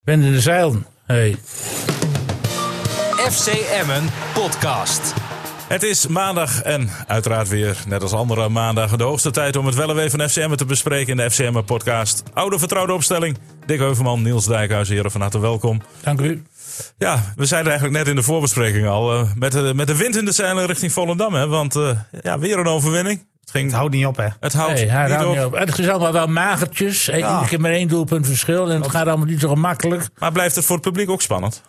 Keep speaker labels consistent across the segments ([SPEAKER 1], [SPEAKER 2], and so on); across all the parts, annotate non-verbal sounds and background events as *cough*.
[SPEAKER 1] Ben in de zeilen. Hey.
[SPEAKER 2] FC Emmen podcast.
[SPEAKER 3] Het is maandag en uiteraard weer, net als andere maandagen, de hoogste tijd om het wel en wee van FCM te bespreken in de FCM podcast. Oude vertrouwde opstelling. Dick Heuvelman, Niels Dijkhuis, heren van harte welkom.
[SPEAKER 1] Dank u.
[SPEAKER 3] Ja, we zeiden eigenlijk net in de voorbespreking al, eh, met, de, met de wind in de zeilen richting Volendam. Hè, want eh, ja, weer een overwinning. Het, ging,
[SPEAKER 4] Het houdt niet op, hè?
[SPEAKER 3] het houdt
[SPEAKER 1] Hey, hij
[SPEAKER 3] niet
[SPEAKER 1] houdt
[SPEAKER 3] op.
[SPEAKER 1] niet op. Het is allemaal wel magertjes. En Iedere keer maar één doelpunt verschil. En het gaat allemaal niet zo gemakkelijk.
[SPEAKER 3] Maar blijft het voor het publiek ook spannend?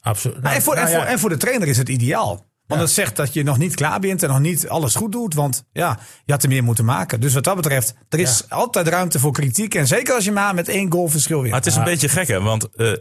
[SPEAKER 1] Absoluut.
[SPEAKER 4] en, voor,
[SPEAKER 1] Nou
[SPEAKER 4] en,
[SPEAKER 1] ja,
[SPEAKER 4] voor, en voor de trainer is het ideaal. Want het zegt dat je nog niet klaar bent en nog niet alles goed doet. Want ja, je had er meer moeten maken. Dus wat dat betreft, er is altijd ruimte voor kritiek. En zeker als je maar met één goal verschil
[SPEAKER 3] Maar
[SPEAKER 4] wint.
[SPEAKER 3] het is een beetje gek, hè? Want eh,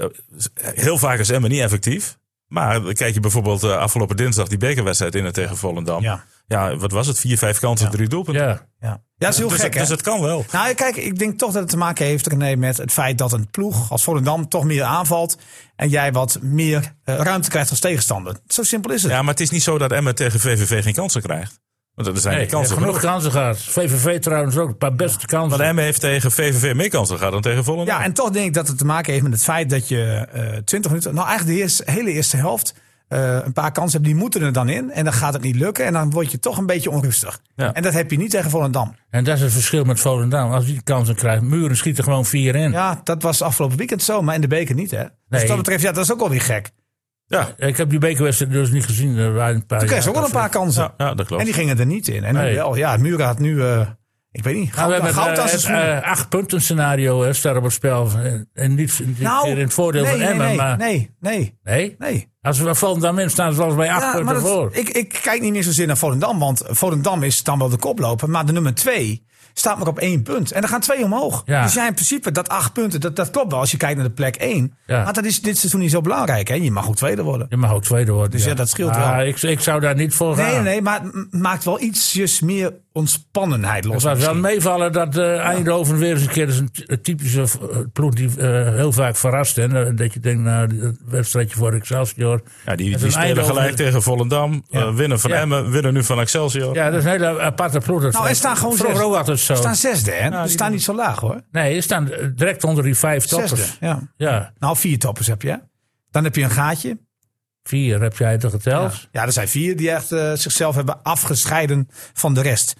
[SPEAKER 3] heel vaak is Emmen niet effectief. Maar kijk je bijvoorbeeld eh, afgelopen dinsdag die bekerwedstrijd in en tegen Volendam.
[SPEAKER 4] Ja.
[SPEAKER 3] Ja, wat was het? Vier, vijf kansen, drie doelpunten.
[SPEAKER 1] ja.
[SPEAKER 4] Ja, ja dat is heel
[SPEAKER 3] dus,
[SPEAKER 4] gek,
[SPEAKER 3] het,
[SPEAKER 4] hè?
[SPEAKER 3] dus het kan wel.
[SPEAKER 4] Nou, kijk, ik denk toch dat het te maken heeft, René, met het feit dat een ploeg als Volendam toch meer aanvalt. En jij wat meer eh, ruimte krijgt als tegenstander. Zo simpel is het.
[SPEAKER 3] Ja, maar het is niet zo dat Emmen tegen VVV geen kansen krijgt. Want er zijn
[SPEAKER 1] Nee,
[SPEAKER 3] geen kansen
[SPEAKER 1] genoeg
[SPEAKER 3] genoeg.
[SPEAKER 1] kansen gehad. VVV trouwens ook. Een paar beste kansen.
[SPEAKER 3] Want Emmen heeft tegen VVV meer kansen gehad dan tegen Volendam.
[SPEAKER 4] Ja, en toch denk ik dat het te maken heeft met het feit dat je eh 20 minuten, nou eigenlijk de eerste, hele eerste helft, eh, een paar kansen hebt, die moeten er dan in. En dan gaat het niet lukken en dan word je toch een beetje onrustig.
[SPEAKER 3] Ja.
[SPEAKER 4] En dat heb je niet tegen Volendam.
[SPEAKER 1] En dat is het verschil met Volendam. Als die kansen krijgt, muren schieten gewoon vier in.
[SPEAKER 4] Ja, dat was afgelopen weekend zo, maar in de beker niet, hè? Dus
[SPEAKER 1] Nee.
[SPEAKER 4] wat dat betreft, ja, dat is ook alweer gek.
[SPEAKER 3] ja.
[SPEAKER 1] Ik heb die bekerwedstrijd dus niet gezien. Er waren een paar.
[SPEAKER 4] Toen kreeg ze ook wel een paar kansen.
[SPEAKER 3] ja, ja, dat klopt.
[SPEAKER 4] En die gingen er niet in. En
[SPEAKER 1] Nee.
[SPEAKER 4] wel, ja, Mura had nu, eh, ik weet niet,
[SPEAKER 1] Nou, we
[SPEAKER 4] goud,
[SPEAKER 1] hebben
[SPEAKER 4] goud
[SPEAKER 1] eh,
[SPEAKER 4] als een
[SPEAKER 1] het,
[SPEAKER 4] schoen.
[SPEAKER 1] eh, acht punten scenario hè, staat op het spel. En, en niet dit
[SPEAKER 4] Nou,
[SPEAKER 1] keer in het voordeel
[SPEAKER 4] nee,
[SPEAKER 1] van
[SPEAKER 4] nee,
[SPEAKER 1] Emmen.
[SPEAKER 4] nee,
[SPEAKER 1] maar,
[SPEAKER 4] nee, nee,
[SPEAKER 1] nee?
[SPEAKER 4] nee.
[SPEAKER 1] Als we Volendam in staan, zoals bij acht
[SPEAKER 4] Ja,
[SPEAKER 1] punten
[SPEAKER 4] maar dat-
[SPEAKER 1] voor.
[SPEAKER 4] ik, ik kijk niet meer zozeer naar Volendam, want Volendam is dan wel de koploper. Maar de nummer twee staat maar op één punt. En er gaan twee omhoog.
[SPEAKER 1] Ja.
[SPEAKER 4] Dus ja, in principe, dat acht punten, dat, dat klopt wel als je kijkt naar de plek één.
[SPEAKER 1] Ja.
[SPEAKER 4] Maar dat is dit seizoen niet zo belangrijk. Hè? Je mag goed tweede worden.
[SPEAKER 1] Je mag ook tweede worden. Dus
[SPEAKER 4] ja, dat scheelt wel.
[SPEAKER 1] Ik, ik zou daar niet voor gaan.
[SPEAKER 4] Nee, nee, maar het m- maakt wel ietsjes meer ontspannenheid
[SPEAKER 1] Het
[SPEAKER 4] los.
[SPEAKER 1] was wel
[SPEAKER 4] misschien.
[SPEAKER 1] meevallen dat eh, Eindhoven weer eens een keer is een ty- een typische v- eh, ploeg die eh, heel vaak verrast. Hè? Nou, Dat je denkt, nou, die- dat wedstrijdje voor Excelsior.
[SPEAKER 3] ja, die,
[SPEAKER 1] Met
[SPEAKER 3] die
[SPEAKER 1] een
[SPEAKER 3] spelen
[SPEAKER 1] Eindhoven-
[SPEAKER 3] gelijk tegen Volendam. eh, winnen van
[SPEAKER 1] Ja.
[SPEAKER 3] Emmen, winnen nu van Excelsior.
[SPEAKER 1] Ja, dat is een hele aparte ploeg. dat
[SPEAKER 4] Nou,
[SPEAKER 1] vond
[SPEAKER 4] en
[SPEAKER 1] ik.
[SPEAKER 4] staan gewoon
[SPEAKER 1] Vroeger
[SPEAKER 4] zes.
[SPEAKER 1] ook altijd zo.
[SPEAKER 4] We staan zesde, hè?
[SPEAKER 3] die
[SPEAKER 4] we staan niet zo laag, hoor.
[SPEAKER 1] Nee, ze staan eh, direct onder die vijf
[SPEAKER 4] Zesde,
[SPEAKER 1] toppers.
[SPEAKER 4] ja.
[SPEAKER 1] Ja,
[SPEAKER 4] Nou, vier toppers heb je, hè? Dan heb je een gaatje.
[SPEAKER 1] vier heb jij er geteld.
[SPEAKER 4] Ja, er zijn vier die echt eh, zichzelf hebben afgescheiden van de rest.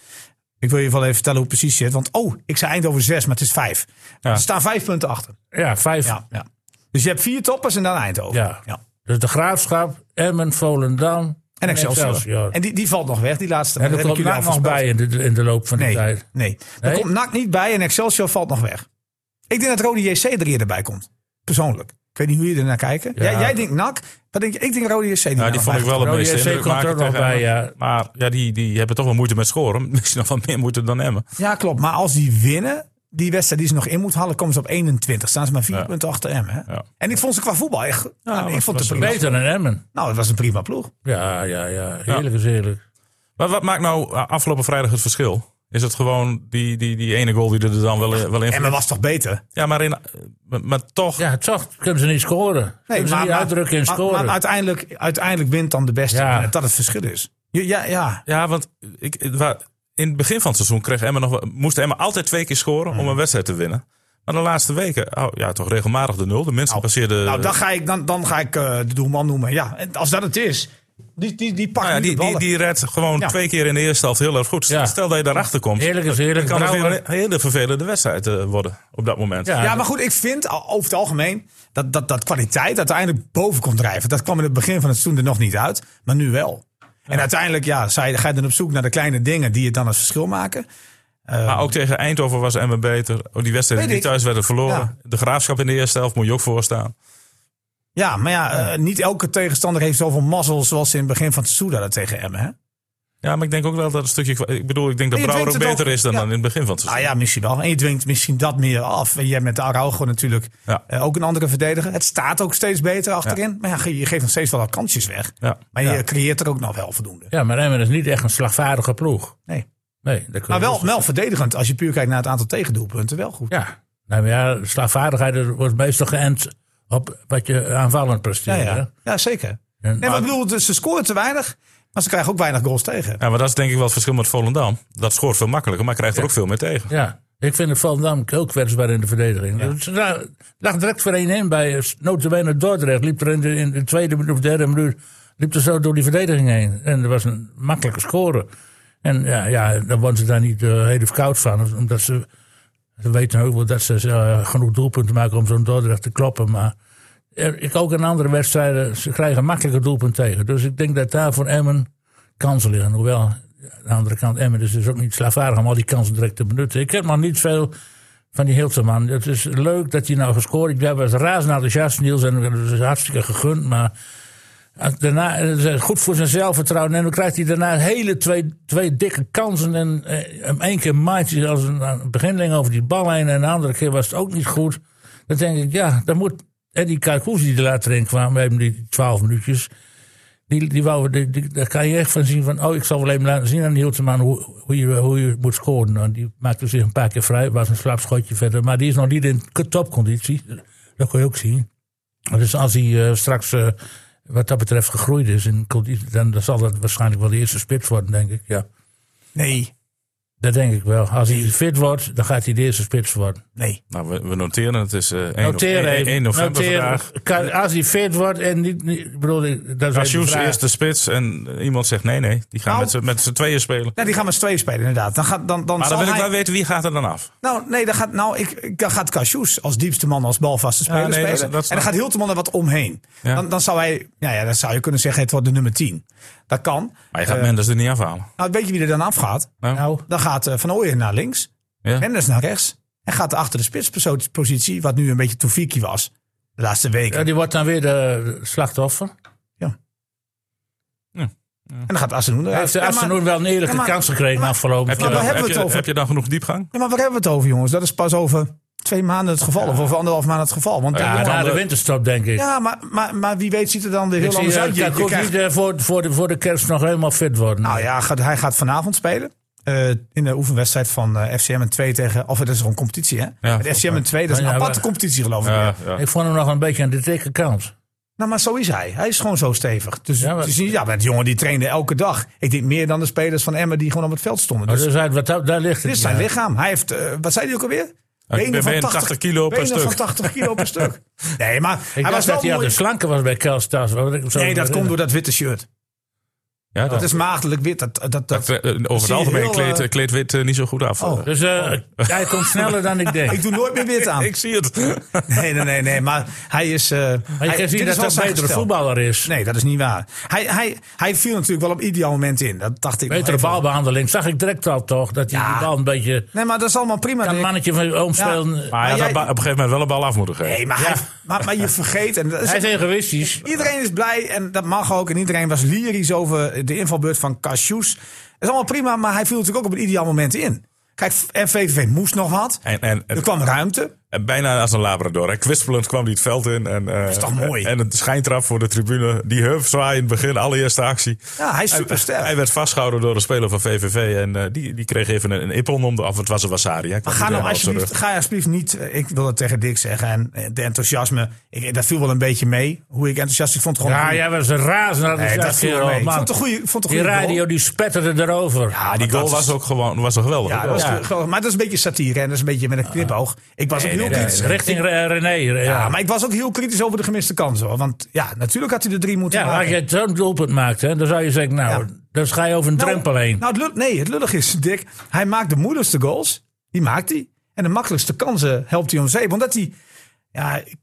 [SPEAKER 4] Ik wil je wel even vertellen hoe het precies zit. Want oh, ik zei Eindhoven zes, maar het is vijf. Er staan vijf punten achter.
[SPEAKER 1] Ja, vijf.
[SPEAKER 4] Ja, ja. Dus je hebt vier toppers en dan Eindhoven.
[SPEAKER 1] Ja. Dus de Graafschap, Emmen, Volendam
[SPEAKER 4] En Excelsior.
[SPEAKER 1] En,
[SPEAKER 4] En die, die valt nog weg, die laatste.
[SPEAKER 1] en
[SPEAKER 4] Dat
[SPEAKER 1] er
[SPEAKER 4] heb ik
[SPEAKER 1] komt
[SPEAKER 4] jullie
[SPEAKER 1] NAC nou
[SPEAKER 4] al
[SPEAKER 1] nog
[SPEAKER 4] voorspeld.
[SPEAKER 1] bij in de, in de loop van de
[SPEAKER 4] Nee,
[SPEAKER 1] tijd.
[SPEAKER 4] nee. Er
[SPEAKER 1] Nee?
[SPEAKER 4] komt NAC niet bij en Excelsior valt nog weg. Ik denk dat Rode JC er eerder bij komt. Persoonlijk. Ik weet niet hoe jullie ernaar kijken. Jij, jij denkt NAC, maar denk, je- ik denk Rode JC. die
[SPEAKER 3] Ja,
[SPEAKER 4] nou
[SPEAKER 3] die
[SPEAKER 4] nog
[SPEAKER 3] vond ik
[SPEAKER 4] bij
[SPEAKER 3] wel het
[SPEAKER 1] Rode
[SPEAKER 3] meest
[SPEAKER 1] JC komt
[SPEAKER 3] indrukmakend
[SPEAKER 1] er ook nog
[SPEAKER 3] tegen
[SPEAKER 1] bij,
[SPEAKER 3] Emmen.
[SPEAKER 1] ja.
[SPEAKER 3] Maar ja, die, die hebben toch wel moeite met scoren. *laughs* Misschien nog wat meer moeite dan Emmen.
[SPEAKER 4] komt. Ja, klopt. Maar als die winnen, die wedstrijd die ze nog in moet halen, komen ze op 21. Staan ze maar vier
[SPEAKER 3] Ja.
[SPEAKER 4] punten achter M. Hè?
[SPEAKER 3] Ja.
[SPEAKER 4] En ik vond ze qua voetbal echt... nou, ik
[SPEAKER 3] was-
[SPEAKER 4] vond het
[SPEAKER 3] was
[SPEAKER 4] prima.
[SPEAKER 1] Beter dan Emmen.
[SPEAKER 4] Nou, het was een prima ploeg.
[SPEAKER 1] Ja, ja, ja. Heerlijk is heerlijk.
[SPEAKER 3] Maar wat maakt nou eh, afgelopen vrijdag het verschil? Is het gewoon die, die, die ene goal die er dan wel, wel in...
[SPEAKER 4] Emmen was toch beter?
[SPEAKER 3] Ja, maar, in, eh, maar, maar toch...
[SPEAKER 1] Ja, toch kunnen ze niet scoren. kunnen ze niet uitdrukken en
[SPEAKER 4] maar-
[SPEAKER 1] scoren.
[SPEAKER 4] maar uiteindelijk, uiteindelijk wint dan de beste.
[SPEAKER 1] Ja.
[SPEAKER 4] En Dat het verschil is. Ja, ja, ja.
[SPEAKER 3] Ja, want ik, het wa- in het begin van het seizoen kreeg Emma nog, wel- moest Emma altijd twee keer scoren
[SPEAKER 4] Hmm.
[SPEAKER 3] om een wedstrijd te winnen. Maar de laatste weken, oh, ja, toch regelmatig de nul. De mensen passeerden...
[SPEAKER 4] Nou, dan ga ik, dan, dan ga ik eh, de doelman noemen. Ja, en als dat het is. Die, die, die pakt
[SPEAKER 3] Nou ja,
[SPEAKER 4] nu
[SPEAKER 3] die,
[SPEAKER 4] de
[SPEAKER 3] die,
[SPEAKER 4] ballen.
[SPEAKER 3] die redt gewoon
[SPEAKER 4] Ja.
[SPEAKER 3] twee keer in de eerste helft heel erg goed.
[SPEAKER 1] Ja.
[SPEAKER 3] Stel dat je daarachter komt,
[SPEAKER 1] heerlijk is heerlijk.
[SPEAKER 3] kan het weer
[SPEAKER 1] Brouwer-
[SPEAKER 3] een hele vervelende wedstrijd eh, worden op dat moment.
[SPEAKER 1] Ja.
[SPEAKER 4] Ja, maar goed, ik vind al- over het algemeen dat, dat, dat kwaliteit uiteindelijk boven komt drijven. Dat kwam in het begin van het seizoen er nog niet uit, maar nu wel. En uiteindelijk ja, zei- ga je dan op zoek naar de kleine dingen die het dan het verschil maken.
[SPEAKER 3] Maar ook tegen Eindhoven was Emma beter. Ook die wedstrijden
[SPEAKER 4] Ehm, Weet
[SPEAKER 3] die
[SPEAKER 4] ik.
[SPEAKER 3] thuis werden verloren.
[SPEAKER 4] Ja.
[SPEAKER 3] De graafschap in de eerste helft moet je ook voorstaan.
[SPEAKER 4] Ja, maar ja, eh, niet elke tegenstander heeft zoveel mazzel zoals ze in het begin van het seizoen hadden tegen Emmen. Hè?
[SPEAKER 3] Ja, maar ik denk ook wel dat een stukje... kwa- Ik bedoel, ik denk dat
[SPEAKER 4] Nee, je
[SPEAKER 3] Brouwer ook
[SPEAKER 4] dwingt
[SPEAKER 3] beter
[SPEAKER 4] het ook.
[SPEAKER 3] is dan,
[SPEAKER 4] Ja.
[SPEAKER 3] dan in het begin van het
[SPEAKER 4] Nou
[SPEAKER 3] seizoen.
[SPEAKER 4] ja, misschien wel. En je dwingt misschien dat meer af. En jij met de Araujo natuurlijk
[SPEAKER 3] Ja.
[SPEAKER 4] eh, ook een andere verdediger. Het staat ook steeds beter achterin. Maar ja, ge- je geeft nog steeds wel wat kansjes weg.
[SPEAKER 3] Ja.
[SPEAKER 4] Maar je creëert er ook nog wel voldoende.
[SPEAKER 1] Ja, maar Emmen is niet echt een slagvaardige ploeg.
[SPEAKER 4] Nee.
[SPEAKER 1] Nee, dat kun
[SPEAKER 4] Maar
[SPEAKER 1] je
[SPEAKER 4] wel, wel verdedigend. Als je puur kijkt naar het aantal tegendoelpunten, wel goed.
[SPEAKER 1] Ja. Nou maar ja, slagvaardigheid dat wordt meestal geënt op wat je aanvallend presteert.
[SPEAKER 4] Ja,
[SPEAKER 1] hè.
[SPEAKER 4] ja. ja zeker.
[SPEAKER 1] En-
[SPEAKER 4] Nee, maar ik bedoel, dus ze scoren te weinig, maar ze krijgen ook weinig goals tegen.
[SPEAKER 3] Ja, maar dat is denk ik wel het verschil met Volendam. Dat scoort veel makkelijker, maar krijgt er ook veel meer tegen.
[SPEAKER 1] Ja. Ik vind het valt namelijk heel kwetsbaar in de verdediging. Het ra- lag direct voor 1-1 bij eh, notabene Dordrecht. Liep er in de, in de tweede minuut of derde minuut liep er zo door die verdediging heen. En dat was een makkelijke score. En ja, ja dan worden ze daar niet eh, heel koud van. Omdat ze, ze weten ook wel dat ze eh, genoeg doelpunten maken om zo'n Dordrecht te kloppen. Maar er- ik ook in andere wedstrijden, ze krijgen makkelijke doelpunten tegen. Dus ik denk dat daar voor Emmen kansen liggen. Hoewel, aan de andere kant, Emmen is dus ook niet slaafwaardig om al die kansen direct te benutten. Ik heb nog niet veel van die Hilterman. Het is leuk dat hij nou gescoord heeft. Hij was razend enthousiast, Niels, en dat is dus hartstikke gegund. Maar als daarna, het is goed voor zijn zelfvertrouwen. En dan krijgt hij daarna hele twee, twee dikke kansen. En eh, hem één keer maait hij als een een beginling over die bal heen. En de andere keer was het ook niet goed. Dan denk ik, ja, dan moet Eddie Karkoes die er later in kwam. We hebben die twaalf minuutjes. Die, die wou, die, die- daar kan je echt van zien van, oh, ik zal wel even laten zien aan die Hilteman hoe, hoe, je, hoe je moet scoren. Nou, die maakte zich een paar keer vrij, was een slapschotje verder. Maar die is nog niet in topconditie. Dat kun je ook zien. Dus als hij eh, straks eh, wat dat betreft gegroeid is, in conditie, dan, dan zal dat waarschijnlijk wel de eerste spits worden, denk ik. Ja,
[SPEAKER 4] Nee,
[SPEAKER 1] dat denk ik wel. Als hij fit wordt, dan gaat hij de eerste spits worden.
[SPEAKER 4] nee.
[SPEAKER 3] Nou, we, we noteren, het is eh 1,
[SPEAKER 1] Noteer
[SPEAKER 3] no- 1,
[SPEAKER 1] even.
[SPEAKER 3] 1 november
[SPEAKER 1] Noteer.
[SPEAKER 3] vandaag.
[SPEAKER 1] Kan- als hij fit wordt en niet... niet ik bedoel, ik- dat is even de
[SPEAKER 3] Asjoes
[SPEAKER 1] vraag.
[SPEAKER 3] eerste spits en eh, iemand zegt nee, nee. Die gaan
[SPEAKER 4] Nou.
[SPEAKER 3] met z'n- met z'n tweeën spelen.
[SPEAKER 4] Nou, die gaan met z'n tweeën spelen, inderdaad. Dan gaat, dan, dan
[SPEAKER 3] Maar
[SPEAKER 4] zal
[SPEAKER 3] dan wil ik
[SPEAKER 4] hij-
[SPEAKER 3] wel weten, wie gaat er dan af?
[SPEAKER 4] Nou, nee, dan gaat, nou, ik, ik- dan gaat Cassius als diepste man, als balvaste speler
[SPEAKER 3] nee, dat- dat
[SPEAKER 4] spelen.
[SPEAKER 3] snap
[SPEAKER 4] en dan
[SPEAKER 3] ik.
[SPEAKER 4] gaat Hilteman er wat omheen.
[SPEAKER 3] Ja.
[SPEAKER 4] Dan, dan, zou hij, nou ja, dan zou je kunnen zeggen, het wordt de nummer 10. Dat kan.
[SPEAKER 3] Maar je gaat Mendes er niet afhalen.
[SPEAKER 4] Nou, weet je wie er dan afgaat?
[SPEAKER 3] Nou,
[SPEAKER 1] Nou,
[SPEAKER 4] Dan gaat eh, Van Ooyen naar links,
[SPEAKER 3] ja.
[SPEAKER 4] Mendes naar rechts. En gaat er achter de spitspositie, wat nu een beetje Toefiki was. De laatste weken.
[SPEAKER 1] ja, die wordt dan weer de slachtoffer.
[SPEAKER 4] En dan gaat Asenoen eruit.
[SPEAKER 1] Heeft de
[SPEAKER 4] Ja, maar-
[SPEAKER 1] Asenoen wel een eerlijke
[SPEAKER 4] ja, maar-
[SPEAKER 1] kans gekregen
[SPEAKER 4] maar-
[SPEAKER 1] afgelopen
[SPEAKER 3] heb, je
[SPEAKER 4] maar
[SPEAKER 1] vrijdag?
[SPEAKER 3] dan,
[SPEAKER 4] waar
[SPEAKER 3] heb,
[SPEAKER 4] hebben we
[SPEAKER 3] je,
[SPEAKER 4] het over?
[SPEAKER 3] heb je dan genoeg diepgang?
[SPEAKER 4] Ja, maar waar hebben we het over, jongens? Dat is pas over twee maanden het geval. Of over anderhalf maand het geval. Want
[SPEAKER 3] Ja,
[SPEAKER 4] ja,
[SPEAKER 1] Ja,
[SPEAKER 3] dan-
[SPEAKER 1] na de winterstop, denk ik.
[SPEAKER 4] ja maar, maar, maar wie weet ziet er dan weer
[SPEAKER 1] ik
[SPEAKER 4] heel
[SPEAKER 1] zie
[SPEAKER 4] anders
[SPEAKER 1] eh,
[SPEAKER 4] uit. Je- je
[SPEAKER 1] Karkoes
[SPEAKER 4] krijgt-
[SPEAKER 1] niet eh, voor, voor, de, voor de kerst nog helemaal fit worden.
[SPEAKER 4] Nou ja, gaat, hij gaat vanavond spelen. eh, in de oefenwedstrijd van eh, FCM en 2 tegen... Of het is een competitie, hè? Met
[SPEAKER 3] volgens
[SPEAKER 4] FCM en 2, dat is een
[SPEAKER 1] Ja, ja,
[SPEAKER 4] aparte
[SPEAKER 1] maar-
[SPEAKER 4] competitie, geloof ik.
[SPEAKER 3] Ja,
[SPEAKER 4] meer.
[SPEAKER 3] ja.
[SPEAKER 1] Ik vond hem nog een beetje aan de dikke kant.
[SPEAKER 4] Nou, maar zo is hij. Hij is gewoon zo stevig. Dus
[SPEAKER 1] Ja,
[SPEAKER 4] ja,
[SPEAKER 1] maar-
[SPEAKER 4] maar, ja, maar die jongen die trainde elke dag. Ik denk meer dan de spelers van Emmen die gewoon op het veld stonden.
[SPEAKER 1] Maar
[SPEAKER 4] Dus
[SPEAKER 1] dus uit, wat, dat- daar ligt het.
[SPEAKER 4] dit is
[SPEAKER 1] niet
[SPEAKER 4] zijn
[SPEAKER 1] aan.
[SPEAKER 4] lichaam. Hij heeft, eh, wat zei hij ook alweer?
[SPEAKER 3] ben- ben 80 kilo per
[SPEAKER 4] benen
[SPEAKER 3] stuk.
[SPEAKER 4] van 80 kilo per
[SPEAKER 1] *laughs*
[SPEAKER 4] stuk. Nee, maar
[SPEAKER 1] Ik
[SPEAKER 4] hij was
[SPEAKER 1] dacht dat
[SPEAKER 4] wel
[SPEAKER 1] hij aan
[SPEAKER 4] mooi.
[SPEAKER 1] de slanke was bij Kelstas.
[SPEAKER 4] Nee, dat komt door dat witte shirt.
[SPEAKER 3] Ja,
[SPEAKER 4] Dat
[SPEAKER 3] dat,
[SPEAKER 1] Oh.
[SPEAKER 4] is maagdelijk wit. Dat, dat, dat,
[SPEAKER 3] dat, eh, over het
[SPEAKER 4] zie je
[SPEAKER 3] algemeen
[SPEAKER 4] heel,
[SPEAKER 3] kleedt
[SPEAKER 4] eh,
[SPEAKER 3] eh, kleedt wit eh, niet zo goed af.
[SPEAKER 4] Oh.
[SPEAKER 3] Eh,
[SPEAKER 1] Dus eh, *laughs* hij komt sneller dan ik denk.
[SPEAKER 4] *laughs* ik doe nooit meer
[SPEAKER 1] *laughs*
[SPEAKER 4] wit aan.
[SPEAKER 3] Ik zie
[SPEAKER 4] *laughs*
[SPEAKER 3] het.
[SPEAKER 4] Nee, nee, nee, nee. Maar hij is... eh
[SPEAKER 1] maar je
[SPEAKER 4] hij-
[SPEAKER 1] kan zien dat
[SPEAKER 4] dit is wel
[SPEAKER 1] hij een
[SPEAKER 4] zijn
[SPEAKER 1] betere
[SPEAKER 4] gestel.
[SPEAKER 1] voetballer is.
[SPEAKER 4] Nee, dat is niet waar. Hij, hij, hij viel natuurlijk wel op ideaal moment in. Dat dacht ik. nog
[SPEAKER 1] Betere
[SPEAKER 4] even.
[SPEAKER 1] balbehandeling. Zag ik direct al toch. Dat hij
[SPEAKER 4] Ja.
[SPEAKER 1] die bal een beetje...
[SPEAKER 4] Nee, maar dat is allemaal prima.
[SPEAKER 1] Een
[SPEAKER 4] Dick.
[SPEAKER 1] mannetje van omspelen.
[SPEAKER 4] Ja.
[SPEAKER 3] Maar hij
[SPEAKER 4] Maar
[SPEAKER 3] had
[SPEAKER 4] Nou, jij-
[SPEAKER 3] op een gegeven moment wel een bal af moeten geven.
[SPEAKER 4] Nee, maar, hij, maar, maar je vergeet. En dat is-
[SPEAKER 1] Hij is egoïstisch.
[SPEAKER 4] iedereen is blij en dat mag ook. En iedereen was lyrisch over de invalbeurt van Cassius. Dat is allemaal prima, maar hij viel natuurlijk ook op een ideaal moment in. Kijk, VVV moest nog wat.
[SPEAKER 3] En, en,
[SPEAKER 4] Er
[SPEAKER 3] en,
[SPEAKER 4] kwam ruimte.
[SPEAKER 3] en bijna als een labrador. Hè. Kwispelend kwam hij het veld in. En, dat
[SPEAKER 4] is toch mooi?
[SPEAKER 3] En een schijntrap voor de tribune. Die heupzwaai in het begin, allereerste actie.
[SPEAKER 4] Ja, hij is
[SPEAKER 3] Hij, hij
[SPEAKER 4] supersterk.
[SPEAKER 3] werd vastgehouden door een speler van VVV. En eh, die, die kreeg even een, een ippon om de... Of het was een wasari. hè. Ik
[SPEAKER 4] Maar
[SPEAKER 3] weet
[SPEAKER 4] ga
[SPEAKER 3] niet
[SPEAKER 4] nou
[SPEAKER 3] helemaal op zijn
[SPEAKER 4] alsjeblieft, ga alsjeblieft niet. eh, Ik wil het tegen Dick zeggen. En eh, de enthousiasme, ik, eh, dat viel wel een beetje mee. Hoe ik enthousiast ik vond. het Gewoon
[SPEAKER 1] Ja,
[SPEAKER 4] een-
[SPEAKER 1] jij was een razend.
[SPEAKER 4] Nee, dat
[SPEAKER 1] enthousiast,
[SPEAKER 4] viel wel
[SPEAKER 1] kerel,
[SPEAKER 4] mee. Ik
[SPEAKER 1] man.
[SPEAKER 4] vond het een goede, vond het een
[SPEAKER 1] Die
[SPEAKER 4] goede goal.
[SPEAKER 1] radio die spetterde erover.
[SPEAKER 3] rug. Ja, Ah, die goal
[SPEAKER 4] dat
[SPEAKER 3] was
[SPEAKER 4] is-
[SPEAKER 3] ook gewoon was toch geweldig.
[SPEAKER 4] Ja, dat was geweldig. maar dat is een beetje satire en dat is een beetje met een knipoog. Ik was ook heel
[SPEAKER 1] Ja,
[SPEAKER 4] kritisch.
[SPEAKER 1] Richting Re- René. eh, Ja,
[SPEAKER 4] Ja, maar ik was ook heel kritisch over de gemiste kansen. hoor. Want ja, natuurlijk had hij de drie moeten
[SPEAKER 1] Ja, als
[SPEAKER 4] maken.
[SPEAKER 1] je zo'n doelpunt maakt, hè, dan zou je zeggen, nou,
[SPEAKER 4] Ja.
[SPEAKER 1] dan ga je over een
[SPEAKER 4] Nou,
[SPEAKER 1] drempel heen.
[SPEAKER 4] Nou, het lul- nee, het lullig is, Dick. Hij maakt de moeilijkste goals. Die maakt hij. En de makkelijkste kansen helpt hij om zeep. Omdat hij... Ja, ik,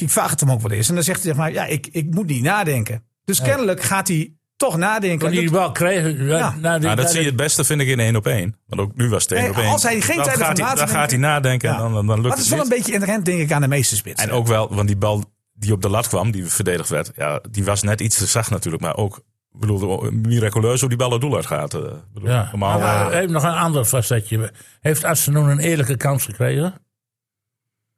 [SPEAKER 4] ik vraag het hem ook wel eens. En dan zegt hij zeg maar, ja, ik, ik moet niet nadenken. Dus kennelijk gaat hij toch nadenken.
[SPEAKER 1] Toen
[SPEAKER 4] En
[SPEAKER 1] die
[SPEAKER 4] dat-
[SPEAKER 1] bal kreeg, ja,
[SPEAKER 4] Ja.
[SPEAKER 1] na die-
[SPEAKER 3] Nou,
[SPEAKER 1] na
[SPEAKER 3] dat zie je
[SPEAKER 1] die-
[SPEAKER 3] het beste, vind ik, in één op één. Want ook nu was het één
[SPEAKER 4] Nee,
[SPEAKER 3] op één.
[SPEAKER 4] als hij geen
[SPEAKER 3] dan
[SPEAKER 4] tijd heeft
[SPEAKER 3] gaat hij,
[SPEAKER 4] om na te
[SPEAKER 3] dan
[SPEAKER 4] denken.
[SPEAKER 3] gaat hij nadenken en
[SPEAKER 4] Ja.
[SPEAKER 3] dan, dan, dan lukt
[SPEAKER 4] maar
[SPEAKER 3] het
[SPEAKER 4] het is wel
[SPEAKER 3] niet.
[SPEAKER 4] een beetje inherent, denk ik, aan de meeste spits.
[SPEAKER 3] En ook wel, want die bal die op de lat kwam, die verdedigd werd, ja, die was net iets te zacht natuurlijk. Maar ook, ik bedoel, miraculeus hoe die bal het doel uitgaat. eh. Ik bedoel,
[SPEAKER 1] Ja.
[SPEAKER 3] Normaal,
[SPEAKER 1] Maar
[SPEAKER 3] eh,
[SPEAKER 1] even nog een ander facetje. Heeft Arsenal een eerlijke kans gekregen?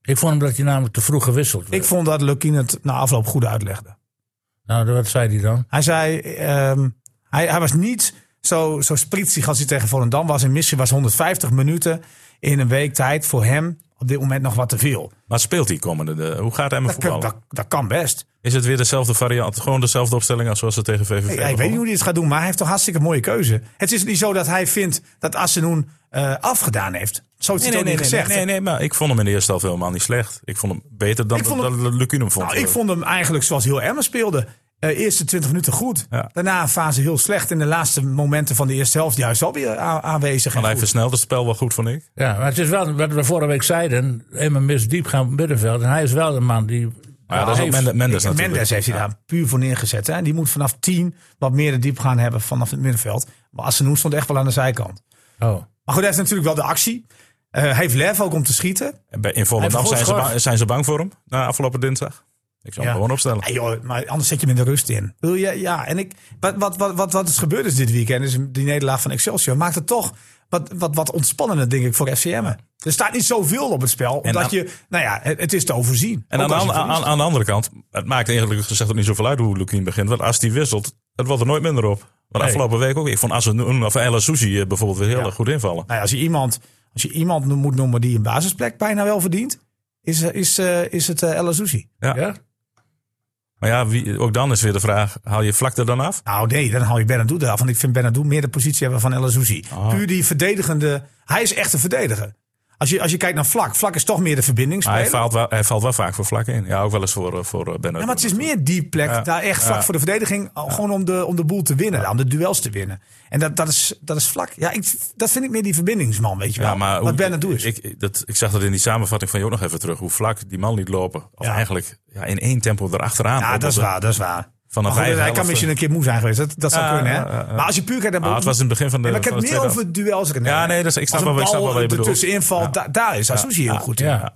[SPEAKER 1] Ik vond hem dat hij namelijk te vroeg gewisseld werd.
[SPEAKER 4] Ik vond dat Lukien het na afloop goed uitlegde.
[SPEAKER 1] Nou, wat zei hij dan?
[SPEAKER 4] Hij zei, ehm, hij, hij was niet zo, zo spritsig als hij tegen Volendam was. En missie was 150 minuten in een week tijd voor hem op dit moment nog wat te veel.
[SPEAKER 3] Maar speelt hij komende? De, hoe gaat Emmen
[SPEAKER 4] Dat, kan-
[SPEAKER 3] voetballen?
[SPEAKER 4] dat, dat kan best.
[SPEAKER 3] Is het weer dezelfde variant? Gewoon dezelfde opstelling als zoals ze tegen VVV
[SPEAKER 4] Ja, ik weet niet
[SPEAKER 3] begonnen?
[SPEAKER 4] hoe hij het gaat doen, maar hij heeft toch hartstikke mooie keuze. Het is niet zo dat hij vindt dat Assenoen eh, afgedaan heeft. Zo is
[SPEAKER 3] Nee,
[SPEAKER 4] het
[SPEAKER 3] nee, nee,
[SPEAKER 4] ook niet
[SPEAKER 3] nee,
[SPEAKER 4] gezegd.
[SPEAKER 3] nee, nee, maar ik vond hem in de eerste helft helemaal niet slecht. Ik vond hem beter dan
[SPEAKER 4] Ik vond hem-
[SPEAKER 3] dat Lucunum vond.
[SPEAKER 4] Nou, ik vond hem eigenlijk zoals heel Emmen speelde. Eh, eerste 20 minuten goed.
[SPEAKER 3] Ja.
[SPEAKER 4] Daarna een fase heel slecht. En de laatste momenten van de eerste helft juist alweer a- aanwezig. En
[SPEAKER 3] Maar hij
[SPEAKER 4] goed.
[SPEAKER 3] versnelde het spel wel goed, vond ik.
[SPEAKER 1] Ja, maar het is wel wat we vorige week zeiden. Emmen mist diep gaan middenveld. En hij is wel de man die.
[SPEAKER 3] Maar ja, dat
[SPEAKER 1] heeft-
[SPEAKER 3] is ook Mendes, Mendes
[SPEAKER 4] Mendes
[SPEAKER 3] natuurlijk.
[SPEAKER 4] heeft hij daar puur voor neergezet. Hè? Die moet vanaf 10 wat meer de diep gaan hebben vanaf het middenveld. Maar Assenoen stond echt wel aan de zijkant.
[SPEAKER 1] Oh.
[SPEAKER 4] Maar goed, hij heeft natuurlijk wel de actie. Eh, hij heeft lef ook om te schieten.
[SPEAKER 3] En bij- In
[SPEAKER 1] Hij
[SPEAKER 3] Volendam
[SPEAKER 1] heeft
[SPEAKER 3] zijn ze,
[SPEAKER 1] goed
[SPEAKER 3] bang, zijn ze bang voor hem na afgelopen dinsdag. Ik zou hem
[SPEAKER 4] Ja.
[SPEAKER 3] gewoon opstellen.
[SPEAKER 4] Ja, joh, maar anders zet je hem in de rust in. Wil je, ja, en ik, wat, wat, wat, wat, wat is gebeurd is dit weekend, is die nederlaag van Excelsior, maakt het toch wat, wat, wat ontspannender, denk ik, voor FCM. Er staat niet zoveel op het spel, omdat
[SPEAKER 3] aan-
[SPEAKER 4] je, nou ja, het, het is te overzien.
[SPEAKER 3] En
[SPEAKER 4] Ook
[SPEAKER 3] aan de,
[SPEAKER 4] als je
[SPEAKER 3] aan,
[SPEAKER 4] verliest.
[SPEAKER 3] aan, aan de andere kant, het maakt eigenlijk gezegd ook niet zoveel uit hoe Lukien begint. Want als die wisselt, het wordt er nooit minder op. Maar
[SPEAKER 1] Nee.
[SPEAKER 3] afgelopen week ook. Ik vond Assen of El Sushi bijvoorbeeld weer heel erg goed invallen.
[SPEAKER 4] Nou ja, als je iemand, als je iemand no- moet noemen die een basisplek bijna wel verdient, is, eh, is, eh, is het eh El Azouzi.
[SPEAKER 3] Ja.
[SPEAKER 1] Ja?
[SPEAKER 3] Maar ja, wie, ook dan is weer de vraag, haal je vlak er dan af?
[SPEAKER 4] Nou nee, dan haal je Bernardo eraf. Want ik vind Bernardo meer de positie hebben van El Azouzi.
[SPEAKER 3] Ah.
[SPEAKER 4] Puur die verdedigende, hij is echt een verdediger. Als je, als je kijkt naar Vlak, Vlak is toch meer de
[SPEAKER 3] Maar hij
[SPEAKER 4] verbindingsspeler.
[SPEAKER 3] valt, wel, hij valt wel vaak voor vlak in. Ja, ook wel eens voor, eh, voor eh, Bernard.
[SPEAKER 4] Ja, maar het is meer die plek,
[SPEAKER 3] Ja.
[SPEAKER 4] daar echt vlak
[SPEAKER 3] Ja.
[SPEAKER 4] voor de verdediging, al gewoon om de, om de boel te winnen, om de duels te winnen. En dat, dat, is, dat is vlak. Ja, ik, dat vind ik meer die verbindingsman, weet je wel.
[SPEAKER 3] Ja, maar
[SPEAKER 4] Wat
[SPEAKER 3] hoe-
[SPEAKER 4] Bernardo is.
[SPEAKER 3] Ik, ik- dat, ik zag dat in die samenvatting van jou nog even terug. Hoe vlak die man liet lopen. Of
[SPEAKER 4] Ja.
[SPEAKER 3] eigenlijk ja, in één tempo erachteraan.
[SPEAKER 4] ja, dat is
[SPEAKER 3] Op-
[SPEAKER 4] waar, dat is waar.
[SPEAKER 3] Van een
[SPEAKER 4] Maar goed,
[SPEAKER 3] eigen
[SPEAKER 4] hij
[SPEAKER 3] helft,
[SPEAKER 4] kan misschien een keer moe zijn geweest, dat, dat zou
[SPEAKER 3] Ja,
[SPEAKER 4] kunnen. Hè?
[SPEAKER 3] ja, ja, ja.
[SPEAKER 4] Maar als je puur kijkt naar
[SPEAKER 3] Ah, het was in het begin van de.
[SPEAKER 4] Nee, maar ik heb
[SPEAKER 3] van
[SPEAKER 4] het
[SPEAKER 3] de
[SPEAKER 4] meer
[SPEAKER 3] tweede
[SPEAKER 4] over duels.
[SPEAKER 3] Ja, nee, dus ik snap
[SPEAKER 4] Als een
[SPEAKER 3] wel- ik snap
[SPEAKER 4] bal
[SPEAKER 3] wel wat je
[SPEAKER 4] er
[SPEAKER 3] bedoelt.
[SPEAKER 4] tussenin valt, da- daar is Azuzi heel goed in.
[SPEAKER 1] Ja.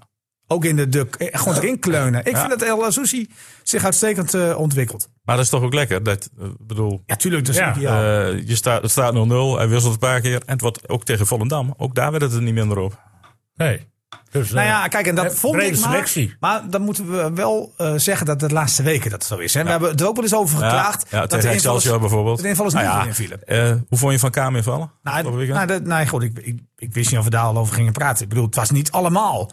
[SPEAKER 4] Ook in de, de eh, gewoon erin kleunen. Ik
[SPEAKER 3] Ja.
[SPEAKER 4] vind dat El Azuzi zich uitstekend eh, ontwikkelt.
[SPEAKER 3] helft. Maar dat is toch ook lekker. Dat, eh, bedoel,
[SPEAKER 4] Ja, tuurlijk, dat is
[SPEAKER 1] Ja.
[SPEAKER 4] ideaal.
[SPEAKER 3] eh, je staat, het staat 0-0. Hij wisselt een paar keer. En het wordt ook tegen Volendam. Ook daar werd het er niet minder op.
[SPEAKER 1] Nee. Dus,
[SPEAKER 4] Nou
[SPEAKER 1] eh,
[SPEAKER 4] ja, kijk, en dat
[SPEAKER 1] Brede
[SPEAKER 4] vond ik maar,
[SPEAKER 1] selectie.
[SPEAKER 4] Maar dan moeten we wel eh, zeggen dat de laatste weken dat zo is. Hè? We hebben het ook wel eens over geklaagd.
[SPEAKER 3] ja, tegen
[SPEAKER 4] dat de invallers-
[SPEAKER 3] Excelsior bijvoorbeeld.
[SPEAKER 4] dat de invallers
[SPEAKER 3] Nou
[SPEAKER 4] niet
[SPEAKER 3] ja,
[SPEAKER 4] goed invielen.
[SPEAKER 3] eh, hoe vond je van Kamer invallen? Afgelopen
[SPEAKER 4] Nou,
[SPEAKER 3] weekend?
[SPEAKER 4] nou, dat, nee, goed, ik, ik, ik wist niet of we daar al over gingen praten. Ik bedoel, het was niet allemaal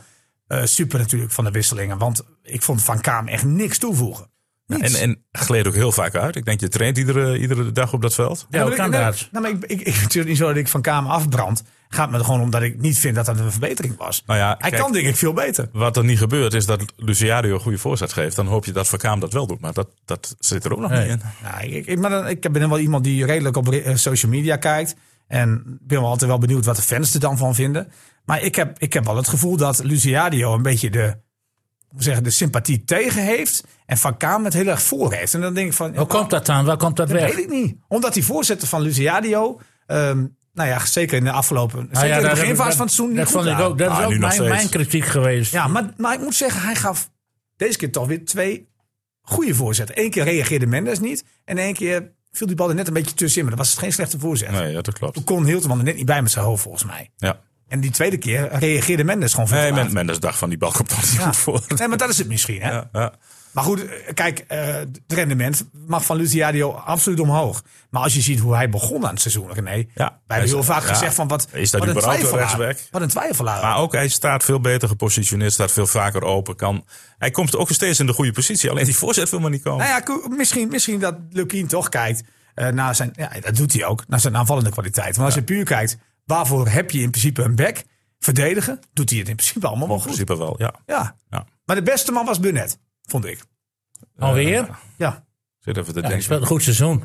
[SPEAKER 4] eh, super natuurlijk van de wisselingen. Want ik vond Van Kaam echt niks toevoegen.
[SPEAKER 3] en,
[SPEAKER 4] Niets.
[SPEAKER 3] Nou, en eh, gleed ook heel vaak uit. Ik denk, je traint iedere, iedere dag op dat veld.
[SPEAKER 1] ja, hoe
[SPEAKER 4] Nou,
[SPEAKER 1] kan
[SPEAKER 4] maar ik-
[SPEAKER 1] dat?
[SPEAKER 4] Nou, maar ik, ik, ik, het is niet zo dat ik Van Kaam afbrand. Gaat me er gewoon om dat ik niet vind dat dat een verbetering was.
[SPEAKER 3] Nou ja,
[SPEAKER 4] Hij
[SPEAKER 3] kijk,
[SPEAKER 4] kan denk ik veel beter.
[SPEAKER 3] Wat er niet gebeurt is dat Luciario een goede voorzet geeft. Dan hoop je dat Verkaam dat wel doet. Maar dat, dat zit er ook nog
[SPEAKER 1] Nee.
[SPEAKER 3] niet in.
[SPEAKER 4] Ja, Nou, ik, ik, maar dan, ik ben wel iemand die redelijk op re- eh, social media kijkt. En ben wel altijd wel benieuwd wat de fans er dan van vinden. Maar ik heb, ik heb wel het gevoel dat Luciadio een beetje de, hoe zeg, ik, de sympathie tegen heeft. En Van Kaam het heel erg voor heeft. En dan denk ik van,
[SPEAKER 1] Hoe komt dat dan? Waar komt dat
[SPEAKER 4] dat
[SPEAKER 1] weg?
[SPEAKER 4] weet ik niet. Omdat die voorzetten van Luciadio, ehm, nou ja, zeker in de afgelopen,
[SPEAKER 1] Nou
[SPEAKER 4] zeker in de
[SPEAKER 1] dat-
[SPEAKER 4] beginfase
[SPEAKER 1] dat-
[SPEAKER 4] van het seizoen niet
[SPEAKER 1] Dat
[SPEAKER 4] goed
[SPEAKER 1] vond ik
[SPEAKER 4] waren.
[SPEAKER 1] ook. Dat
[SPEAKER 3] Ah,
[SPEAKER 1] is
[SPEAKER 3] nu
[SPEAKER 1] ook
[SPEAKER 3] nog
[SPEAKER 1] mijn,
[SPEAKER 3] steeds.
[SPEAKER 1] mijn kritiek geweest.
[SPEAKER 4] Ja, maar, maar ik moet zeggen, hij gaf deze keer toch weer twee goede voorzetten. Eén keer reageerde Mendes niet. En één keer viel die bal er net een beetje tussenin. Maar dat was geen slechte voorzet.
[SPEAKER 3] Nee, ja, dat klopt.
[SPEAKER 4] Toen kon Hilterman er net niet bij met zijn hoofd, volgens mij.
[SPEAKER 3] Ja.
[SPEAKER 4] En die tweede keer reageerde Mendes gewoon veel
[SPEAKER 3] Nee,
[SPEAKER 4] te laat.
[SPEAKER 3] men, Mendes dacht van die bal komt toch niet
[SPEAKER 4] Ja.
[SPEAKER 3] goed voor.
[SPEAKER 4] Nee, maar dat is het misschien. Hè?
[SPEAKER 3] *laughs* Ja, ja.
[SPEAKER 4] Maar goed, eh, kijk, eh, het rendement mag van Luciadio absoluut omhoog. Maar als je ziet hoe hij begon aan het seizoen, René. wij
[SPEAKER 3] Hij
[SPEAKER 4] hebben
[SPEAKER 3] is-
[SPEAKER 4] heel vaak
[SPEAKER 3] ja.
[SPEAKER 4] gezegd van wat,
[SPEAKER 3] Is dat
[SPEAKER 4] wat een
[SPEAKER 3] überhaupt een
[SPEAKER 4] twijfelaar.
[SPEAKER 3] rechtsback?
[SPEAKER 4] Wat een twijfelaar.
[SPEAKER 3] Maar ook hij staat veel beter gepositioneerd. Staat veel vaker open. Kan, hij komt ook steeds in de goede positie. Alleen die voorzet wil maar niet komen.
[SPEAKER 4] Nou ja, ko- misschien, misschien dat Lukien toch kijkt eh, naar zijn. Ja, dat doet hij ook. Naar zijn aanvallende kwaliteit. Want als je puur kijkt, waarvoor heb je in principe een back? Verdedigen, doet hij het in principe allemaal wel
[SPEAKER 3] in
[SPEAKER 4] goed.
[SPEAKER 3] principe wel, ja.
[SPEAKER 4] Ja.
[SPEAKER 3] Ja.
[SPEAKER 4] Maar de beste man was Burnett, vond ik.
[SPEAKER 1] Alweer?
[SPEAKER 4] Ja.
[SPEAKER 3] Zit
[SPEAKER 1] Ja,
[SPEAKER 3] even te
[SPEAKER 1] die
[SPEAKER 3] denken.
[SPEAKER 1] speelt een goed seizoen.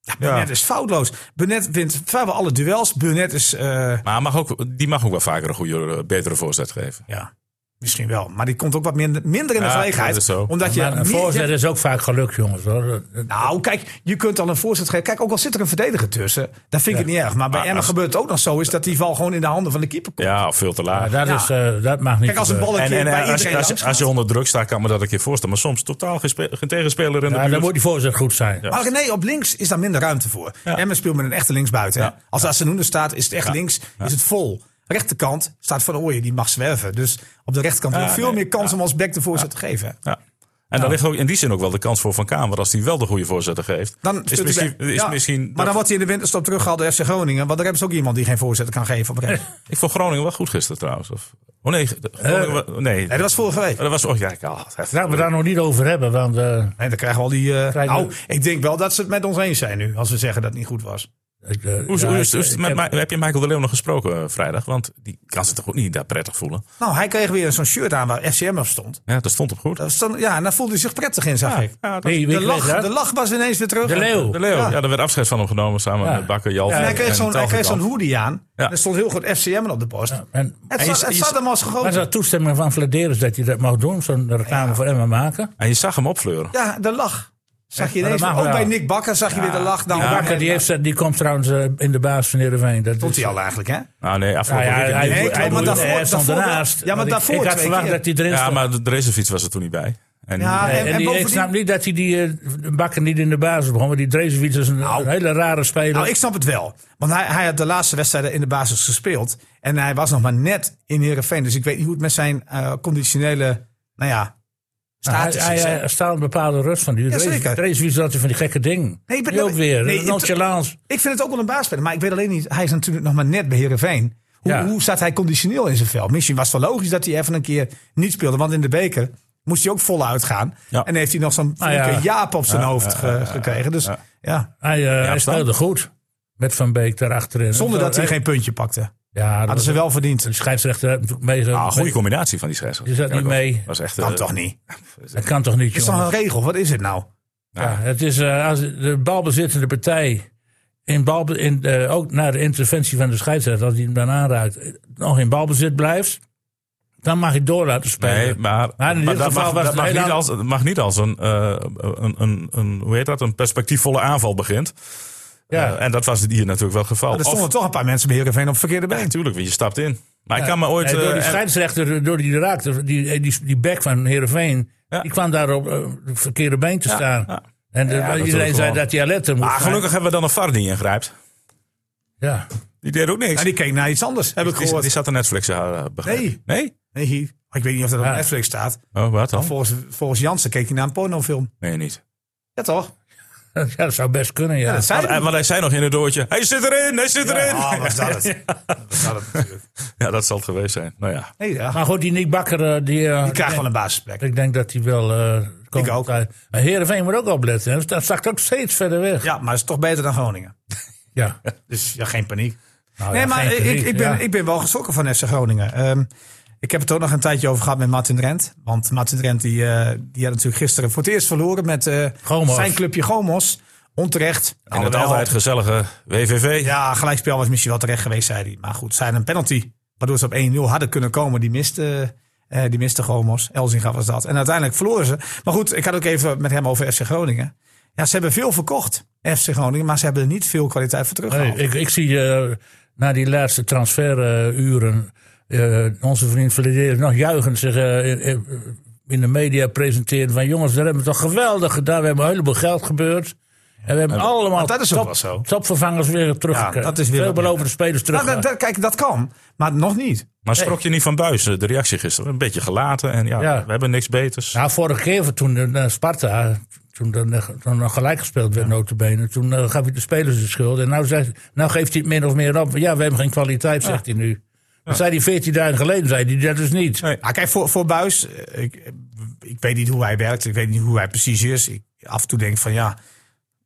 [SPEAKER 4] ja Burnett is foutloos. Burnett wint vrijwel alle duels. Burnett is. eh,
[SPEAKER 3] Maar hij mag ook, die mag ook wel vaker een goede, eh, betere voorzet geven.
[SPEAKER 4] ja, misschien wel. Maar die komt ook wat minder, minder in de
[SPEAKER 3] Ja,
[SPEAKER 4] verlegenheid.
[SPEAKER 3] dat is zo.
[SPEAKER 4] Omdat je.
[SPEAKER 1] Maar een
[SPEAKER 4] meer-
[SPEAKER 1] voorzet is ook vaak gelukt, jongens. Hoor.
[SPEAKER 4] Nou, kijk, je kunt al een voorzet geven. Kijk, ook al zit er een verdediger tussen, dan vind ik het niet erg. Maar bij
[SPEAKER 3] Maar
[SPEAKER 4] Emma
[SPEAKER 3] als-
[SPEAKER 4] gebeurt het ook nog zo, is dat die val gewoon in de handen van de keeper komt.
[SPEAKER 3] Ja, of veel te laag.
[SPEAKER 1] Maar dat,
[SPEAKER 4] ja.
[SPEAKER 1] Is, eh, dat mag niet.
[SPEAKER 4] Kijk, als een
[SPEAKER 1] gebeuren.
[SPEAKER 4] balletje
[SPEAKER 3] en en
[SPEAKER 4] bij
[SPEAKER 3] eh, als,
[SPEAKER 4] iedereen
[SPEAKER 3] als,
[SPEAKER 4] langs
[SPEAKER 3] als je
[SPEAKER 4] gaat.
[SPEAKER 3] onder druk staat, kan ik me dat een keer voorstellen. Maar soms totaal geen, spe- geen tegenspeler in de
[SPEAKER 1] Ja,
[SPEAKER 3] buurt.
[SPEAKER 1] dan moet die voorzet goed zijn.
[SPEAKER 4] Maar René, op links is daar minder ruimte voor.
[SPEAKER 3] Ja.
[SPEAKER 4] Emmen speelt met een echte linksbuiten. hè.
[SPEAKER 3] Ja.
[SPEAKER 4] Als Assenoen er staat, is het echt links, is het vol. Rechterkant staat Van Ooyen, die mag zwerven. Dus op de rechterkant
[SPEAKER 3] Ja,
[SPEAKER 4] heb je veel
[SPEAKER 3] nee.
[SPEAKER 4] meer kans om als back de voorzet te geven.
[SPEAKER 3] Ja. En daar ligt ook in die zin ook wel de kans voor Van Kamer. Als hij wel de goede voorzitter geeft.
[SPEAKER 4] Dan
[SPEAKER 3] is
[SPEAKER 4] speelt hij
[SPEAKER 3] misschien,
[SPEAKER 4] bij-
[SPEAKER 3] is
[SPEAKER 4] ja,
[SPEAKER 3] misschien
[SPEAKER 4] maar dan wordt hij in de winterstop teruggehaald door FC Groningen. Want daar hebben ze ook iemand die geen voorzitter kan geven. Op
[SPEAKER 3] *laughs*
[SPEAKER 4] een gegeven moment.
[SPEAKER 3] Ik vond Groningen wel goed gisteren trouwens. Of, oh nee,
[SPEAKER 4] Eh,
[SPEAKER 3] de- Groningen wa- nee.
[SPEAKER 4] nee, dat was vorige week.
[SPEAKER 3] dat was... Oh ja, ik haal het even.
[SPEAKER 1] Laten we daar nog niet over hebben, want eh,
[SPEAKER 4] Nee, dan krijgen we al die... eh,
[SPEAKER 1] Krijgen we-
[SPEAKER 4] nou, ik denk wel dat ze het met ons eens zijn nu. Als ze zeggen dat het niet goed was.
[SPEAKER 1] ik, eh,
[SPEAKER 3] Hoe is-
[SPEAKER 1] ja,
[SPEAKER 3] hoe is-
[SPEAKER 1] ik-
[SPEAKER 3] hoe is het
[SPEAKER 1] ik
[SPEAKER 3] met
[SPEAKER 1] heb-
[SPEAKER 3] Ma- heb je Michael de Leeuw nog gesproken eh, vrijdag? Want die kan zich toch ook niet daar prettig voelen.
[SPEAKER 4] Nou, hij kreeg weer zo'n shirt aan waar FCM op stond.
[SPEAKER 3] Ja, dat stond op goed.
[SPEAKER 4] Dat stond- ja, en daar voelde hij zich prettig in, zag ik.
[SPEAKER 3] Ja, dat-
[SPEAKER 1] Wie- wie
[SPEAKER 4] De
[SPEAKER 1] kreeg
[SPEAKER 4] lach,
[SPEAKER 1] dat?
[SPEAKER 4] de lach was ineens weer terug.
[SPEAKER 1] De Leeuw.
[SPEAKER 3] de Leeuw.
[SPEAKER 4] Ja.
[SPEAKER 3] Ja, daar werd afscheid van hem genomen samen
[SPEAKER 1] Ja.
[SPEAKER 3] met Bakker, Jalf
[SPEAKER 4] En hij kreeg zo'n hij kreeg zo'n
[SPEAKER 3] Telgekamp.
[SPEAKER 4] hoodie aan.
[SPEAKER 3] Ja.
[SPEAKER 4] En er stond heel goed FCM op de post.
[SPEAKER 1] en-
[SPEAKER 4] Het,
[SPEAKER 3] En
[SPEAKER 4] zat,
[SPEAKER 3] je-
[SPEAKER 4] het
[SPEAKER 3] je-
[SPEAKER 4] zat hem als gewoon.
[SPEAKER 1] Was dat toestemming van Vladeris dat je dat mag doen? Zo'n reclame voor Emma maken?
[SPEAKER 3] En je zag hem opfleuren.
[SPEAKER 4] Ja, de lach. Zag je
[SPEAKER 1] Ja,
[SPEAKER 4] ineens,
[SPEAKER 1] dat mag
[SPEAKER 4] ook
[SPEAKER 1] wel.
[SPEAKER 4] bij Nick Bakker zag je weer de lach. Nou,
[SPEAKER 1] Die Bakker die, heeft, die komt trouwens eh, in de baas van Heerenveen. Dat
[SPEAKER 4] Stond
[SPEAKER 1] is-
[SPEAKER 4] hij al eigenlijk, hè?
[SPEAKER 3] Nou nee,
[SPEAKER 1] Nou
[SPEAKER 3] afgelopen
[SPEAKER 1] ja, hij,
[SPEAKER 3] weekend
[SPEAKER 1] hij,
[SPEAKER 3] niet.
[SPEAKER 4] Nee,
[SPEAKER 1] hij,
[SPEAKER 4] klopt, maar
[SPEAKER 1] hij-
[SPEAKER 4] daarvoor-
[SPEAKER 1] hij stond
[SPEAKER 4] daarvoor wel.
[SPEAKER 1] ernaast.
[SPEAKER 4] Ja, maar
[SPEAKER 1] Want ik-
[SPEAKER 4] daarvoor
[SPEAKER 1] Ik, had
[SPEAKER 4] twee
[SPEAKER 1] verwacht
[SPEAKER 4] keer.
[SPEAKER 1] dat hij erin
[SPEAKER 3] Ja,
[SPEAKER 1] stond.
[SPEAKER 3] maar de Drezenfiets was er toen niet bij. En
[SPEAKER 4] Ja,
[SPEAKER 1] Nee,
[SPEAKER 4] en-
[SPEAKER 1] en,
[SPEAKER 4] en
[SPEAKER 1] die, ik
[SPEAKER 4] bovendien-
[SPEAKER 1] snap niet dat hij die eh, bakker niet in de basis begon. Want die Drezevic is een, een hele rare speler.
[SPEAKER 4] Nou, ik snap het wel. Want hij, hij had de laatste wedstrijden in de basis gespeeld. En hij was nog maar net in Heerenveen. Dus ik weet niet hoe het met zijn eh, conditionele, nou ja,
[SPEAKER 1] Nou,
[SPEAKER 4] status
[SPEAKER 1] hij,
[SPEAKER 4] is. hè.
[SPEAKER 1] hij, hij staat een bepaalde rust van. Die
[SPEAKER 4] Ja, zeker.
[SPEAKER 1] Drezevic dat hij van die gekke ding.
[SPEAKER 4] Nee, maar
[SPEAKER 1] die
[SPEAKER 4] dat-
[SPEAKER 1] ook weer. eh,
[SPEAKER 4] nee,
[SPEAKER 1] nonchalance.
[SPEAKER 4] ik vind het ook wel een baasspeler. Maar ik weet alleen niet, hij is natuurlijk nog maar net bij Heerenveen. Hoe,
[SPEAKER 1] Ja.
[SPEAKER 4] hoe staat hij conditioneel in zijn veld? Misschien was het wel logisch dat hij even een keer niet speelde. Want in de beker moest hij ook voluit gaan.
[SPEAKER 3] Ja.
[SPEAKER 4] En heeft hij nog zo'n
[SPEAKER 1] Nou ja.
[SPEAKER 4] flinke jaap op zijn hoofd ge- gekregen. Dus ja.
[SPEAKER 1] Hij, eh, hij
[SPEAKER 3] Stan.
[SPEAKER 1] speelde goed. Met Van Beek daarachterin.
[SPEAKER 4] Zonder dat hij
[SPEAKER 1] Hij-
[SPEAKER 4] geen puntje pakte.
[SPEAKER 1] Ja, dat
[SPEAKER 4] Hadden
[SPEAKER 1] was,
[SPEAKER 4] ze wel verdiend.
[SPEAKER 1] de scheidsrechter heeft natuurlijk mee.
[SPEAKER 3] Ah, goede combinatie van die scheidsrechter.
[SPEAKER 1] Je zat niet mee.
[SPEAKER 3] Was echt,
[SPEAKER 4] Kan
[SPEAKER 3] eh,
[SPEAKER 4] toch niet? Het
[SPEAKER 1] Dat kan toch niet,
[SPEAKER 4] is toch
[SPEAKER 1] jongen?
[SPEAKER 4] een regel? Wat is het nou?
[SPEAKER 1] Ja, het is eh, als de balbezittende partij. In bal, in, eh, ook na de interventie van de scheidsrechter, als hij hem dan aanraakt, eh, nog in balbezit blijft, dan mag je door laten spelen.
[SPEAKER 3] Nee, maar,
[SPEAKER 1] Maar in dit
[SPEAKER 3] maar dat,
[SPEAKER 1] geval
[SPEAKER 3] mag,
[SPEAKER 1] was
[SPEAKER 3] dat
[SPEAKER 1] het
[SPEAKER 3] mag,
[SPEAKER 1] heel
[SPEAKER 3] niet als,
[SPEAKER 1] anders.
[SPEAKER 3] dat mag niet als een, eh, een, een, een, hoe heet dat, een perspectiefvolle aanval begint.
[SPEAKER 1] Ja.
[SPEAKER 3] Eh, en dat was hier natuurlijk wel het geval.
[SPEAKER 4] Maar er
[SPEAKER 3] Of-
[SPEAKER 4] stonden toch een paar mensen bij Heerenveen op het verkeerde
[SPEAKER 3] Ja,
[SPEAKER 4] been.
[SPEAKER 3] natuurlijk, want je stapt in. Maar ik kan me ooit...
[SPEAKER 1] Nee, door die
[SPEAKER 3] eh, en-
[SPEAKER 1] scheidsrechter, door die raakte, die, die, die bek van Heerenveen,
[SPEAKER 3] Ja.
[SPEAKER 1] die kwam daar op eh, het verkeerde been te staan.
[SPEAKER 3] ja.
[SPEAKER 1] En de-
[SPEAKER 3] Ja,
[SPEAKER 1] iedereen
[SPEAKER 3] natuurlijk
[SPEAKER 1] zei
[SPEAKER 3] wel.
[SPEAKER 1] dat hij alert moest
[SPEAKER 3] maar
[SPEAKER 1] zijn.
[SPEAKER 3] Ah, gelukkig hebben we dan een VAR die ingrijpt. Nou,
[SPEAKER 1] Ja. *laughs*
[SPEAKER 3] Die deed ook niks.
[SPEAKER 4] En Nou, die keek naar iets anders, heb ik
[SPEAKER 3] die, die,
[SPEAKER 4] gehoord.
[SPEAKER 3] zat een Netflix eh, begrepen.
[SPEAKER 4] Nee.
[SPEAKER 3] Nee?
[SPEAKER 4] Nee, ik weet niet of dat op
[SPEAKER 1] Ja.
[SPEAKER 4] Netflix staat.
[SPEAKER 3] Oh, wat dan?
[SPEAKER 4] Volgens, volgens Jansen keek hij naar een pornofilm.
[SPEAKER 3] Nee, niet.
[SPEAKER 4] Ja, toch?
[SPEAKER 1] ja, dat zou best kunnen, ja.
[SPEAKER 4] Dat zei
[SPEAKER 3] Want,
[SPEAKER 4] hij.
[SPEAKER 3] eh, want hij zei nog in het doortje, hij zit erin, hij zit erin. *laughs*
[SPEAKER 4] Ah, was dat *laughs* het? Was dat het natuurlijk.
[SPEAKER 3] Ja, dat zal het geweest zijn. Nou ja.
[SPEAKER 4] Nee, ja.
[SPEAKER 1] maar goed, die Nick Bakker, eh, die, eh,
[SPEAKER 4] Die krijgt wel een basisplek.
[SPEAKER 1] Ik denk dat hij wel. eh komt.
[SPEAKER 4] ook.
[SPEAKER 1] Maar Heerenveen moet ook opletten. hè. Dat zakt ook steeds verder weg.
[SPEAKER 4] Ja, maar het is toch beter dan Groningen. *laughs*
[SPEAKER 1] Ja.
[SPEAKER 4] Dus ja, geen paniek.
[SPEAKER 1] Nou
[SPEAKER 4] nee,
[SPEAKER 1] ja,
[SPEAKER 4] maar
[SPEAKER 1] geen
[SPEAKER 4] ik,
[SPEAKER 1] kritiek,
[SPEAKER 4] ik, ben,
[SPEAKER 1] ja.
[SPEAKER 4] ik ben wel geschrokken van FC Groningen. Ehm, ik heb het ook nog een tijdje over gehad met Martin Drent. Want Martin Drent die, eh, die had natuurlijk gisteren voor het eerst verloren met eh,
[SPEAKER 1] Gomos.
[SPEAKER 4] zijn clubje Gomos. Onterecht.
[SPEAKER 3] En het
[SPEAKER 4] Alhoewel-
[SPEAKER 3] altijd gezellige WVV.
[SPEAKER 4] Ja, gelijkspel was misschien wel terecht geweest, zei hij. Maar goed, zijn een penalty. Waardoor ze op 1-0 hadden kunnen komen. Die miste, eh die miste Gomos. Elzinga was dat. En uiteindelijk verloren ze. Maar goed, ik had ook even met hem over FC Groningen. Ja, ze hebben veel verkocht, FC Groningen. Maar ze hebben er niet veel kwaliteit voor teruggehaald.
[SPEAKER 1] Nee, ik, ik zie eh, na die laatste transferuren. eh, onze vriend Verleden nog juichend zich eh, in- in, in de media presenteren. Van jongens, daar hebben we toch geweldig gedaan. We hebben een heleboel geld gebeurd. En we hebben allemaal
[SPEAKER 4] dat is ook
[SPEAKER 1] top,
[SPEAKER 4] wel zo.
[SPEAKER 1] topvervangers weer teruggekregen.
[SPEAKER 4] dat is weer wat
[SPEAKER 1] Veelbelovende spelers terug.
[SPEAKER 4] Nou, dat- dat- kijk, dat kan. Maar nog niet.
[SPEAKER 3] Maar schrok je niet van buis, eh, de reactie gisteren? Een beetje gelaten en ja,
[SPEAKER 1] Ja.
[SPEAKER 3] we hebben niks beters.
[SPEAKER 1] Nou, vorige keer toen eh, naar Sparta, toen er nog- toen nog gelijk gespeeld werd, notabene. Toen eh, gaf hij de spelers de schuld. En nou, zegt, nou geeft hij het min of meer op. Ja, we hebben geen kwaliteit, zegt hij nu. Dat zei hij 14 dagen geleden, zei hij dat dus niet.
[SPEAKER 3] Nee.
[SPEAKER 4] Ah, kijk, voor, voor Buis, eh, ik, ik weet niet hoe hij werkt. Ik weet niet hoe hij precies is. Ik af en toe denk van ja,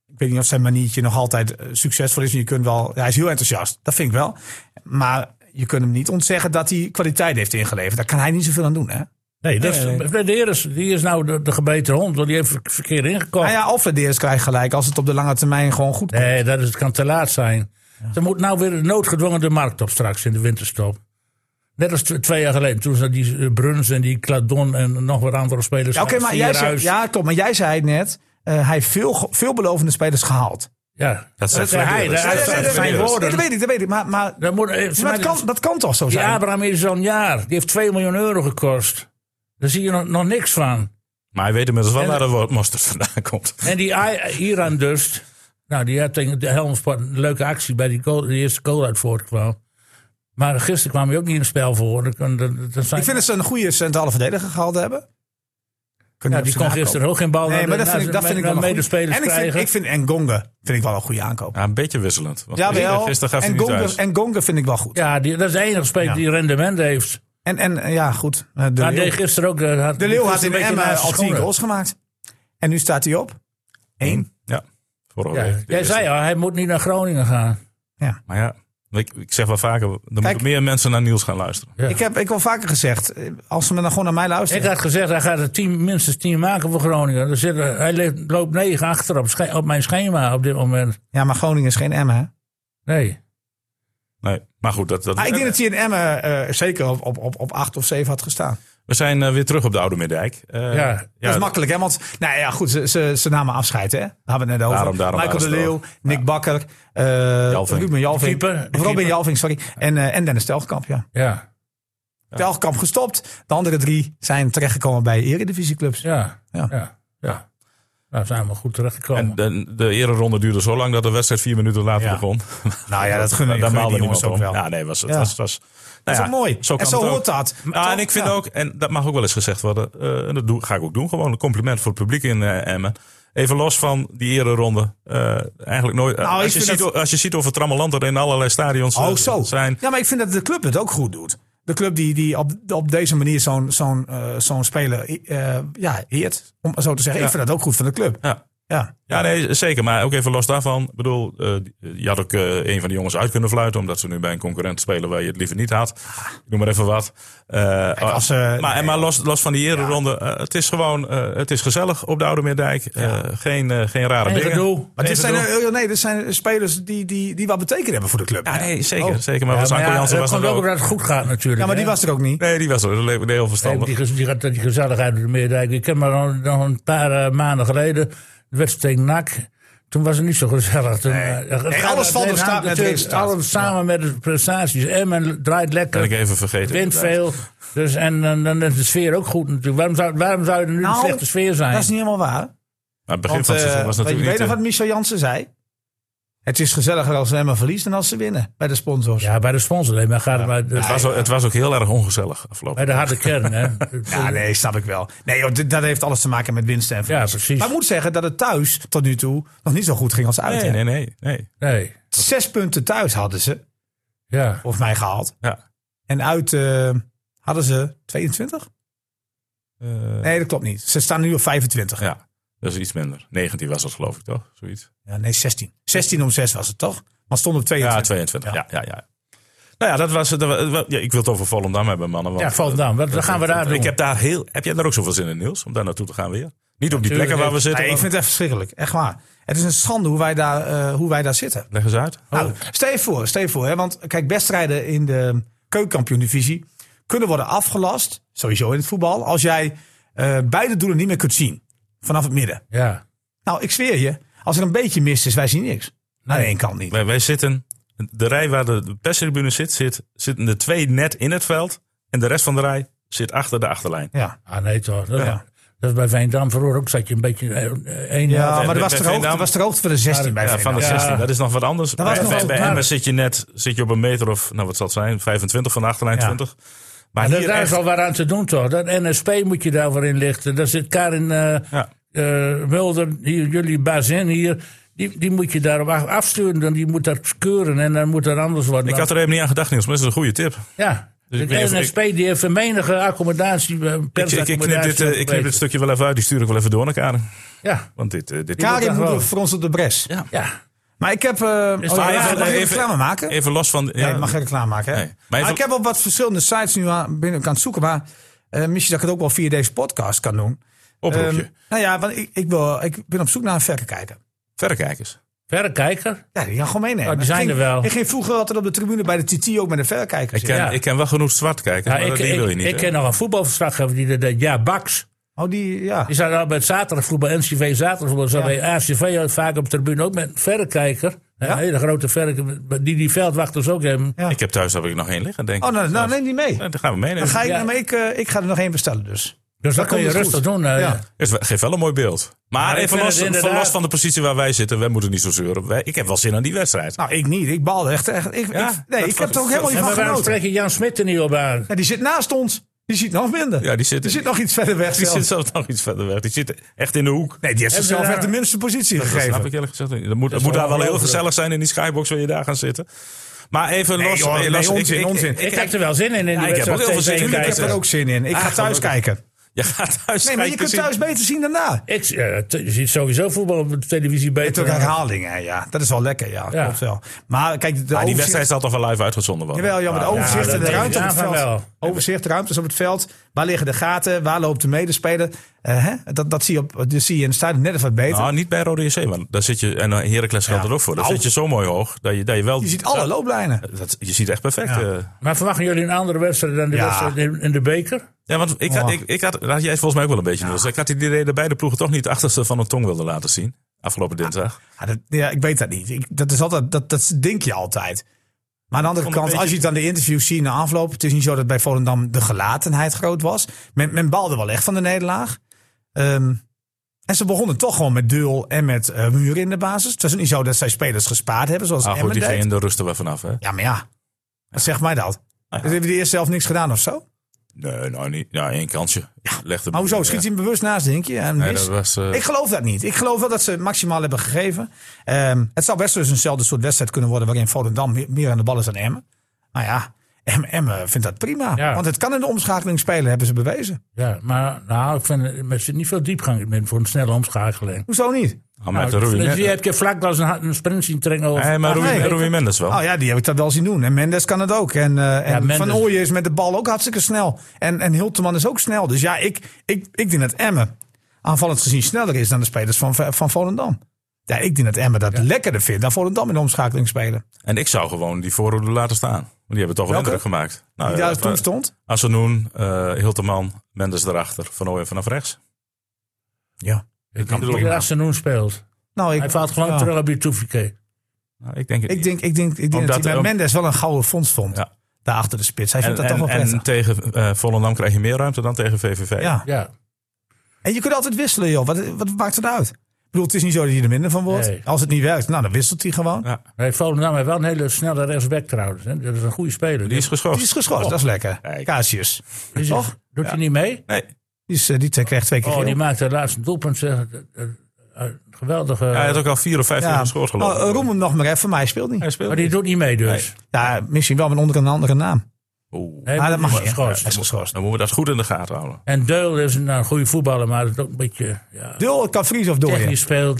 [SPEAKER 4] ik weet niet of zijn maniertje nog altijd eh, succesvol is. Maar Je kunt wel, hij is heel enthousiast. Dat vind ik wel. Maar je kunt hem niet ontzeggen dat hij kwaliteit heeft ingeleverd. Daar kan hij niet zoveel aan doen, hè?
[SPEAKER 1] Nee, dat is, Fred Heeres, die is nou de, de gebeten hond, want die heeft verk- verkeerd ingekocht.
[SPEAKER 4] Nou ja, of de eerst krijgt gelijk als het op de lange termijn gewoon goed komt.
[SPEAKER 1] Nee, dat is, het kan te laat zijn. Ze moet nou weer noodgedwongen de markt op straks in de winterstop. Net als tw- twee jaar geleden, toen ze die eh, Bruns en die Cladon en nog wat andere spelers.
[SPEAKER 4] Ja, Oké, maar jij zei,
[SPEAKER 1] Vierhuis.
[SPEAKER 4] ja, klopt, maar jij zei het net. eh, hij heeft veel, ge- veelbelovende spelers gehaald.
[SPEAKER 1] Ja, dat
[SPEAKER 3] zegt
[SPEAKER 1] zei
[SPEAKER 3] Fred
[SPEAKER 1] hij.
[SPEAKER 3] Heeres.
[SPEAKER 1] Dat
[SPEAKER 3] Ja,
[SPEAKER 1] zijn
[SPEAKER 3] ja, ja,
[SPEAKER 1] zijn
[SPEAKER 3] ja, ja.
[SPEAKER 4] Nee, dat
[SPEAKER 1] woorden.
[SPEAKER 4] weet ik, dat weet ik. Maar, maar,
[SPEAKER 1] Dat moet, eh,
[SPEAKER 4] maar
[SPEAKER 1] maar
[SPEAKER 4] dat, kan, dat kan toch zo
[SPEAKER 1] die
[SPEAKER 4] zijn?
[SPEAKER 1] Abraham is al een jaar. Die heeft 2 miljoen euro gekost. Daar zie je nog, nog niks van.
[SPEAKER 3] Maar hij weet inmiddels wel
[SPEAKER 1] En-
[SPEAKER 3] waar de woord mosterd *laughs* vandaan komt.
[SPEAKER 1] En die I- Iran Dust. Nou, die had tegen de Helmsport een leuke actie bij die, goal, die eerste goal uit voortkwam. Maar gisteren kwam hij ook niet in het spel voor. Dat, dat, dat zijn,
[SPEAKER 4] Ik vind dat ze een goede centrale verdediger gehaald hebben. Kun je
[SPEAKER 1] Ja, die
[SPEAKER 4] op zijn
[SPEAKER 1] kon
[SPEAKER 4] nakomen.
[SPEAKER 1] gisteren ook geen bal
[SPEAKER 4] Nee,
[SPEAKER 1] naar
[SPEAKER 4] maar
[SPEAKER 1] de-
[SPEAKER 4] dat vind
[SPEAKER 1] naar
[SPEAKER 4] ik, dat
[SPEAKER 1] zijn-
[SPEAKER 4] vind ik
[SPEAKER 1] naar
[SPEAKER 4] wel een goeie.
[SPEAKER 1] medespelers
[SPEAKER 4] En ik vind,
[SPEAKER 1] krijgen.
[SPEAKER 4] ik vind Ngonga vind ik wel een goede aankoop.
[SPEAKER 3] Ja, een beetje wisselend. Want
[SPEAKER 4] Ja,
[SPEAKER 3] gisteren-
[SPEAKER 4] wel.
[SPEAKER 3] Gisteren gaf hij
[SPEAKER 4] en,
[SPEAKER 3] niet
[SPEAKER 4] Gonga,
[SPEAKER 3] thuis.
[SPEAKER 4] en Gonga vind ik wel goed.
[SPEAKER 1] Ja, die, dat is de enige speler
[SPEAKER 4] Ja.
[SPEAKER 1] die rendement heeft.
[SPEAKER 4] En, en eh, ja, goed. eh, De,
[SPEAKER 1] Ja,
[SPEAKER 4] Leeuw,
[SPEAKER 1] nee, gisteren ook. eh, Had,
[SPEAKER 4] de Leeuw had in
[SPEAKER 1] een beetje
[SPEAKER 4] Emma
[SPEAKER 1] naast
[SPEAKER 4] al tien
[SPEAKER 1] schoenen.
[SPEAKER 4] goals gemaakt. En nu staat hij op. Eén.
[SPEAKER 3] Ja, vooral.
[SPEAKER 1] Ja,
[SPEAKER 3] weer. De
[SPEAKER 4] dus
[SPEAKER 1] jij
[SPEAKER 3] eerste.
[SPEAKER 1] zei al, hij moet niet naar Groningen gaan.
[SPEAKER 3] Maar ja, ik, ik zeg wel vaker, er
[SPEAKER 4] Kijk.
[SPEAKER 3] moeten meer mensen naar Niels gaan luisteren.
[SPEAKER 1] Ja.
[SPEAKER 4] Ik heb ik heb wel vaker gezegd, eh, als ze me dan gewoon naar mij
[SPEAKER 1] Ik
[SPEAKER 4] luisteren.
[SPEAKER 1] had gezegd, hij gaat er tien, minstens tien maken voor Groningen. Er zit, er- hij le- loopt negen achter op, sche- op mijn schema op dit moment.
[SPEAKER 4] Ja, maar Groningen is geen Emmen. hè?
[SPEAKER 1] Nee.
[SPEAKER 3] Nee, maar goed, dat, dat,
[SPEAKER 4] Maar Ah, ik denk dat hij in Emmen eh, zeker op, op, op, op acht of zeven had gestaan.
[SPEAKER 3] we zijn eh, weer terug op de Oude Middijk. Eh,
[SPEAKER 1] Ja,
[SPEAKER 4] dat is makkelijk, hè? Want, nou ja, goed, ze, ze, ze namen afscheid, hè? Daar hebben we het net over.
[SPEAKER 3] Daarom, daarom
[SPEAKER 4] Michael de
[SPEAKER 3] waren ze
[SPEAKER 4] Leeuw, Nick Bakker, eh
[SPEAKER 3] Jalving.
[SPEAKER 4] Ruben Jalving.
[SPEAKER 1] De keeper, de
[SPEAKER 4] Robin
[SPEAKER 1] keeper.
[SPEAKER 4] Jalving, sorry. En, eh, en Dennis Telkamp, ja.
[SPEAKER 1] Ja.
[SPEAKER 4] Telkamp gestopt. De andere drie zijn terechtgekomen bij eredivisieclubs.
[SPEAKER 1] Ja.
[SPEAKER 4] Ja.
[SPEAKER 1] Ja. ja. Nou, zijn we goed terechtgekomen.
[SPEAKER 3] En de, de ereronde duurde zo lang dat de wedstrijd vier minuten later
[SPEAKER 4] Ja. *laughs*
[SPEAKER 3] begon.
[SPEAKER 4] Nou ja, dat
[SPEAKER 3] Daar
[SPEAKER 4] gunnen
[SPEAKER 3] maalde
[SPEAKER 4] die
[SPEAKER 3] niemand
[SPEAKER 4] jongens ook
[SPEAKER 3] van.
[SPEAKER 4] wel.
[SPEAKER 3] Ja, nee, was, het
[SPEAKER 4] Ja.
[SPEAKER 3] was, was,
[SPEAKER 4] dat
[SPEAKER 3] nou
[SPEAKER 4] is
[SPEAKER 3] ja,
[SPEAKER 4] wel mooi. en
[SPEAKER 3] kan
[SPEAKER 4] zo
[SPEAKER 3] het ook.
[SPEAKER 4] hoort dat.
[SPEAKER 3] Ah, en
[SPEAKER 4] Toch?
[SPEAKER 3] ik vind
[SPEAKER 4] Ja.
[SPEAKER 3] ook, en dat mag ook wel eens gezegd worden, eh, en dat doe, ga ik ook doen, gewoon een compliment voor het publiek in eh, Emmen. Even los van die ereronde. eh eigenlijk nooit. eh,
[SPEAKER 4] Nou,
[SPEAKER 3] als,
[SPEAKER 4] ik
[SPEAKER 3] je
[SPEAKER 4] vind
[SPEAKER 3] ziet,
[SPEAKER 4] dat-
[SPEAKER 3] hoe- als je ziet over Trammeland er in allerlei stadions eh,
[SPEAKER 4] Oh, zo.
[SPEAKER 3] zijn.
[SPEAKER 4] Ja, maar ik vind dat de club het ook goed doet. De club die, die op, op deze manier zo'n zo'n eh, zo'n speler eh, ja, eert, om het zo te zeggen. Ik vind dat ook goed van de club.
[SPEAKER 3] Ja.
[SPEAKER 4] Ja.
[SPEAKER 3] Ja, nee, zeker. Maar ook even los daarvan. Ik bedoel, eh, je had ook eh, een van de jongens uit kunnen fluiten. Omdat ze nu bij een concurrent spelen waar je het liever niet had. Ik noem maar even wat. Eh,
[SPEAKER 4] als, eh,
[SPEAKER 3] maar en maar los, los van die ereronde. eh, het is gewoon eh, het is gezellig op de Oude Meerdijk. Eh, geen, eh, geen rare
[SPEAKER 1] Geen
[SPEAKER 3] dingen.
[SPEAKER 1] gedoe.
[SPEAKER 4] Maar
[SPEAKER 3] Geen
[SPEAKER 4] dit zijn,
[SPEAKER 3] gedoe.
[SPEAKER 4] eh, nee, dit zijn spelers die, die, die wat betekend hebben voor de club.
[SPEAKER 3] Ja, nee, zeker. Oh, zeker. Maar
[SPEAKER 1] Ja,
[SPEAKER 3] was
[SPEAKER 1] maar
[SPEAKER 3] Anko
[SPEAKER 1] ja,
[SPEAKER 3] Jansen
[SPEAKER 1] dat
[SPEAKER 3] was
[SPEAKER 1] komt
[SPEAKER 3] er
[SPEAKER 1] ook
[SPEAKER 3] ook.
[SPEAKER 1] omdat het goed gaat natuurlijk.
[SPEAKER 4] Ja, maar die
[SPEAKER 1] hè.
[SPEAKER 4] was er ook niet.
[SPEAKER 3] Nee, die was er. Dat heel
[SPEAKER 1] Nee,
[SPEAKER 3] verstandig.
[SPEAKER 1] die, gez- die, die, die gezelligheid op de Meerdijk. Ik heb maar al- nog een paar eh, maanden geleden de wedstrijd tegen NAC. Toen was het niet zo gezellig. Toen, eh, het
[SPEAKER 4] Nee,
[SPEAKER 1] gaat-
[SPEAKER 4] alles valt
[SPEAKER 1] het
[SPEAKER 4] en staat
[SPEAKER 1] hangt
[SPEAKER 4] met
[SPEAKER 1] natuurlijk
[SPEAKER 4] resultaat.
[SPEAKER 1] Alles samen met de prestaties. Emmen draait
[SPEAKER 3] ben
[SPEAKER 1] lekker.
[SPEAKER 3] ik even vergeten.
[SPEAKER 1] wint veel. Dus, en dan- dan is de sfeer ook goed natuurlijk. Waarom zou, waarom zou er nu
[SPEAKER 4] Nou,
[SPEAKER 1] een slechte sfeer zijn?
[SPEAKER 4] Dat is niet helemaal waar.
[SPEAKER 3] Maar het begin
[SPEAKER 4] Want
[SPEAKER 3] van het seizoen
[SPEAKER 4] eh,
[SPEAKER 3] was
[SPEAKER 4] weet je
[SPEAKER 3] natuurlijk
[SPEAKER 4] weet nog
[SPEAKER 3] niet...
[SPEAKER 4] wat Michel Jansen zei? Het is gezelliger als ze Emma verliest dan als ze winnen bij de sponsors.
[SPEAKER 1] Ja, bij de sponsor. alleen, Maar gaat het bij, de,
[SPEAKER 3] eh, het, was, ook- het was ook heel erg ongezellig
[SPEAKER 1] bij
[SPEAKER 3] afgelopen.
[SPEAKER 1] de harde kern. Hè.
[SPEAKER 4] Ja, nee, snap ik wel. Nee, joh, dit- dat heeft alles te maken met winsten en verliezen.
[SPEAKER 1] precies.
[SPEAKER 4] Maar ik moet zeggen dat het thuis tot nu toe nog niet zo goed ging als uit.
[SPEAKER 3] Nee,
[SPEAKER 4] hè?
[SPEAKER 3] nee, nee. nee.
[SPEAKER 1] Nee.
[SPEAKER 4] Zes punten thuis hadden ze,
[SPEAKER 1] Ja.
[SPEAKER 4] of mij gehaald.
[SPEAKER 3] Ja.
[SPEAKER 4] En uit eh, hadden ze 22?
[SPEAKER 3] Eh,
[SPEAKER 4] Nee, dat klopt niet. Ze staan nu op 25. Ja,
[SPEAKER 3] Ja, dat is iets minder. 19 was dat geloof ik toch? Zoiets.
[SPEAKER 4] nee, 16. 16 om 6 was het toch? Maar stond op
[SPEAKER 3] Ja,
[SPEAKER 4] 22.
[SPEAKER 3] 22. Ja, ja, ja. Nou ja, dat was, dat wa- wa- ja, ik wil het over Volendam hebben, mannen. Want,
[SPEAKER 1] Ja, Volendam. Wat- wat gaan we daar doen?
[SPEAKER 3] Ik heb, daar heel, heb jij daar ook zoveel zin in, Niels? Om daar naartoe te gaan weer? Niet op die
[SPEAKER 1] Natuurlijk
[SPEAKER 3] plekken waar we
[SPEAKER 1] heeft-
[SPEAKER 3] zitten.
[SPEAKER 4] Nee, ik vind het echt verschrikkelijk. Echt waar. Het is een schande hoe wij daar, eh, hoe wij daar zitten.
[SPEAKER 3] Leg eens uit.
[SPEAKER 4] Nou, stel je voor, stel je voor. Hè, want kijk, wedstrijden in de keukenkampioen-divisie kunnen worden afgelast, sowieso in het voetbal, als jij eh, beide doelen niet meer kunt zien vanaf het midden.
[SPEAKER 1] Ja.
[SPEAKER 4] Nou, ik zweer je, als er een beetje mist is, wij zien niks. Aan de één kant niet.
[SPEAKER 3] Wij, wij zitten, de rij waar de, de perstribune zit, zit, zitten de twee net in het veld. En de rest van de rij zit achter de achterlijn.
[SPEAKER 4] Ja.
[SPEAKER 1] Ah, nee toch. Dat,
[SPEAKER 4] Ja.
[SPEAKER 1] dat is bij Veendam verloor ook. Zat je een beetje eh, eh, één
[SPEAKER 4] Ja,
[SPEAKER 1] helft.
[SPEAKER 4] maar er
[SPEAKER 3] bij
[SPEAKER 4] was de hoogte,
[SPEAKER 3] Veendam-
[SPEAKER 4] er was de hoogte van de 16 bij
[SPEAKER 3] Ja, van de
[SPEAKER 4] Veendam.
[SPEAKER 3] 16, dat is nog wat anders.
[SPEAKER 4] was
[SPEAKER 3] bij
[SPEAKER 4] nog
[SPEAKER 3] bij,
[SPEAKER 4] wel
[SPEAKER 3] bij
[SPEAKER 1] knap.
[SPEAKER 3] Emmen zit je net zit je op een meter of, nou wat zal het zijn, 25 van de achterlijn
[SPEAKER 4] Ja.
[SPEAKER 3] 20. Maar
[SPEAKER 1] Dat-
[SPEAKER 3] hier
[SPEAKER 1] daar
[SPEAKER 3] echt-
[SPEAKER 1] is al wat aan te doen toch. Dat NSP moet je daarvoor inlichten. Daar zit Karin eh,
[SPEAKER 3] Ja.
[SPEAKER 1] eh, Mulder, hier, jullie bazin hier. Die, die moet je daarop af- afsturen. Dan die moet dat keuren en dan moet dat anders worden.
[SPEAKER 3] Ik had er even niet aan gedacht, Niels, maar dat is een goede tip.
[SPEAKER 1] Ja.
[SPEAKER 3] Dus ik
[SPEAKER 1] de
[SPEAKER 3] weet niet of ik-
[SPEAKER 1] NSP die heeft een menige accommodatie. eh,
[SPEAKER 3] Ik, ik, ik, knip dit,
[SPEAKER 1] persaccommodatie
[SPEAKER 3] eh, ik knip dit
[SPEAKER 1] opgebeten.
[SPEAKER 3] stukje wel even uit, die stuur ik wel even door naar Karin.
[SPEAKER 1] Ja.
[SPEAKER 3] Want dit, eh, dit
[SPEAKER 4] Karin
[SPEAKER 1] wel.
[SPEAKER 4] moet voor ons op de bres.
[SPEAKER 1] Ja.
[SPEAKER 4] Maar ik heb... eh oh, ja,
[SPEAKER 1] maar
[SPEAKER 4] mag
[SPEAKER 1] even-
[SPEAKER 4] mag ik
[SPEAKER 3] even-
[SPEAKER 4] reclame maken?
[SPEAKER 3] even los van. Ja,
[SPEAKER 4] nee, mag geen reclame maken. Hè?
[SPEAKER 3] Nee. Maar
[SPEAKER 4] Maar,
[SPEAKER 3] even-
[SPEAKER 4] ik heb op wat verschillende sites nu aan, ben ik aan het zoeken. Maar eh, misschien dat ik het ook wel via deze podcast kan doen.
[SPEAKER 3] Oproepje.
[SPEAKER 4] Ehm, nou ja, want ik, ik, wil, ik ben op zoek naar een verrekijker.
[SPEAKER 3] Verrekijkers.
[SPEAKER 1] Verrekijker.
[SPEAKER 4] Ja, die gaan gewoon meenemen.
[SPEAKER 1] Oh, die zijn
[SPEAKER 4] Ik ging-
[SPEAKER 1] er wel.
[SPEAKER 4] Ik ging vroeger altijd op de tribune bij de TT ook met een verrekijker
[SPEAKER 3] Ik ken,
[SPEAKER 4] zitten.
[SPEAKER 1] Ja.
[SPEAKER 3] ik ken wel genoeg zwartkijkers,
[SPEAKER 1] Ja,
[SPEAKER 3] maar
[SPEAKER 1] ik,
[SPEAKER 3] die
[SPEAKER 1] ik-
[SPEAKER 3] wil je niet.
[SPEAKER 1] ik
[SPEAKER 3] hè?
[SPEAKER 1] ken nog een voetbalverslaggever die dat deed. Ja, Baks.
[SPEAKER 3] eh,
[SPEAKER 4] Oh, die, ja.
[SPEAKER 1] Die zat al bij het zaterdagvoetbal, NCV zaterdagvoetbal. Zat
[SPEAKER 4] Ja.
[SPEAKER 1] bij ACV ook vaak op de tribune. Ook met een verrekijker. Een hele grote verrekijker. Die die veldwachters ook hebben.
[SPEAKER 4] Ja.
[SPEAKER 3] Ik heb thuis heb ik nog één liggen, denk ik.
[SPEAKER 4] Oh, nou, nou neem die mee.
[SPEAKER 3] Nee, daar gaan we mee.
[SPEAKER 4] Dan ga ik,
[SPEAKER 1] Eh, Ja.
[SPEAKER 4] nee, maar ik, eh, ik ga er nog één bestellen dus.
[SPEAKER 1] Dus dat, kun
[SPEAKER 4] komt
[SPEAKER 1] je
[SPEAKER 4] dus
[SPEAKER 1] rustig
[SPEAKER 4] goed.
[SPEAKER 1] doen. eh,
[SPEAKER 4] Ja.
[SPEAKER 3] Het wel- geeft wel een mooi beeld. Maar
[SPEAKER 1] ik
[SPEAKER 3] even
[SPEAKER 1] vind
[SPEAKER 3] los,
[SPEAKER 1] het
[SPEAKER 3] van,
[SPEAKER 1] inderdaad-
[SPEAKER 3] los van de positie waar wij zitten, wij moeten niet zo zeuren. Wij- ik heb wel zin aan die wedstrijd.
[SPEAKER 4] Nou, ik niet. Ik baalde echt. echt ik,
[SPEAKER 3] Ja,
[SPEAKER 4] ik- nee,
[SPEAKER 3] dat
[SPEAKER 4] ik heb er ook
[SPEAKER 3] was-
[SPEAKER 4] helemaal
[SPEAKER 1] En
[SPEAKER 4] niet van
[SPEAKER 1] maar waarom
[SPEAKER 4] genoten.
[SPEAKER 1] spreek je Jan Smit er niet op aan?
[SPEAKER 4] Ja, die zit naast ons. Die ziet nog minder.
[SPEAKER 3] Ja, die zit-
[SPEAKER 4] die zit nog iets verder weg.
[SPEAKER 3] Die
[SPEAKER 4] zelfs.
[SPEAKER 3] zit zelfs nog iets verder weg. Die zit echt in de hoek.
[SPEAKER 4] Nee, die heeft
[SPEAKER 1] Hebben
[SPEAKER 4] zichzelf
[SPEAKER 1] ze
[SPEAKER 4] echt de
[SPEAKER 1] daar-
[SPEAKER 4] minste positie
[SPEAKER 3] Dat snap
[SPEAKER 4] gegeven.
[SPEAKER 3] ik eerlijk gezegd niet. Het moet, het
[SPEAKER 1] is
[SPEAKER 3] moet daar wel heel
[SPEAKER 1] ongelooflijk.
[SPEAKER 3] gezellig zijn in die skybox waar je daar gaan zitten. Maar even
[SPEAKER 4] Nee,
[SPEAKER 3] los.
[SPEAKER 4] joh, nee,
[SPEAKER 3] los-
[SPEAKER 4] onzin, onzin.
[SPEAKER 1] Ik, heb er wel zin in. in die
[SPEAKER 3] ik heb ook heel veel
[SPEAKER 1] wedstrijd
[SPEAKER 3] zin in.
[SPEAKER 1] tegen
[SPEAKER 4] Ik heb
[SPEAKER 1] Thijssen.
[SPEAKER 4] er ook zin in. Ik ga
[SPEAKER 3] Ah,
[SPEAKER 4] thuis
[SPEAKER 3] gelukkig.
[SPEAKER 4] kijken.
[SPEAKER 3] Je gaat thuis
[SPEAKER 4] Nee, maar je
[SPEAKER 3] kijken
[SPEAKER 4] kunt
[SPEAKER 3] zien.
[SPEAKER 4] thuis beter zien daarna.
[SPEAKER 1] Ik, ja, t- je ziet sowieso voetbal op de televisie
[SPEAKER 4] Het ook
[SPEAKER 1] beter.
[SPEAKER 4] herhalingen, hè, ja. Dat is wel lekker, ja.
[SPEAKER 1] Ja.
[SPEAKER 4] Klopt wel. Maar kijk, de
[SPEAKER 3] Ah, die wedstrijd
[SPEAKER 4] overzicht...
[SPEAKER 3] zal toch wel live uitgezonden worden?
[SPEAKER 4] Jawel, ja, maar de
[SPEAKER 3] Nou,
[SPEAKER 4] overzicht
[SPEAKER 1] dat
[SPEAKER 4] en de
[SPEAKER 1] denk
[SPEAKER 4] ruimte
[SPEAKER 1] ik
[SPEAKER 4] op het
[SPEAKER 1] daarvan
[SPEAKER 4] veld.
[SPEAKER 1] wel.
[SPEAKER 4] Overzicht, ruimtes op het veld. Waar liggen de gaten? Waar loopt de medespeler? Eh, hè? Dat, dat, zie je op, dat zie je in de stadion net wat beter.
[SPEAKER 3] Nou, niet bij Rode JC, want daar zit je, en eh, Heracles geldt
[SPEAKER 4] Ja.
[SPEAKER 3] er ook voor. Daar
[SPEAKER 4] Nou.
[SPEAKER 3] zit je zo mooi hoog, dat je, dat je wel...
[SPEAKER 4] je ziet alle
[SPEAKER 3] dat-
[SPEAKER 4] looplijnen.
[SPEAKER 3] dat- je ziet echt perfect. eh. Ja,
[SPEAKER 1] Maar verwachten jullie een andere wedstrijd dan de
[SPEAKER 4] Ja.
[SPEAKER 1] wedstrijd in, in de beker?
[SPEAKER 3] want ik had,
[SPEAKER 4] Oh.
[SPEAKER 3] ik, ik had, dat had jij volgens mij ook wel een beetje Niels. Ik had het idee dat beide ploegen toch niet het achterste van hun tong wilden laten zien. Afgelopen dinsdag.
[SPEAKER 4] Ja, dat, ja, ik weet dat niet. Ik, dat, is altijd, dat, dat denk je altijd. Maar aan de andere
[SPEAKER 3] Vond een
[SPEAKER 4] kant, als je dan de interviews ziet na afloop... het is niet zo dat bij Volendam de gelatenheid groot was. Men, men baalde wel echt van de nederlaag. Ehm, en ze begonnen toch gewoon met Deul en met eh Muur in de basis. Het was niet zo dat zij spelers gespaard hebben, zoals
[SPEAKER 3] Ah, goed,
[SPEAKER 4] Emmen
[SPEAKER 3] die
[SPEAKER 4] deed.
[SPEAKER 3] gingen er rustig wel vanaf, hè?
[SPEAKER 4] Ja, maar ja. Wat zegt mij dat?
[SPEAKER 3] Ah, ja.
[SPEAKER 4] Hebben die eerst zelf niks gedaan of zo?
[SPEAKER 3] Nee, nou niet. Ja, één kansje. Legde
[SPEAKER 4] Maar hoezo?
[SPEAKER 3] ja.
[SPEAKER 4] Schiet hij hem bewust naast, denk je? En
[SPEAKER 3] Nee,
[SPEAKER 4] mis?
[SPEAKER 3] dat was... eh,
[SPEAKER 4] Ik geloof dat niet. Ik geloof wel dat ze het maximaal hebben gegeven. Ehm, het zou best dus eenzelfde soort wedstrijd kunnen worden waarin Volendam meer- meer aan de bal is dan Emmen. Nou ja, Em- Emmen vindt dat prima.
[SPEAKER 1] Ja.
[SPEAKER 4] Want het kan in de omschakeling spelen, hebben ze bewezen.
[SPEAKER 1] Ja, maar nou, ik vind er- er zit niet veel diepgang in voor een snelle omschakeling.
[SPEAKER 4] Hoezo niet?
[SPEAKER 3] Ah, maar
[SPEAKER 1] Nou,
[SPEAKER 3] de Rui-
[SPEAKER 1] dus die heb je vlak als een, ha- een sprint zien trekken. over-
[SPEAKER 3] Nee, maar
[SPEAKER 4] Ah,
[SPEAKER 3] Rui,
[SPEAKER 4] nee.
[SPEAKER 3] Rui Mendes wel.
[SPEAKER 4] Oh ja, die heb ik dat wel zien doen. En Mendes kan het ook. En, eh, en
[SPEAKER 1] Mendes-
[SPEAKER 4] Van Ooyen is met de bal ook hartstikke snel. En, en Hilteman is ook snel. Dus ja, ik, ik, ik denk dat Emmen aanvallend gezien sneller is dan de spelers van, van Volendam. Ja, ik denk dat Emmen dat lekkerder vindt dan Volendam in de omschakeling spelen.
[SPEAKER 3] En ik zou gewoon die voorhoede laten staan. Want die hebben toch wel
[SPEAKER 4] Welke?
[SPEAKER 3] indruk gemaakt. Nou,
[SPEAKER 4] Die
[SPEAKER 3] ja,
[SPEAKER 4] daar
[SPEAKER 3] dat
[SPEAKER 4] toen
[SPEAKER 3] was-
[SPEAKER 4] stond.
[SPEAKER 3] Assenoen, eh Hilteman, Mendes erachter, Van Ooyen vanaf rechts.
[SPEAKER 4] Ja.
[SPEAKER 3] Ik,
[SPEAKER 1] Die
[SPEAKER 3] bedoel,
[SPEAKER 1] de Asenoen speelt.
[SPEAKER 4] Nou, ik,
[SPEAKER 1] Hij valt gewoon
[SPEAKER 4] ja.
[SPEAKER 1] terug op die Toefiké.
[SPEAKER 3] nou, ik denk het
[SPEAKER 4] Ik
[SPEAKER 3] niet.
[SPEAKER 4] denk, ik denk, ik denk
[SPEAKER 3] Omdat
[SPEAKER 4] dat hij bij
[SPEAKER 3] ook-
[SPEAKER 4] Mendes wel een gouden fonds vond.
[SPEAKER 3] Ja.
[SPEAKER 4] Daar achter de spits. Hij
[SPEAKER 3] En,
[SPEAKER 4] vindt dat toch
[SPEAKER 3] en,
[SPEAKER 4] wel
[SPEAKER 3] en
[SPEAKER 4] prettig.
[SPEAKER 3] tegen eh, Volendam krijg je meer ruimte dan tegen VVV.
[SPEAKER 4] ja.
[SPEAKER 1] Ja.
[SPEAKER 4] En je kunt altijd wisselen, joh. Wat, wat maakt het uit? Ik bedoel, het is niet zo dat je er minder van wordt.
[SPEAKER 1] Nee.
[SPEAKER 4] Als het niet werkt, nou, dan wisselt hij gewoon.
[SPEAKER 3] Ja,
[SPEAKER 1] Nee, Volendam heeft wel een hele snelle rechtsback trouwens. Hè. Dat is een goede speler.
[SPEAKER 3] Die is geschorst. Oh.
[SPEAKER 4] Die is geschorst, dat is lekker.
[SPEAKER 3] Kijk.
[SPEAKER 4] Casius.
[SPEAKER 1] Is het-
[SPEAKER 4] toch?
[SPEAKER 1] Doet hij niet mee?
[SPEAKER 3] Nee.
[SPEAKER 4] Die, is, eh, die twee krijgt twee keer
[SPEAKER 1] Oh,
[SPEAKER 4] geel.
[SPEAKER 1] die maakte het laatste doelpunt. Zeg, eh, eh, eh, geweldige...
[SPEAKER 3] Hij had ook al vier of vijf keer
[SPEAKER 4] ja.
[SPEAKER 3] gescoord geloof
[SPEAKER 4] oh,
[SPEAKER 3] ik.
[SPEAKER 4] eh, roem hem nog maar even, maar hij speelt
[SPEAKER 3] Hij
[SPEAKER 4] niet.
[SPEAKER 3] speelt
[SPEAKER 1] maar die
[SPEAKER 3] niet.
[SPEAKER 1] doet niet mee dus.
[SPEAKER 4] Ja, misschien wel met onder een andere naam.
[SPEAKER 3] Oeh.
[SPEAKER 1] Nee,
[SPEAKER 4] Maar Ah, dat mag
[SPEAKER 1] maar
[SPEAKER 4] niet. hè?
[SPEAKER 1] geschorst.
[SPEAKER 4] Hij is geschorst.
[SPEAKER 3] Dan moeten we dat goed in de gaten houden.
[SPEAKER 1] En Deul is een, nou, een goede voetballer, maar dat is ook een beetje ja,
[SPEAKER 4] Dul, kan Vries eh, of Dooyen.
[SPEAKER 1] technisch speelt.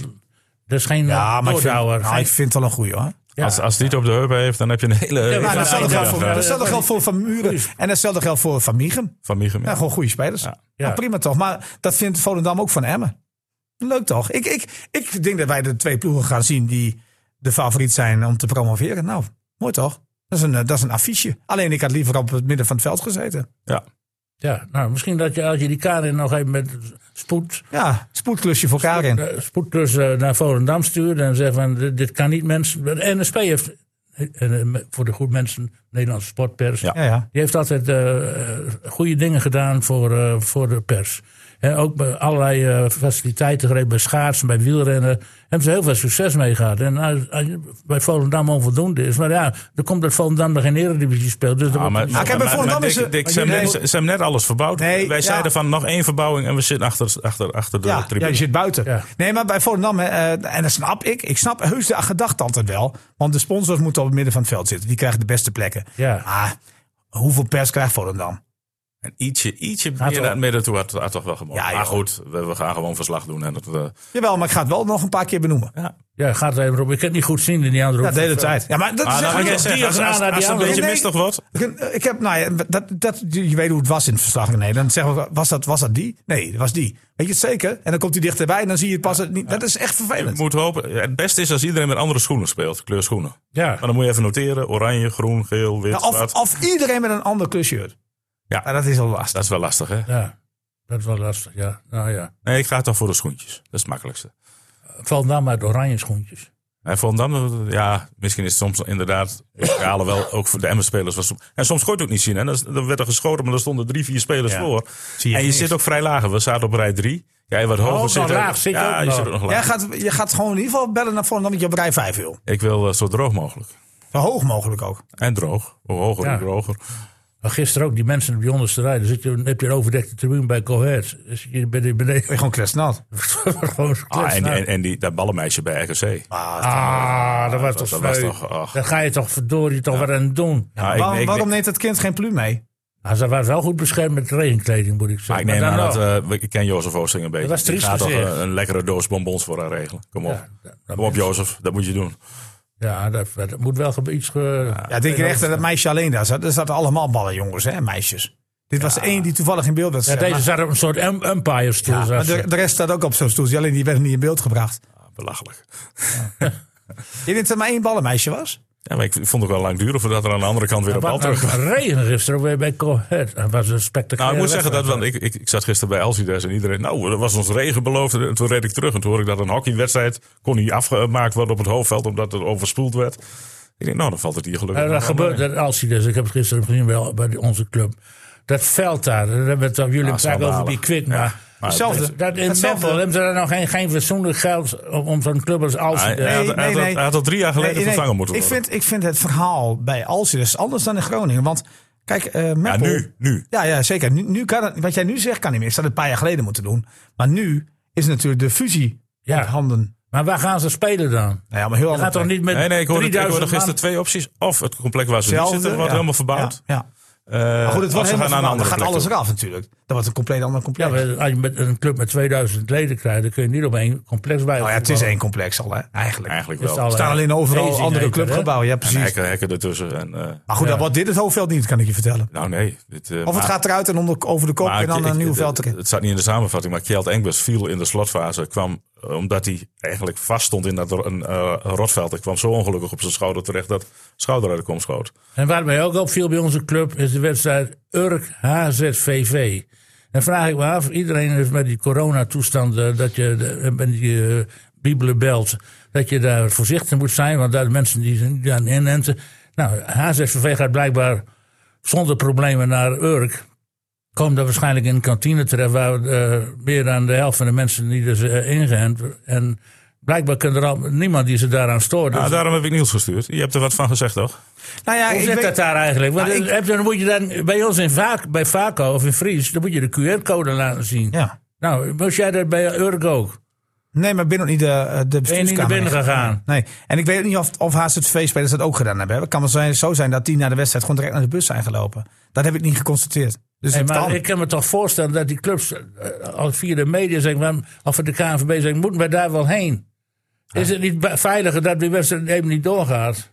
[SPEAKER 1] Dat is geen eh,
[SPEAKER 4] Ja, maar ik vind,
[SPEAKER 1] doordouwer.
[SPEAKER 4] nou, ik vind het wel een goeie, hoor.
[SPEAKER 1] Ja.
[SPEAKER 3] Als, als die het op de heup heeft, dan heb je een hele...
[SPEAKER 1] maar
[SPEAKER 4] Ja,
[SPEAKER 1] dat
[SPEAKER 3] hele
[SPEAKER 1] is wel
[SPEAKER 4] datzelfde
[SPEAKER 1] een
[SPEAKER 4] geldt
[SPEAKER 1] graag
[SPEAKER 3] middag,
[SPEAKER 4] voor,
[SPEAKER 1] goeie.
[SPEAKER 3] eh,
[SPEAKER 1] dat is
[SPEAKER 4] datzelfde geldt voor Van Muren.
[SPEAKER 1] Goeie.
[SPEAKER 4] En datzelfde geldt voor Van Mieghem.
[SPEAKER 3] Van Miegem. ja.
[SPEAKER 4] Ja, gewoon goede spelers.
[SPEAKER 3] Ja.
[SPEAKER 1] Ja.
[SPEAKER 4] Nou, prima toch. Maar dat vindt Volendam ook van Emmen. Leuk toch? Ik, ik, ik denk dat wij de twee ploegen gaan zien die de favoriet zijn om te promoveren. Nou, mooi toch? Dat is een, eh, dat is een affiche. Alleen ik had liever op het midden van het veld gezeten.
[SPEAKER 3] Ja.
[SPEAKER 1] Ja, nou, misschien dat je als je die Karin nog even met spoed,
[SPEAKER 4] Ja, spoedklusje voor Karin.
[SPEAKER 1] eh, spoedklus eh, naar Volendam stuurt en zegt van dit, dit kan niet mensen. De NSP heeft, en, eh, voor de goed mensen, Nederlandse sportpers,
[SPEAKER 3] Ja.
[SPEAKER 4] Ja, ja.
[SPEAKER 1] die heeft altijd eh, eh, goede dingen gedaan voor, eh, voor de pers. En ook bij allerlei eh, faciliteiten gereden, bij schaatsen, bij wielrennen. Hebben ze heel veel succes mee gehad. En als, als je bij Volendam onvoldoende is. Maar ja, dan komt dat Volendam nog geen Eredivisie speelt. Dus dat
[SPEAKER 3] Ah,
[SPEAKER 1] wordt-
[SPEAKER 3] maar,
[SPEAKER 4] kijk, bij Volendam
[SPEAKER 3] Dick-
[SPEAKER 4] is het-
[SPEAKER 3] Dick, ze, hebben net, ze hebben net alles verbouwd.
[SPEAKER 4] Nee,
[SPEAKER 3] Wij
[SPEAKER 4] ja.
[SPEAKER 3] zeiden van nog één verbouwing en we zitten achter, achter, achter de
[SPEAKER 4] Ja, ja,
[SPEAKER 3] tribune.
[SPEAKER 4] je zit buiten.
[SPEAKER 1] Ja.
[SPEAKER 4] Nee, maar bij Volendam, hè, eh, en dat snap ik. Ik snap heus de gedachte altijd wel. Want de sponsors moeten op het midden van het veld zitten. Die krijgen de beste plekken.
[SPEAKER 1] Ja.
[SPEAKER 4] Ah, hoeveel pers krijgt Volendam?
[SPEAKER 3] En ietsje, ietsje meer
[SPEAKER 1] Gaat
[SPEAKER 3] naar
[SPEAKER 1] wel.
[SPEAKER 3] het midden toe had, had toch wel gemogen.
[SPEAKER 4] Ja,
[SPEAKER 3] maar
[SPEAKER 4] joh.
[SPEAKER 3] goed, we, we gaan gewoon verslag doen. En dat, eh. we-
[SPEAKER 4] Jawel, maar ik ga het wel nog een paar keer benoemen.
[SPEAKER 3] ja.
[SPEAKER 1] Ja, gaat er even op. Ik heb het niet goed zien in die andere
[SPEAKER 4] Ja, de
[SPEAKER 1] hoek.
[SPEAKER 4] hele tijd. Ja, maar dat
[SPEAKER 3] Maar
[SPEAKER 4] is
[SPEAKER 3] dan
[SPEAKER 4] echt
[SPEAKER 3] moet je
[SPEAKER 4] heel-
[SPEAKER 3] zeggen, als, als,
[SPEAKER 1] diagonaal naar
[SPEAKER 3] als
[SPEAKER 1] die
[SPEAKER 3] het een
[SPEAKER 1] andere.
[SPEAKER 3] beetje
[SPEAKER 4] Nee,
[SPEAKER 3] mistig wordt...
[SPEAKER 4] Ik- Ik heb, nou ja, dat, dat, je weet hoe het was in het verslag. Nee, dan zeggen we, was dat, was dat die? Nee, dat was die. Weet je het zeker? En dan komt hij dichterbij en dan zie je het pas. het niet. Dat is echt
[SPEAKER 3] Je
[SPEAKER 4] vervelend.
[SPEAKER 3] moet hopen, het beste is als iedereen met andere schoenen speelt, kleurschoenen.
[SPEAKER 1] Ja.
[SPEAKER 3] Maar dan moet je even noteren, oranje, groen, geel, wit,
[SPEAKER 4] Ja, Nou, of,
[SPEAKER 3] zwart.
[SPEAKER 4] of iedereen met een ander klusshirt.
[SPEAKER 3] Ja.
[SPEAKER 4] Maar dat is al lastig.
[SPEAKER 3] Dat is wel lastig, hè?
[SPEAKER 1] ja, dat is wel lastig. Ja. Nou ja,
[SPEAKER 3] Nee, ik ga toch voor de schoentjes. Dat is het makkelijkste.
[SPEAKER 1] Volendam uit oranje schoentjes.
[SPEAKER 3] En Volendam, ja, misschien is het soms inderdaad... Ik halen wel, ook voor de Emmen-spelers. was- En soms gooit het ook niet zien, hè? Dan is- Dan werd er geschoten, maar er stonden drie, vier spelers
[SPEAKER 4] Ja.
[SPEAKER 3] voor.
[SPEAKER 4] Zie je
[SPEAKER 3] en je
[SPEAKER 4] niks.
[SPEAKER 3] zit ook vrij laag. We zaten op rij drie. Jij wat hoger
[SPEAKER 1] Oh, nog
[SPEAKER 3] zit. er-
[SPEAKER 1] laag zit je
[SPEAKER 3] ja,
[SPEAKER 1] ook
[SPEAKER 3] je
[SPEAKER 1] nog.
[SPEAKER 3] zit ook nog
[SPEAKER 4] Jij
[SPEAKER 3] laag.
[SPEAKER 4] gaat, je gaat gewoon in ieder geval bellen naar Volendam dat je op rij 5 wil.
[SPEAKER 3] Ik wil eh, zo droog mogelijk.
[SPEAKER 4] Zo hoog mogelijk ook.
[SPEAKER 3] En droog. Hoe hoger,
[SPEAKER 1] Ja.
[SPEAKER 3] hoe droger.
[SPEAKER 1] Maar gisteren ook, die mensen op die onderste rij. Dan zit je, dan heb je een overdekte tribune bij Cohertz. Dus je bent hier beneden. *laughs*
[SPEAKER 4] Ben je gewoon kletsnat.
[SPEAKER 1] gewoon
[SPEAKER 3] Ah, en,
[SPEAKER 1] kletsnat.
[SPEAKER 3] en, en die, dat ballenmeisje bij RKC.
[SPEAKER 1] Ah, dat was
[SPEAKER 3] dat-
[SPEAKER 1] toch
[SPEAKER 3] dat was
[SPEAKER 1] sneu.
[SPEAKER 3] toch- ach.
[SPEAKER 1] Daar ga je toch verdorie toch wat aan doen.
[SPEAKER 3] Ah, ik-
[SPEAKER 4] waarom,
[SPEAKER 3] ik-
[SPEAKER 4] waarom neemt dat kind geen pluim mee?
[SPEAKER 1] Nou, ze waren wel goed beschermd met regenkleding, moet ik
[SPEAKER 3] Maar
[SPEAKER 1] zeggen.
[SPEAKER 3] Ah, ik neem
[SPEAKER 1] Maar
[SPEAKER 3] aan
[SPEAKER 1] dan
[SPEAKER 3] dat,
[SPEAKER 1] nog.
[SPEAKER 3] eh, ik ken Jozef Oosting een beetje.
[SPEAKER 1] Dat was
[SPEAKER 3] Die
[SPEAKER 1] triest
[SPEAKER 3] gaat toch eh,
[SPEAKER 1] gezicht.
[SPEAKER 3] een, een lekkere doos bonbons voor haar regelen. Kom op.
[SPEAKER 1] dat-
[SPEAKER 3] Kom op Jozef, dat moet je doen. eh,
[SPEAKER 1] Ja, dat, dat moet wel ge- iets... ge-
[SPEAKER 4] Ja, ik denk je echt dat dat meisje alleen daar zat? Er zaten allemaal ballen, jongens en meisjes. Dit was één die toevallig in beeld werd
[SPEAKER 1] Ja,
[SPEAKER 4] gezet,
[SPEAKER 1] deze
[SPEAKER 4] maar-
[SPEAKER 1] zat op een soort em- empire stoel.
[SPEAKER 4] Ja,
[SPEAKER 1] zat
[SPEAKER 4] maar
[SPEAKER 1] ze.
[SPEAKER 4] de, de rest staat ook op zo'n stoeltje, alleen die werden niet in beeld gebracht.
[SPEAKER 3] Ah, belachelijk.
[SPEAKER 4] Je denkt dat er maar één ballenmeisje was?
[SPEAKER 3] Ja, maar ik vond het ook wel lang duren voordat er aan de andere kant weer op bal
[SPEAKER 1] Wat
[SPEAKER 3] terug
[SPEAKER 1] een regen gisteren ook weer bij Cohet. Dat was een
[SPEAKER 3] Nou,
[SPEAKER 1] spectaculaire
[SPEAKER 3] ik moet zeggen dat,
[SPEAKER 1] wedstrijd.
[SPEAKER 3] want ik, ik, ik zat gisteren bij Elsides en iedereen, nou, er was ons regen beloofd. En toen reed ik terug en toen hoorde ik dat een hockeywedstrijd kon niet afgemaakt worden op het hoofdveld omdat het overspoeld werd. Ik denk, nou, dan valt het hier gelukkig.
[SPEAKER 1] Ja, Eh, dat
[SPEAKER 3] nog wel
[SPEAKER 1] gebeurt,
[SPEAKER 3] mee.
[SPEAKER 1] dat, als hij dus, ik heb het gisteren gezien wel bij die- onze club. Dat veld daar, daar hebben we het toch jullie
[SPEAKER 3] Ah,
[SPEAKER 1] het vaak over die
[SPEAKER 3] schandalig.
[SPEAKER 1] kwik.
[SPEAKER 3] Ja.
[SPEAKER 1] Maar
[SPEAKER 3] Maar
[SPEAKER 4] Hetzelfde.
[SPEAKER 1] dat, dat in
[SPEAKER 4] Hetzelfde.
[SPEAKER 3] eh,
[SPEAKER 1] Meppel hebben ze daar nog geen, geen verzoenlijk geld om, om zo'n club als
[SPEAKER 3] Hij,
[SPEAKER 1] Alcides.
[SPEAKER 3] hij had,
[SPEAKER 4] Nee,
[SPEAKER 3] hij had-
[SPEAKER 4] nee, nee.
[SPEAKER 3] hij had al drie jaar geleden
[SPEAKER 4] Nee, nee.
[SPEAKER 3] vervangen moeten
[SPEAKER 4] ik
[SPEAKER 3] worden.
[SPEAKER 4] vind, ik vind het verhaal bij Alcides anders dan in Groningen. Want kijk, eh
[SPEAKER 3] ja,
[SPEAKER 4] Meppel-
[SPEAKER 3] Ah, nu, nu.
[SPEAKER 4] Ja, ja zeker. Nu, nu kan het, wat jij nu zegt kan niet meer. Ze had het een paar jaar geleden moeten doen. Maar nu is natuurlijk de fusie
[SPEAKER 1] Ja.
[SPEAKER 4] op handen.
[SPEAKER 1] Maar waar gaan ze spelen dan?
[SPEAKER 4] Nou ja, maar heel
[SPEAKER 1] Je
[SPEAKER 4] anders.
[SPEAKER 1] gaat toch niet met
[SPEAKER 3] Nee, nee, ik hoorde, ik
[SPEAKER 1] 3000
[SPEAKER 3] hoorde
[SPEAKER 1] man-
[SPEAKER 3] gisteren twee opties. Of het complex waar ze nu zitten wordt helemaal verbouwd.
[SPEAKER 4] Ja. ja.
[SPEAKER 3] Eh,
[SPEAKER 4] Maar
[SPEAKER 3] of
[SPEAKER 4] goed, het wordt
[SPEAKER 3] ze
[SPEAKER 4] helemaal
[SPEAKER 3] gaan naar een
[SPEAKER 4] verbouwd. Dan
[SPEAKER 3] andere
[SPEAKER 4] gaat
[SPEAKER 3] plek
[SPEAKER 4] alles
[SPEAKER 3] toe.
[SPEAKER 4] eraf natuurlijk. Dat wordt een compleet ander complex.
[SPEAKER 1] Ja, maar als je met een club met 2000 leden krijgt, dan kun je niet op één complex bij.
[SPEAKER 4] nou ja, het is één complex al, hè? Eigenlijk.
[SPEAKER 3] Eigenlijk
[SPEAKER 1] Is
[SPEAKER 3] wel.
[SPEAKER 1] het
[SPEAKER 4] Er staan alleen overal
[SPEAKER 1] Easy
[SPEAKER 4] andere
[SPEAKER 1] heet het, hè?
[SPEAKER 4] clubgebouwen. Ja,
[SPEAKER 3] En
[SPEAKER 4] precies.
[SPEAKER 3] hekken, hekken ertussen. En, eh,
[SPEAKER 4] Maar goed, dat wordt dit het hoofdveld niet, kan ik je vertellen.
[SPEAKER 3] nou nee. Dit, eh,
[SPEAKER 4] Of het
[SPEAKER 3] maar-
[SPEAKER 4] gaat eruit en onder, over de kop
[SPEAKER 3] maar
[SPEAKER 4] en dan
[SPEAKER 3] ik-
[SPEAKER 4] een
[SPEAKER 3] ik-
[SPEAKER 4] nieuw
[SPEAKER 3] het-
[SPEAKER 4] veld erin.
[SPEAKER 3] Het staat niet in de samenvatting, maar Kjeld Engbers viel in de slotfase. Kwam eh, omdat hij eigenlijk vast stond in dat ro- een, eh, rotveld. Hij kwam zo ongelukkig op zijn schouder terecht dat schouder uit de kom schoot.
[SPEAKER 1] En waar mij ook opviel bij onze club is de wedstrijd Urk HZVV. Dan vraag ik me af, iedereen heeft met die coronatoestanden, eh, dat je de- met die eh, bibelen belt, dat je daar voorzichtig moet zijn, want daar de mensen die zijn die aan inenten. Nou, HZVV gaat blijkbaar zonder problemen naar Urk. Komt dan waarschijnlijk in een kantine terecht waar eh, meer dan de helft van de mensen niet is eh, ingeënt. En blijkbaar kan er al, niemand die ze daaraan stoort.
[SPEAKER 3] Nou,
[SPEAKER 1] Dus-
[SPEAKER 3] daarom heb ik Niels gestuurd. Je hebt er wat van gezegd, toch?
[SPEAKER 4] Nou ja,
[SPEAKER 1] hoe
[SPEAKER 4] ik
[SPEAKER 1] zit
[SPEAKER 4] weet-
[SPEAKER 1] dat daar eigenlijk? Want
[SPEAKER 4] Nou,
[SPEAKER 1] eh, heb je- dan moet je dan bij ons in Vaak, bij Vaco of in Fries, dan moet je de QR-code laten zien.
[SPEAKER 4] Ja.
[SPEAKER 1] Nou, moest jij dat bij Urk ook?
[SPEAKER 4] Nee, maar binnen ook niet de, eh, de
[SPEAKER 1] Ben je niet naar
[SPEAKER 4] bestuurskamer.
[SPEAKER 1] binnen gegaan?
[SPEAKER 4] Nee, en ik weet ook niet of, of HZV-spelers dat ook gedaan hebben. Het kan wel zijn, zo zijn dat die na de wedstrijd gewoon direct naar de bus zijn gelopen. Dat heb ik niet geconstateerd. Dus
[SPEAKER 1] Hey,
[SPEAKER 4] het
[SPEAKER 1] maar
[SPEAKER 4] kan.
[SPEAKER 1] ik kan me toch voorstellen dat die clubs eh, al via de media zeggen, waarom- of de KNVB zeggen, moeten wij daar wel heen? Is het niet be- veiliger dat die wedstrijd even niet doorgaat?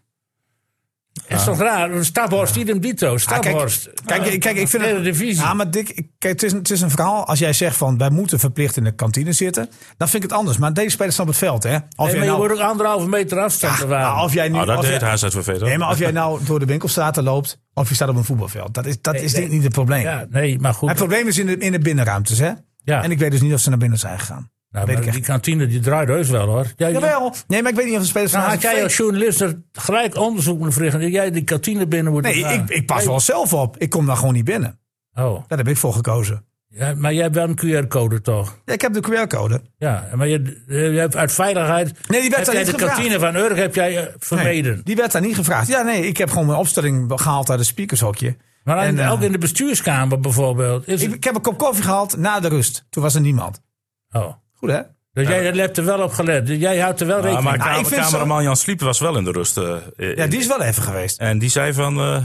[SPEAKER 1] Is toch raar? Staphorst, idem dito.
[SPEAKER 4] Ah, kijk,
[SPEAKER 1] Staphorst.
[SPEAKER 4] kijk, kijk, ik vind
[SPEAKER 1] Tweede
[SPEAKER 4] het,
[SPEAKER 1] divisie.
[SPEAKER 4] Ja, maar Dick, ik- kijk, het, is, een- het is een verhaal. Als jij zegt van wij moeten verplicht in de kantine zitten, dan vind ik het anders. Maar deze spelers staan op het veld, hè? Of
[SPEAKER 1] Nee,
[SPEAKER 4] jij
[SPEAKER 1] maar je
[SPEAKER 4] nou,
[SPEAKER 1] wordt ook anderhalve meter afstand te
[SPEAKER 4] nou,
[SPEAKER 1] bewaren.
[SPEAKER 4] of jij nu,
[SPEAKER 3] Nou, dat
[SPEAKER 4] of
[SPEAKER 3] deed
[SPEAKER 4] jij,
[SPEAKER 3] HZVV toch?
[SPEAKER 4] nee, maar of jij nou door de winkelstraten loopt, of je staat op een voetbalveld, dat is, dat is denk ik niet het probleem.
[SPEAKER 1] Ja, nee, maar goed.
[SPEAKER 4] Het probleem is in de, in de binnenruimtes, hè?
[SPEAKER 1] Ja.
[SPEAKER 4] En ik weet dus niet of ze naar binnen zijn gegaan.
[SPEAKER 1] Nou,
[SPEAKER 4] weet
[SPEAKER 1] maar
[SPEAKER 4] ik echt
[SPEAKER 1] die kantine die draait heus wel hoor. Jij,
[SPEAKER 4] Jawel. Nee, maar ik weet niet of de spelers
[SPEAKER 1] Nou,
[SPEAKER 4] van
[SPEAKER 1] had jij als journalist er gelijk onderzoek moeten verrichten. dat jij die kantine binnen moet
[SPEAKER 4] Nee, ik, ik pas wel zelf op. Ik kom daar gewoon niet binnen.
[SPEAKER 1] Oh,
[SPEAKER 4] Daar heb ik voor gekozen.
[SPEAKER 1] ja, maar jij hebt wel een QR-code toch?
[SPEAKER 4] Ja, ik heb de QR-code.
[SPEAKER 1] Ja, maar je, eh, je hebt uit veiligheid...
[SPEAKER 4] Nee, die werd
[SPEAKER 1] heb
[SPEAKER 4] daar
[SPEAKER 1] jij
[SPEAKER 4] niet
[SPEAKER 1] de
[SPEAKER 4] gevraagd.
[SPEAKER 1] kantine van Urk heb jij eh,
[SPEAKER 4] Nee,
[SPEAKER 1] vermeden.
[SPEAKER 4] die werd daar niet gevraagd. Ja, nee, ik heb gewoon mijn opstelling gehaald uit het speakershokje.
[SPEAKER 1] Maar dan-
[SPEAKER 4] En, eh,
[SPEAKER 1] ook in de bestuurskamer bijvoorbeeld. Is
[SPEAKER 4] Ik,
[SPEAKER 1] het-
[SPEAKER 4] ik heb een kop koffie gehaald na de rust. Toen was er niemand.
[SPEAKER 1] oh.
[SPEAKER 4] Goed, hè?
[SPEAKER 1] Dus jij hebt er wel op gelet. Dus Jij houdt er wel
[SPEAKER 3] Ah,
[SPEAKER 1] rekening
[SPEAKER 3] maar
[SPEAKER 1] mee.
[SPEAKER 3] kamer-
[SPEAKER 4] ik vind zo-
[SPEAKER 3] cameraman Jan Sliep was wel in de rust. eh, in-
[SPEAKER 4] Ja, die is wel even geweest.
[SPEAKER 3] En die zei van, eh,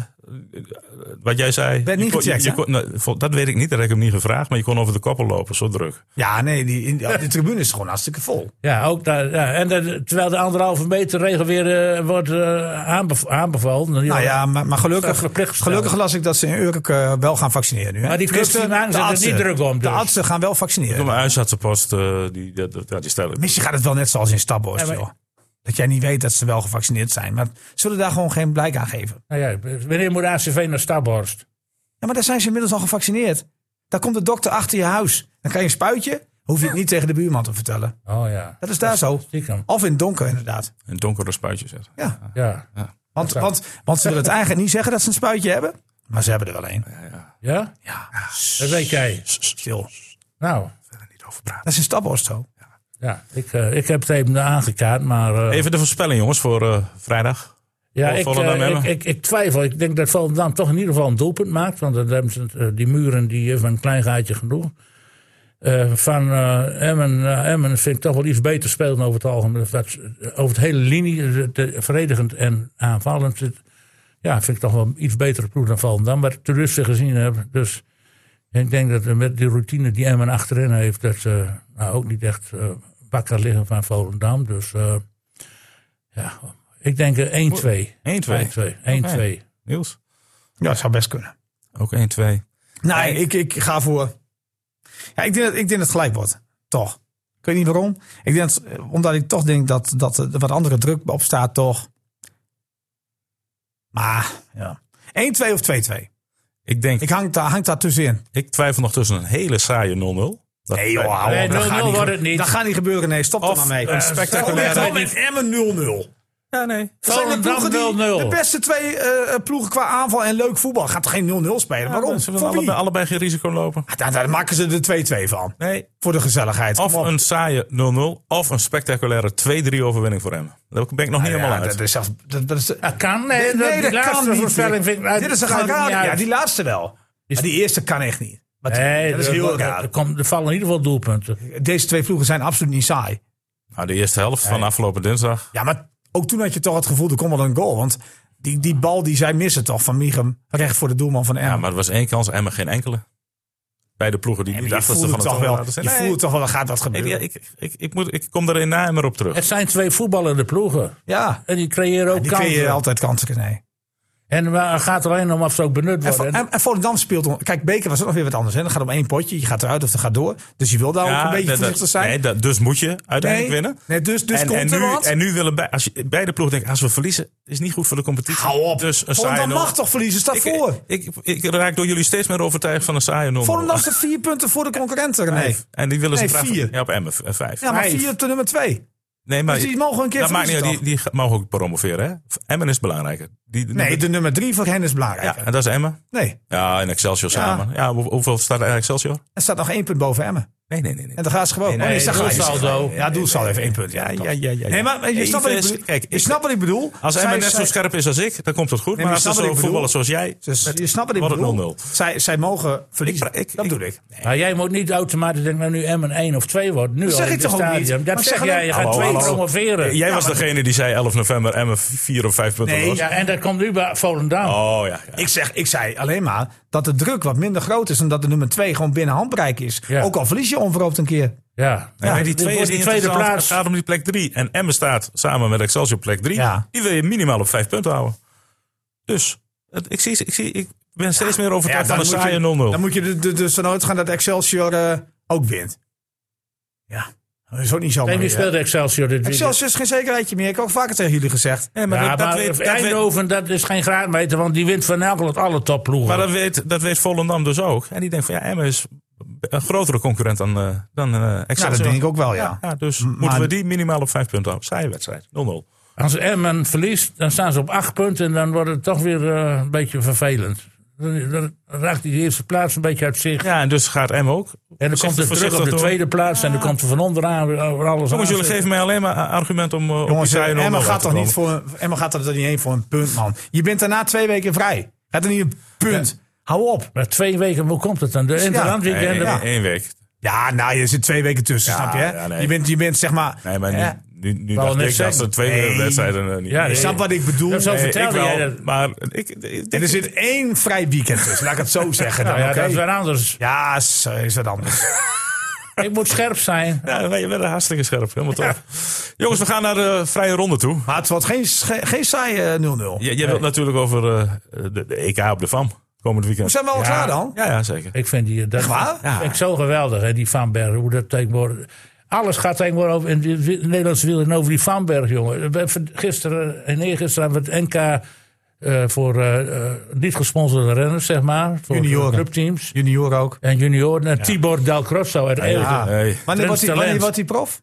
[SPEAKER 3] wat jij zei.
[SPEAKER 4] Ben
[SPEAKER 3] je
[SPEAKER 4] niet
[SPEAKER 3] kon- je-
[SPEAKER 4] gecheckt,
[SPEAKER 3] je
[SPEAKER 4] hè?
[SPEAKER 3] kon- nou, vol- dat weet ik niet, dat heb ik hem niet gevraagd. Maar je kon over de koppel lopen, zo druk.
[SPEAKER 4] Ja, nee, die, in, op de tribune is het gewoon hartstikke vol.
[SPEAKER 1] Ja, ook daar, ja. En dat- terwijl de anderhalve meter regel weer eh, wordt eh, aanbev- aanbevolen.
[SPEAKER 4] Nou ja, maar, maar
[SPEAKER 1] Dat
[SPEAKER 4] gelukkig,
[SPEAKER 1] is verplicht gesteld.
[SPEAKER 4] gelukkig las ik dat ze in Urk eh, wel gaan vaccineren nu. Hè? Dus
[SPEAKER 1] Maar die clubs,
[SPEAKER 4] de-
[SPEAKER 1] die maken
[SPEAKER 4] de
[SPEAKER 1] zich er
[SPEAKER 4] artsen-
[SPEAKER 1] niet druk om,
[SPEAKER 4] De
[SPEAKER 1] dus.
[SPEAKER 4] artsen gaan wel
[SPEAKER 3] Toen
[SPEAKER 4] vaccineren.
[SPEAKER 3] mijn huisartsenpost, eh, die, dat- dat- ja, die stellen.
[SPEAKER 4] Misschien gaat het wel net zoals in Staphorst.
[SPEAKER 1] Ja, maar-
[SPEAKER 4] joh. Dat jij niet weet dat ze wel gevaccineerd zijn. Maar zullen daar gewoon geen blijk aan geven.
[SPEAKER 1] Nou ja, wanneer moet ACV naar Staphorst?
[SPEAKER 4] Ja, maar daar zijn ze inmiddels al gevaccineerd. Dan komt de dokter achter je huis. Dan krijg je een spuitje. Hoef je het niet tegen de buurman te vertellen.
[SPEAKER 1] Oh ja.
[SPEAKER 4] Dat is daar zo.
[SPEAKER 1] Stiekem.
[SPEAKER 4] Of in het donker, inderdaad.
[SPEAKER 3] Een donkere spuitje zetten.
[SPEAKER 4] Ja.
[SPEAKER 1] Ja.
[SPEAKER 4] Want, want, want ze willen het eigenlijk niet zeggen dat ze een spuitje hebben. Maar ze hebben er wel een.
[SPEAKER 1] Ja?
[SPEAKER 4] Ja,
[SPEAKER 1] Dat weet jij.
[SPEAKER 4] stil.
[SPEAKER 1] Nou,
[SPEAKER 3] Niet over praten.
[SPEAKER 4] Dat is een Staphorst zo.
[SPEAKER 1] ja, ik, eh, ik heb het even aangekaart, maar eh,
[SPEAKER 3] Even de voorspelling, jongens, voor eh, vrijdag.
[SPEAKER 1] Ja,
[SPEAKER 3] Voor
[SPEAKER 1] ik,
[SPEAKER 3] Volendam
[SPEAKER 1] eh, ik,
[SPEAKER 3] hebben?
[SPEAKER 1] ik, ik twijfel. Ik denk dat Volendam toch in ieder geval een doelpunt maakt. Want dat hebben ze, eh, die muren die hebben een klein gaatje genoeg. Eh, van eh, Emmen, eh, Emmen vind ik toch wel iets beter spelen over het algemeen. Of Dat, ze- over het hele linie, eh, de- verdedigend en aanvallend. Het- ja, vind ik toch wel een iets betere ploeg dan Volendam. Wat ik te rustig gezien heb. Dus ik denk dat eh, met die routine die Emmen achterin heeft... dat ze nou, ook niet echt eh, wakker liggen van Volendam. Dus eh, ja, ik denk eh, 1-2.
[SPEAKER 3] 1-2.
[SPEAKER 1] 1-2. 1-2.
[SPEAKER 3] Niels?
[SPEAKER 4] Ja, dat zou best kunnen.
[SPEAKER 3] Ook 1-2.
[SPEAKER 4] Nee, ik, ik ga voor... Ja, ik denk dat, ik denk dat het gelijk wordt. Toch. Ik weet niet waarom. Ik denk dat, eh, omdat ik toch denk dat, dat er wat andere druk op staat, toch. Maar, ja. 1-2 of 2-2.
[SPEAKER 3] Ik denk,
[SPEAKER 4] Ik
[SPEAKER 3] ik,
[SPEAKER 4] hang, daar- hang daar tussenin.
[SPEAKER 3] twijfel nog tussen een hele saaie 0-0. Dat-
[SPEAKER 4] Nee, joh, hou op.
[SPEAKER 1] Nee,
[SPEAKER 4] Dat
[SPEAKER 1] 0-0
[SPEAKER 4] gaat niet
[SPEAKER 1] wordt
[SPEAKER 4] ge-
[SPEAKER 1] het niet.
[SPEAKER 4] Dat gaat niet gebeuren. Nee, stop er
[SPEAKER 3] Of
[SPEAKER 4] maar mee.
[SPEAKER 3] een
[SPEAKER 4] Oh,
[SPEAKER 3] spectaculaire...
[SPEAKER 4] met Emmen 0-0.
[SPEAKER 3] Ja, nee.
[SPEAKER 4] Dat zijn de
[SPEAKER 1] Volendam
[SPEAKER 4] ploegen die-
[SPEAKER 1] 0-0.
[SPEAKER 4] De beste twee eh, ploegen qua aanval en leuk voetbal. Gaat toch geen 0-0 spelen? Waarom?
[SPEAKER 3] Ze
[SPEAKER 4] Voor
[SPEAKER 3] willen
[SPEAKER 4] wie?
[SPEAKER 3] allebei, allebei geen risico lopen.
[SPEAKER 4] Ah, Daar, daar maken ze er 2-2 van.
[SPEAKER 3] Nee.
[SPEAKER 4] Voor de gezelligheid.
[SPEAKER 3] Of
[SPEAKER 4] Kom op.
[SPEAKER 3] een saaie 0-0, of een spectaculaire 2-3 overwinning voor hem. Daar ben ik nog niet
[SPEAKER 4] Ah, Ja,
[SPEAKER 3] helemaal
[SPEAKER 4] dat
[SPEAKER 3] uit.
[SPEAKER 4] is zelfs- dat- dat is-
[SPEAKER 1] Dat kan. Nee, dat, die laatste voorspelling vind ik... uit-
[SPEAKER 4] Dit is een
[SPEAKER 1] kan er
[SPEAKER 4] raar.
[SPEAKER 1] niet uit.
[SPEAKER 4] Ja, die laatste wel. Maar die eerste kan echt niet. Want
[SPEAKER 1] Nee,
[SPEAKER 4] dat is heel
[SPEAKER 1] er-
[SPEAKER 4] raar.
[SPEAKER 1] Er, komt, er vallen in ieder geval doelpunten.
[SPEAKER 4] Deze twee ploegen zijn absoluut niet saai.
[SPEAKER 3] Nou, de eerste helft van afgelopen dinsdag.
[SPEAKER 4] Ja, maar ook toen had je toch het gevoel, er komt wel een goal. Want die, die bal die zij missen toch van Michem recht voor de doelman van
[SPEAKER 3] Ja,
[SPEAKER 4] Emmen.
[SPEAKER 3] maar het was één kans en maar geen enkele. Bij de ploegen die
[SPEAKER 4] je
[SPEAKER 3] niet dachten ze
[SPEAKER 4] voelde
[SPEAKER 3] van het
[SPEAKER 4] toch
[SPEAKER 3] wel.
[SPEAKER 4] wel,
[SPEAKER 3] laten zijn.
[SPEAKER 4] je
[SPEAKER 3] Nee,
[SPEAKER 4] voelde toch wel, er gaat wat
[SPEAKER 3] ik,
[SPEAKER 4] gebeuren.
[SPEAKER 3] ik, ik, ik, moet, ik kom er in namer op terug.
[SPEAKER 1] Het zijn twee voetballende ploegen.
[SPEAKER 4] Ja,
[SPEAKER 1] En die creëren ook
[SPEAKER 4] die
[SPEAKER 1] kansen.
[SPEAKER 4] creëren altijd kansen. Nee.
[SPEAKER 1] En maar het gaat er alleen om of ze ook benut
[SPEAKER 4] En, Vo-
[SPEAKER 1] worden.
[SPEAKER 4] en, en Volendam speelt... om- Kijk, Beker was ook nog weer wat anders. Hè? Dat gaat om één potje. Je gaat eruit of dat gaat door. Dus je wil daar ook een beetje
[SPEAKER 3] dat- dat-
[SPEAKER 4] voorzichtig zijn.
[SPEAKER 3] Nee, dat- dus moet je uiteindelijk winnen.
[SPEAKER 4] Nee, dus dus
[SPEAKER 3] en,
[SPEAKER 4] komt
[SPEAKER 3] en,
[SPEAKER 4] er
[SPEAKER 3] nu,
[SPEAKER 4] wat.
[SPEAKER 3] en nu willen bij, als je, beide ploegen denken, als we verliezen, is niet goed voor de competitie.
[SPEAKER 4] Hou op.
[SPEAKER 3] Dus een saaie
[SPEAKER 4] Volendam
[SPEAKER 3] nul.
[SPEAKER 4] mag toch verliezen? Staat voor.
[SPEAKER 3] Ik, ik, ik raak door jullie steeds meer overtuigd van een saaie nul. *laughs*
[SPEAKER 4] Volendam staat vier punten voor de concurrenten. Nee.
[SPEAKER 3] En die willen ze
[SPEAKER 4] Nee,
[SPEAKER 3] graag...
[SPEAKER 4] vier.
[SPEAKER 3] Ja, op Emmen, v- eh, vijf.
[SPEAKER 4] Ja, maar
[SPEAKER 1] Vijf.
[SPEAKER 4] vier op de nummer twee.
[SPEAKER 3] nee, maar,
[SPEAKER 4] Dus die mogen een keer
[SPEAKER 3] dat maakt niet
[SPEAKER 4] verliezen
[SPEAKER 3] uit, die, die ga- mogen ook promoveren, hè? Emmen is belangrijker. Die,
[SPEAKER 4] Nee, dus- de nummer drie voor hen is
[SPEAKER 3] ja,
[SPEAKER 4] belangrijk.
[SPEAKER 3] en dat is Emmen.
[SPEAKER 4] Nee,
[SPEAKER 3] Ja, en Excelsior samen. Ja, hoe- hoeveel staat er eigenlijk Excelsior?
[SPEAKER 4] er staat nog één punt boven Emmen.
[SPEAKER 3] Nee, nee, nee. nee.
[SPEAKER 4] En dan gaan ze gewoon.
[SPEAKER 3] nee,
[SPEAKER 4] Oh, is dat
[SPEAKER 1] doelsaldo.
[SPEAKER 4] gelijk? Is dat gelijk? Ja,
[SPEAKER 3] Nee,
[SPEAKER 4] doelsaldo
[SPEAKER 3] nee,
[SPEAKER 4] even één punt.
[SPEAKER 3] Ja,
[SPEAKER 4] Ja,
[SPEAKER 3] ja, ja, ja.
[SPEAKER 4] Nee, maar je
[SPEAKER 3] Even
[SPEAKER 4] snapt wat ik
[SPEAKER 3] is-
[SPEAKER 4] bedoel.
[SPEAKER 3] kijk,
[SPEAKER 4] Je snapt wat ik bedoel.
[SPEAKER 3] Als
[SPEAKER 4] Zij-
[SPEAKER 3] Emmen net zo
[SPEAKER 4] zij-
[SPEAKER 3] scherp is als ik, dan komt het goed.
[SPEAKER 4] Nee,
[SPEAKER 3] maar
[SPEAKER 4] maar
[SPEAKER 3] als ze
[SPEAKER 4] snap wat
[SPEAKER 3] zo
[SPEAKER 4] ik bedoel?
[SPEAKER 3] voetballen zoals jij...
[SPEAKER 4] Dus je snapt wat ik
[SPEAKER 3] Wordt het
[SPEAKER 4] bedoel.
[SPEAKER 3] 0-0.
[SPEAKER 4] Zij, zij mogen verliezen.
[SPEAKER 3] Ik- ik-
[SPEAKER 4] dat
[SPEAKER 3] ik-
[SPEAKER 4] bedoel ik. Nee,
[SPEAKER 1] Maar Nou, jij moet niet automatisch denken, nou nu Emmen 1 of 2 wordt. Nu
[SPEAKER 4] Dat
[SPEAKER 1] al
[SPEAKER 4] zeg
[SPEAKER 1] in
[SPEAKER 4] ik
[SPEAKER 1] dit
[SPEAKER 4] toch ook niet?
[SPEAKER 1] stadium. Dat
[SPEAKER 4] Maar
[SPEAKER 1] zeg
[SPEAKER 4] zeg
[SPEAKER 1] jij,
[SPEAKER 4] dan-
[SPEAKER 1] je gaat
[SPEAKER 3] Hallo,
[SPEAKER 1] twee
[SPEAKER 3] hallo.
[SPEAKER 1] promoveren.
[SPEAKER 3] Jij was degene die zei 11 november Emmen 4 of 5 punten
[SPEAKER 4] Nee,
[SPEAKER 3] los.
[SPEAKER 1] Ja, en dat komt nu bij Volendam.
[SPEAKER 3] Oh ja. ja.
[SPEAKER 4] Ik, zeg, ik zei alleen maar dat de druk wat minder groot is. En dat de nummer twee gewoon binnen handbereik is.
[SPEAKER 1] Ja.
[SPEAKER 4] Ook al verlies je onverhoopt een keer.
[SPEAKER 1] Ja.
[SPEAKER 3] Nee, maar die
[SPEAKER 1] Dit
[SPEAKER 3] twee
[SPEAKER 1] wordt
[SPEAKER 3] is
[SPEAKER 1] die tweede
[SPEAKER 3] niet interessant.
[SPEAKER 1] plaats.
[SPEAKER 3] Het gaat om die plek 3. En Emmen staat samen met Excelsior op plek 3.
[SPEAKER 4] Ja.
[SPEAKER 3] Die wil je minimaal op 5 punten houden. Dus het- ik, zie, ik, zie, ik ben steeds meer overtuigd van een
[SPEAKER 4] moet je-
[SPEAKER 3] saaie 0-0.
[SPEAKER 4] Dan moet je er- er- dus vanuit gaan dat Excelsior eh, ook wint. Ja, dat is ook niet zo.
[SPEAKER 1] En
[SPEAKER 3] Oh,
[SPEAKER 1] wie
[SPEAKER 4] mooi, hè.
[SPEAKER 1] speelde Excelsior dit weekend?
[SPEAKER 4] Excelsior is geen zekerheidje meer. Ik heb ook vaker tegen jullie gezegd. Eh,
[SPEAKER 3] Nee, maar,
[SPEAKER 1] Ja,
[SPEAKER 3] dat, dat
[SPEAKER 1] maar
[SPEAKER 3] weet, dat, weet,
[SPEAKER 1] Eindhoven, dat is geen graadmeter, want die wint van elk alle topploegen.
[SPEAKER 3] maar dat, weet, dat weet Volendam dus ook. En die denkt van ja, Emmen is een grotere concurrent dan, eh, dan eh,
[SPEAKER 4] Nou,
[SPEAKER 3] Excelsior.
[SPEAKER 4] dat denk ik ook wel, ja.
[SPEAKER 3] Ja, dus moeten we die minimaal op 5 punten houden. Saaie wedstrijd. 0-0.
[SPEAKER 1] Als Emmen verliest, dan staan ze op acht punten en dan wordt het toch weer eh, een beetje vervelend. Dan, dan raakt die eerste plaats een beetje uit zicht.
[SPEAKER 3] Ja, en dus gaat Emmen ook.
[SPEAKER 1] en dan komt het terug
[SPEAKER 3] voorzichtig
[SPEAKER 1] op de
[SPEAKER 3] door.
[SPEAKER 1] tweede plaats en dan komt er van onderaan weer over alles
[SPEAKER 3] Jongens,
[SPEAKER 1] aan.
[SPEAKER 3] jullie geven mij alleen maar eh, argument om eh, op die
[SPEAKER 4] Jongens,
[SPEAKER 3] saaie 0-0
[SPEAKER 4] Emma
[SPEAKER 3] uit
[SPEAKER 4] gaat
[SPEAKER 3] te
[SPEAKER 4] toch niet
[SPEAKER 3] komen.
[SPEAKER 4] voor een, Emma gaat er toch niet heen voor een punt, man. Je bent daarna twee weken vrij. Gaat er niet een punt. Hou op.
[SPEAKER 1] Maar twee weken, hoe komt het dan? De interlandweekenden.
[SPEAKER 3] Nee,
[SPEAKER 1] ja.
[SPEAKER 3] één- één week.
[SPEAKER 4] Ja, nou, je zit twee weken tussen, snap je? hè?
[SPEAKER 3] ja, nee.
[SPEAKER 4] je, bent, je bent zeg maar...
[SPEAKER 3] Nee, maar nu,
[SPEAKER 4] Ja.
[SPEAKER 3] nu, nu
[SPEAKER 1] Wou
[SPEAKER 3] dacht
[SPEAKER 1] net
[SPEAKER 3] ik
[SPEAKER 1] zeggen.
[SPEAKER 3] dat ze twee
[SPEAKER 4] Nee.
[SPEAKER 3] wedstrijden eh, niet.
[SPEAKER 1] Ja,
[SPEAKER 3] Nee,
[SPEAKER 4] Je
[SPEAKER 1] nee.
[SPEAKER 4] snapt wat ik bedoel.
[SPEAKER 1] Dat is al
[SPEAKER 4] Nee.
[SPEAKER 1] verteld.
[SPEAKER 3] ik
[SPEAKER 1] vertelde
[SPEAKER 3] wel,
[SPEAKER 1] jij dat?
[SPEAKER 3] maar ik, ik denk
[SPEAKER 4] En er zit één vrij weekend tussen. Laat ik het zo zeggen dan,
[SPEAKER 1] Nou ja,
[SPEAKER 4] oké?
[SPEAKER 1] dat is weer anders.
[SPEAKER 4] Ja, zo is dat anders.
[SPEAKER 1] Ik moet scherp zijn.
[SPEAKER 3] Ja, wij- we werden hartstikke scherp. Helemaal tof. Jongens, we gaan naar de vrije ronde toe.
[SPEAKER 4] Maar het wordt geen, sche- geen saaie eh, 0-0.
[SPEAKER 3] J- Jij wilt natuurlijk over eh, de, de EK op de VAM komend weekend.
[SPEAKER 4] Zijn we al klaar dan?
[SPEAKER 3] Ja, ja, zeker.
[SPEAKER 1] Ik vind die... Dat,
[SPEAKER 4] waar?
[SPEAKER 1] vind ik zo geweldig, hè, die Van Berg. Hoe dat tegenwoordig... Alles gaat tegenwoordig over in de wi- Nederlandse wiel en over die Van Berg, jongen. We hebben Gisteren en eergisteren hebben we het NK eh, voor eh, eh, niet gesponsorde renners, zeg maar. Voor
[SPEAKER 4] Junioren.
[SPEAKER 1] clubteams.
[SPEAKER 4] Junior ook.
[SPEAKER 1] En junioren. En Tibor Del Grosso uit Eelde.
[SPEAKER 4] Ja.
[SPEAKER 3] Hey.
[SPEAKER 4] Wanneer, wordt die,
[SPEAKER 1] talent.
[SPEAKER 4] wanneer wordt die prof?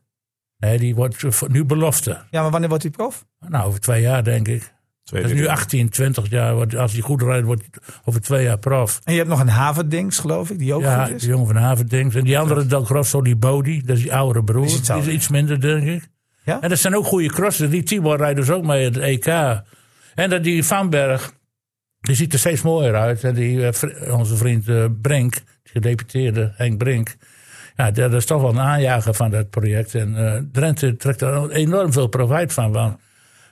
[SPEAKER 1] Nee, die wordt voor- nu belofte.
[SPEAKER 4] Ja, maar wanneer wordt die prof?
[SPEAKER 1] Nou, over twee jaar, denk ik.
[SPEAKER 3] Tweede
[SPEAKER 1] Dat is nu
[SPEAKER 3] keer.
[SPEAKER 1] 18, 20 jaar. wordt- Als hij goed rijdt, wordt hij over twee jaar prof.
[SPEAKER 4] En je hebt nog een Havendings, geloof ik, die ook
[SPEAKER 1] Ja,
[SPEAKER 4] goed
[SPEAKER 1] die
[SPEAKER 4] is.
[SPEAKER 1] jongen van Havendings. En die andere, Del Grosso, die Bodie, dat is die oudere broer.
[SPEAKER 4] Die is iets
[SPEAKER 1] die is
[SPEAKER 4] ouder.
[SPEAKER 1] iets minder, denk ik.
[SPEAKER 4] Ja?
[SPEAKER 1] En dat zijn ook goede crossers. Die Tibor rijdt dus ook mee het EK. En dat die Vanberg, die ziet er steeds mooier uit. En die, eh, vri- onze vriend eh, Brink, die gedeputeerde Henk Brink. Ja, dat is toch wel een aanjager van dat project. En eh, Drenthe trekt daar enorm veel profijt van. Want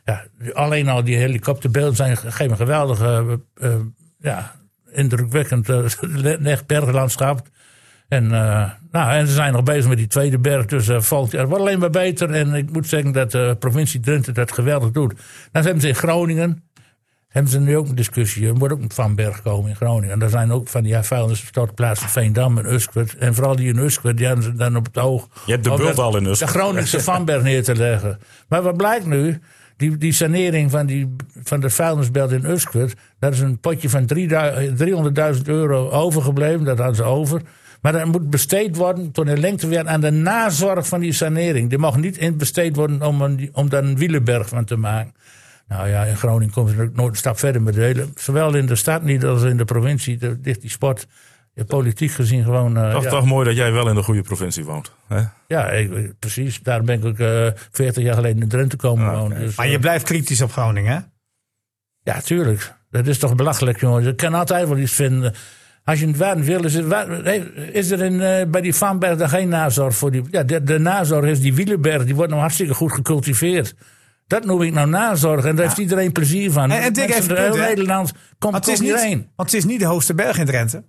[SPEAKER 1] ja, alleen al die helikopterbeelden zijn, ge- geven een geweldige, eh, eh, ja, indrukwekkend eh, *laughs* echt berglandschap. En, eh, nou, en ze zijn nog bezig met die tweede berg, dus eh valt, het wordt alleen maar beter. En ik moet zeggen dat de provincie Drenthe dat geweldig doet. Dan hebben ze in Groningen, hebben ze nu ook een discussie. Er moet ook een Van Berg komen in Groningen. En er zijn ook van die ja, vuilnistortplaatsen Veendam en Uskwert. En vooral die in Uskwert, die hebben ze dan op het oog.
[SPEAKER 3] Je hebt de
[SPEAKER 1] om
[SPEAKER 3] bult
[SPEAKER 1] dat-
[SPEAKER 3] al in Usquert.
[SPEAKER 1] De Groningse Van Berg neer te leggen. Maar wat blijkt nu? Die, die sanering van, die, van de vuilnisbelt in Uskwert... dat is een potje van 3000 300.000 euro overgebleven. Dat hadden ze over. Maar dat moet besteed worden, tot in lengte weer... aan de nazorg van die sanering. Die mag niet in besteed worden om, een, om daar een wielenberg van te maken. Nou ja, in Groningen komt er ook nooit een stap verder met de hele... zowel in de stad niet als in de provincie. Daar ligt die sport eh, politiek gezien gewoon... eh,
[SPEAKER 3] Toch,
[SPEAKER 1] ja.
[SPEAKER 3] toch mooi dat jij wel in de goede provincie woont. Hè?
[SPEAKER 1] Ja, ik- ik- precies. Daarom ben ik ook eh 40 jaar geleden in Drenthe komen wonen. Dus,
[SPEAKER 4] Ah, Maar je
[SPEAKER 1] eh,
[SPEAKER 4] blijft kritisch op Groningen, hè?
[SPEAKER 1] ja, tuurlijk. Dat is toch belachelijk, jongens. Ik kan altijd wel iets vinden. Als je het waar wil, is, het waar- hey, is er in, eh, bij die Vanberg dan geen nazorg voor die... Ja, de, de nazorg is die Wielenberg. Die wordt nou hartstikke goed gecultiveerd. Dat noem ik nou nazorg. En daar heeft iedereen plezier van.
[SPEAKER 4] En- en Dick
[SPEAKER 1] Mensen
[SPEAKER 4] heeft een
[SPEAKER 1] door heel
[SPEAKER 4] punt, hè?
[SPEAKER 1] Nederland komt,
[SPEAKER 4] Want
[SPEAKER 1] komt
[SPEAKER 4] het, is niet,
[SPEAKER 1] hierheen.
[SPEAKER 4] want het is niet de hoogste berg in Drenthe.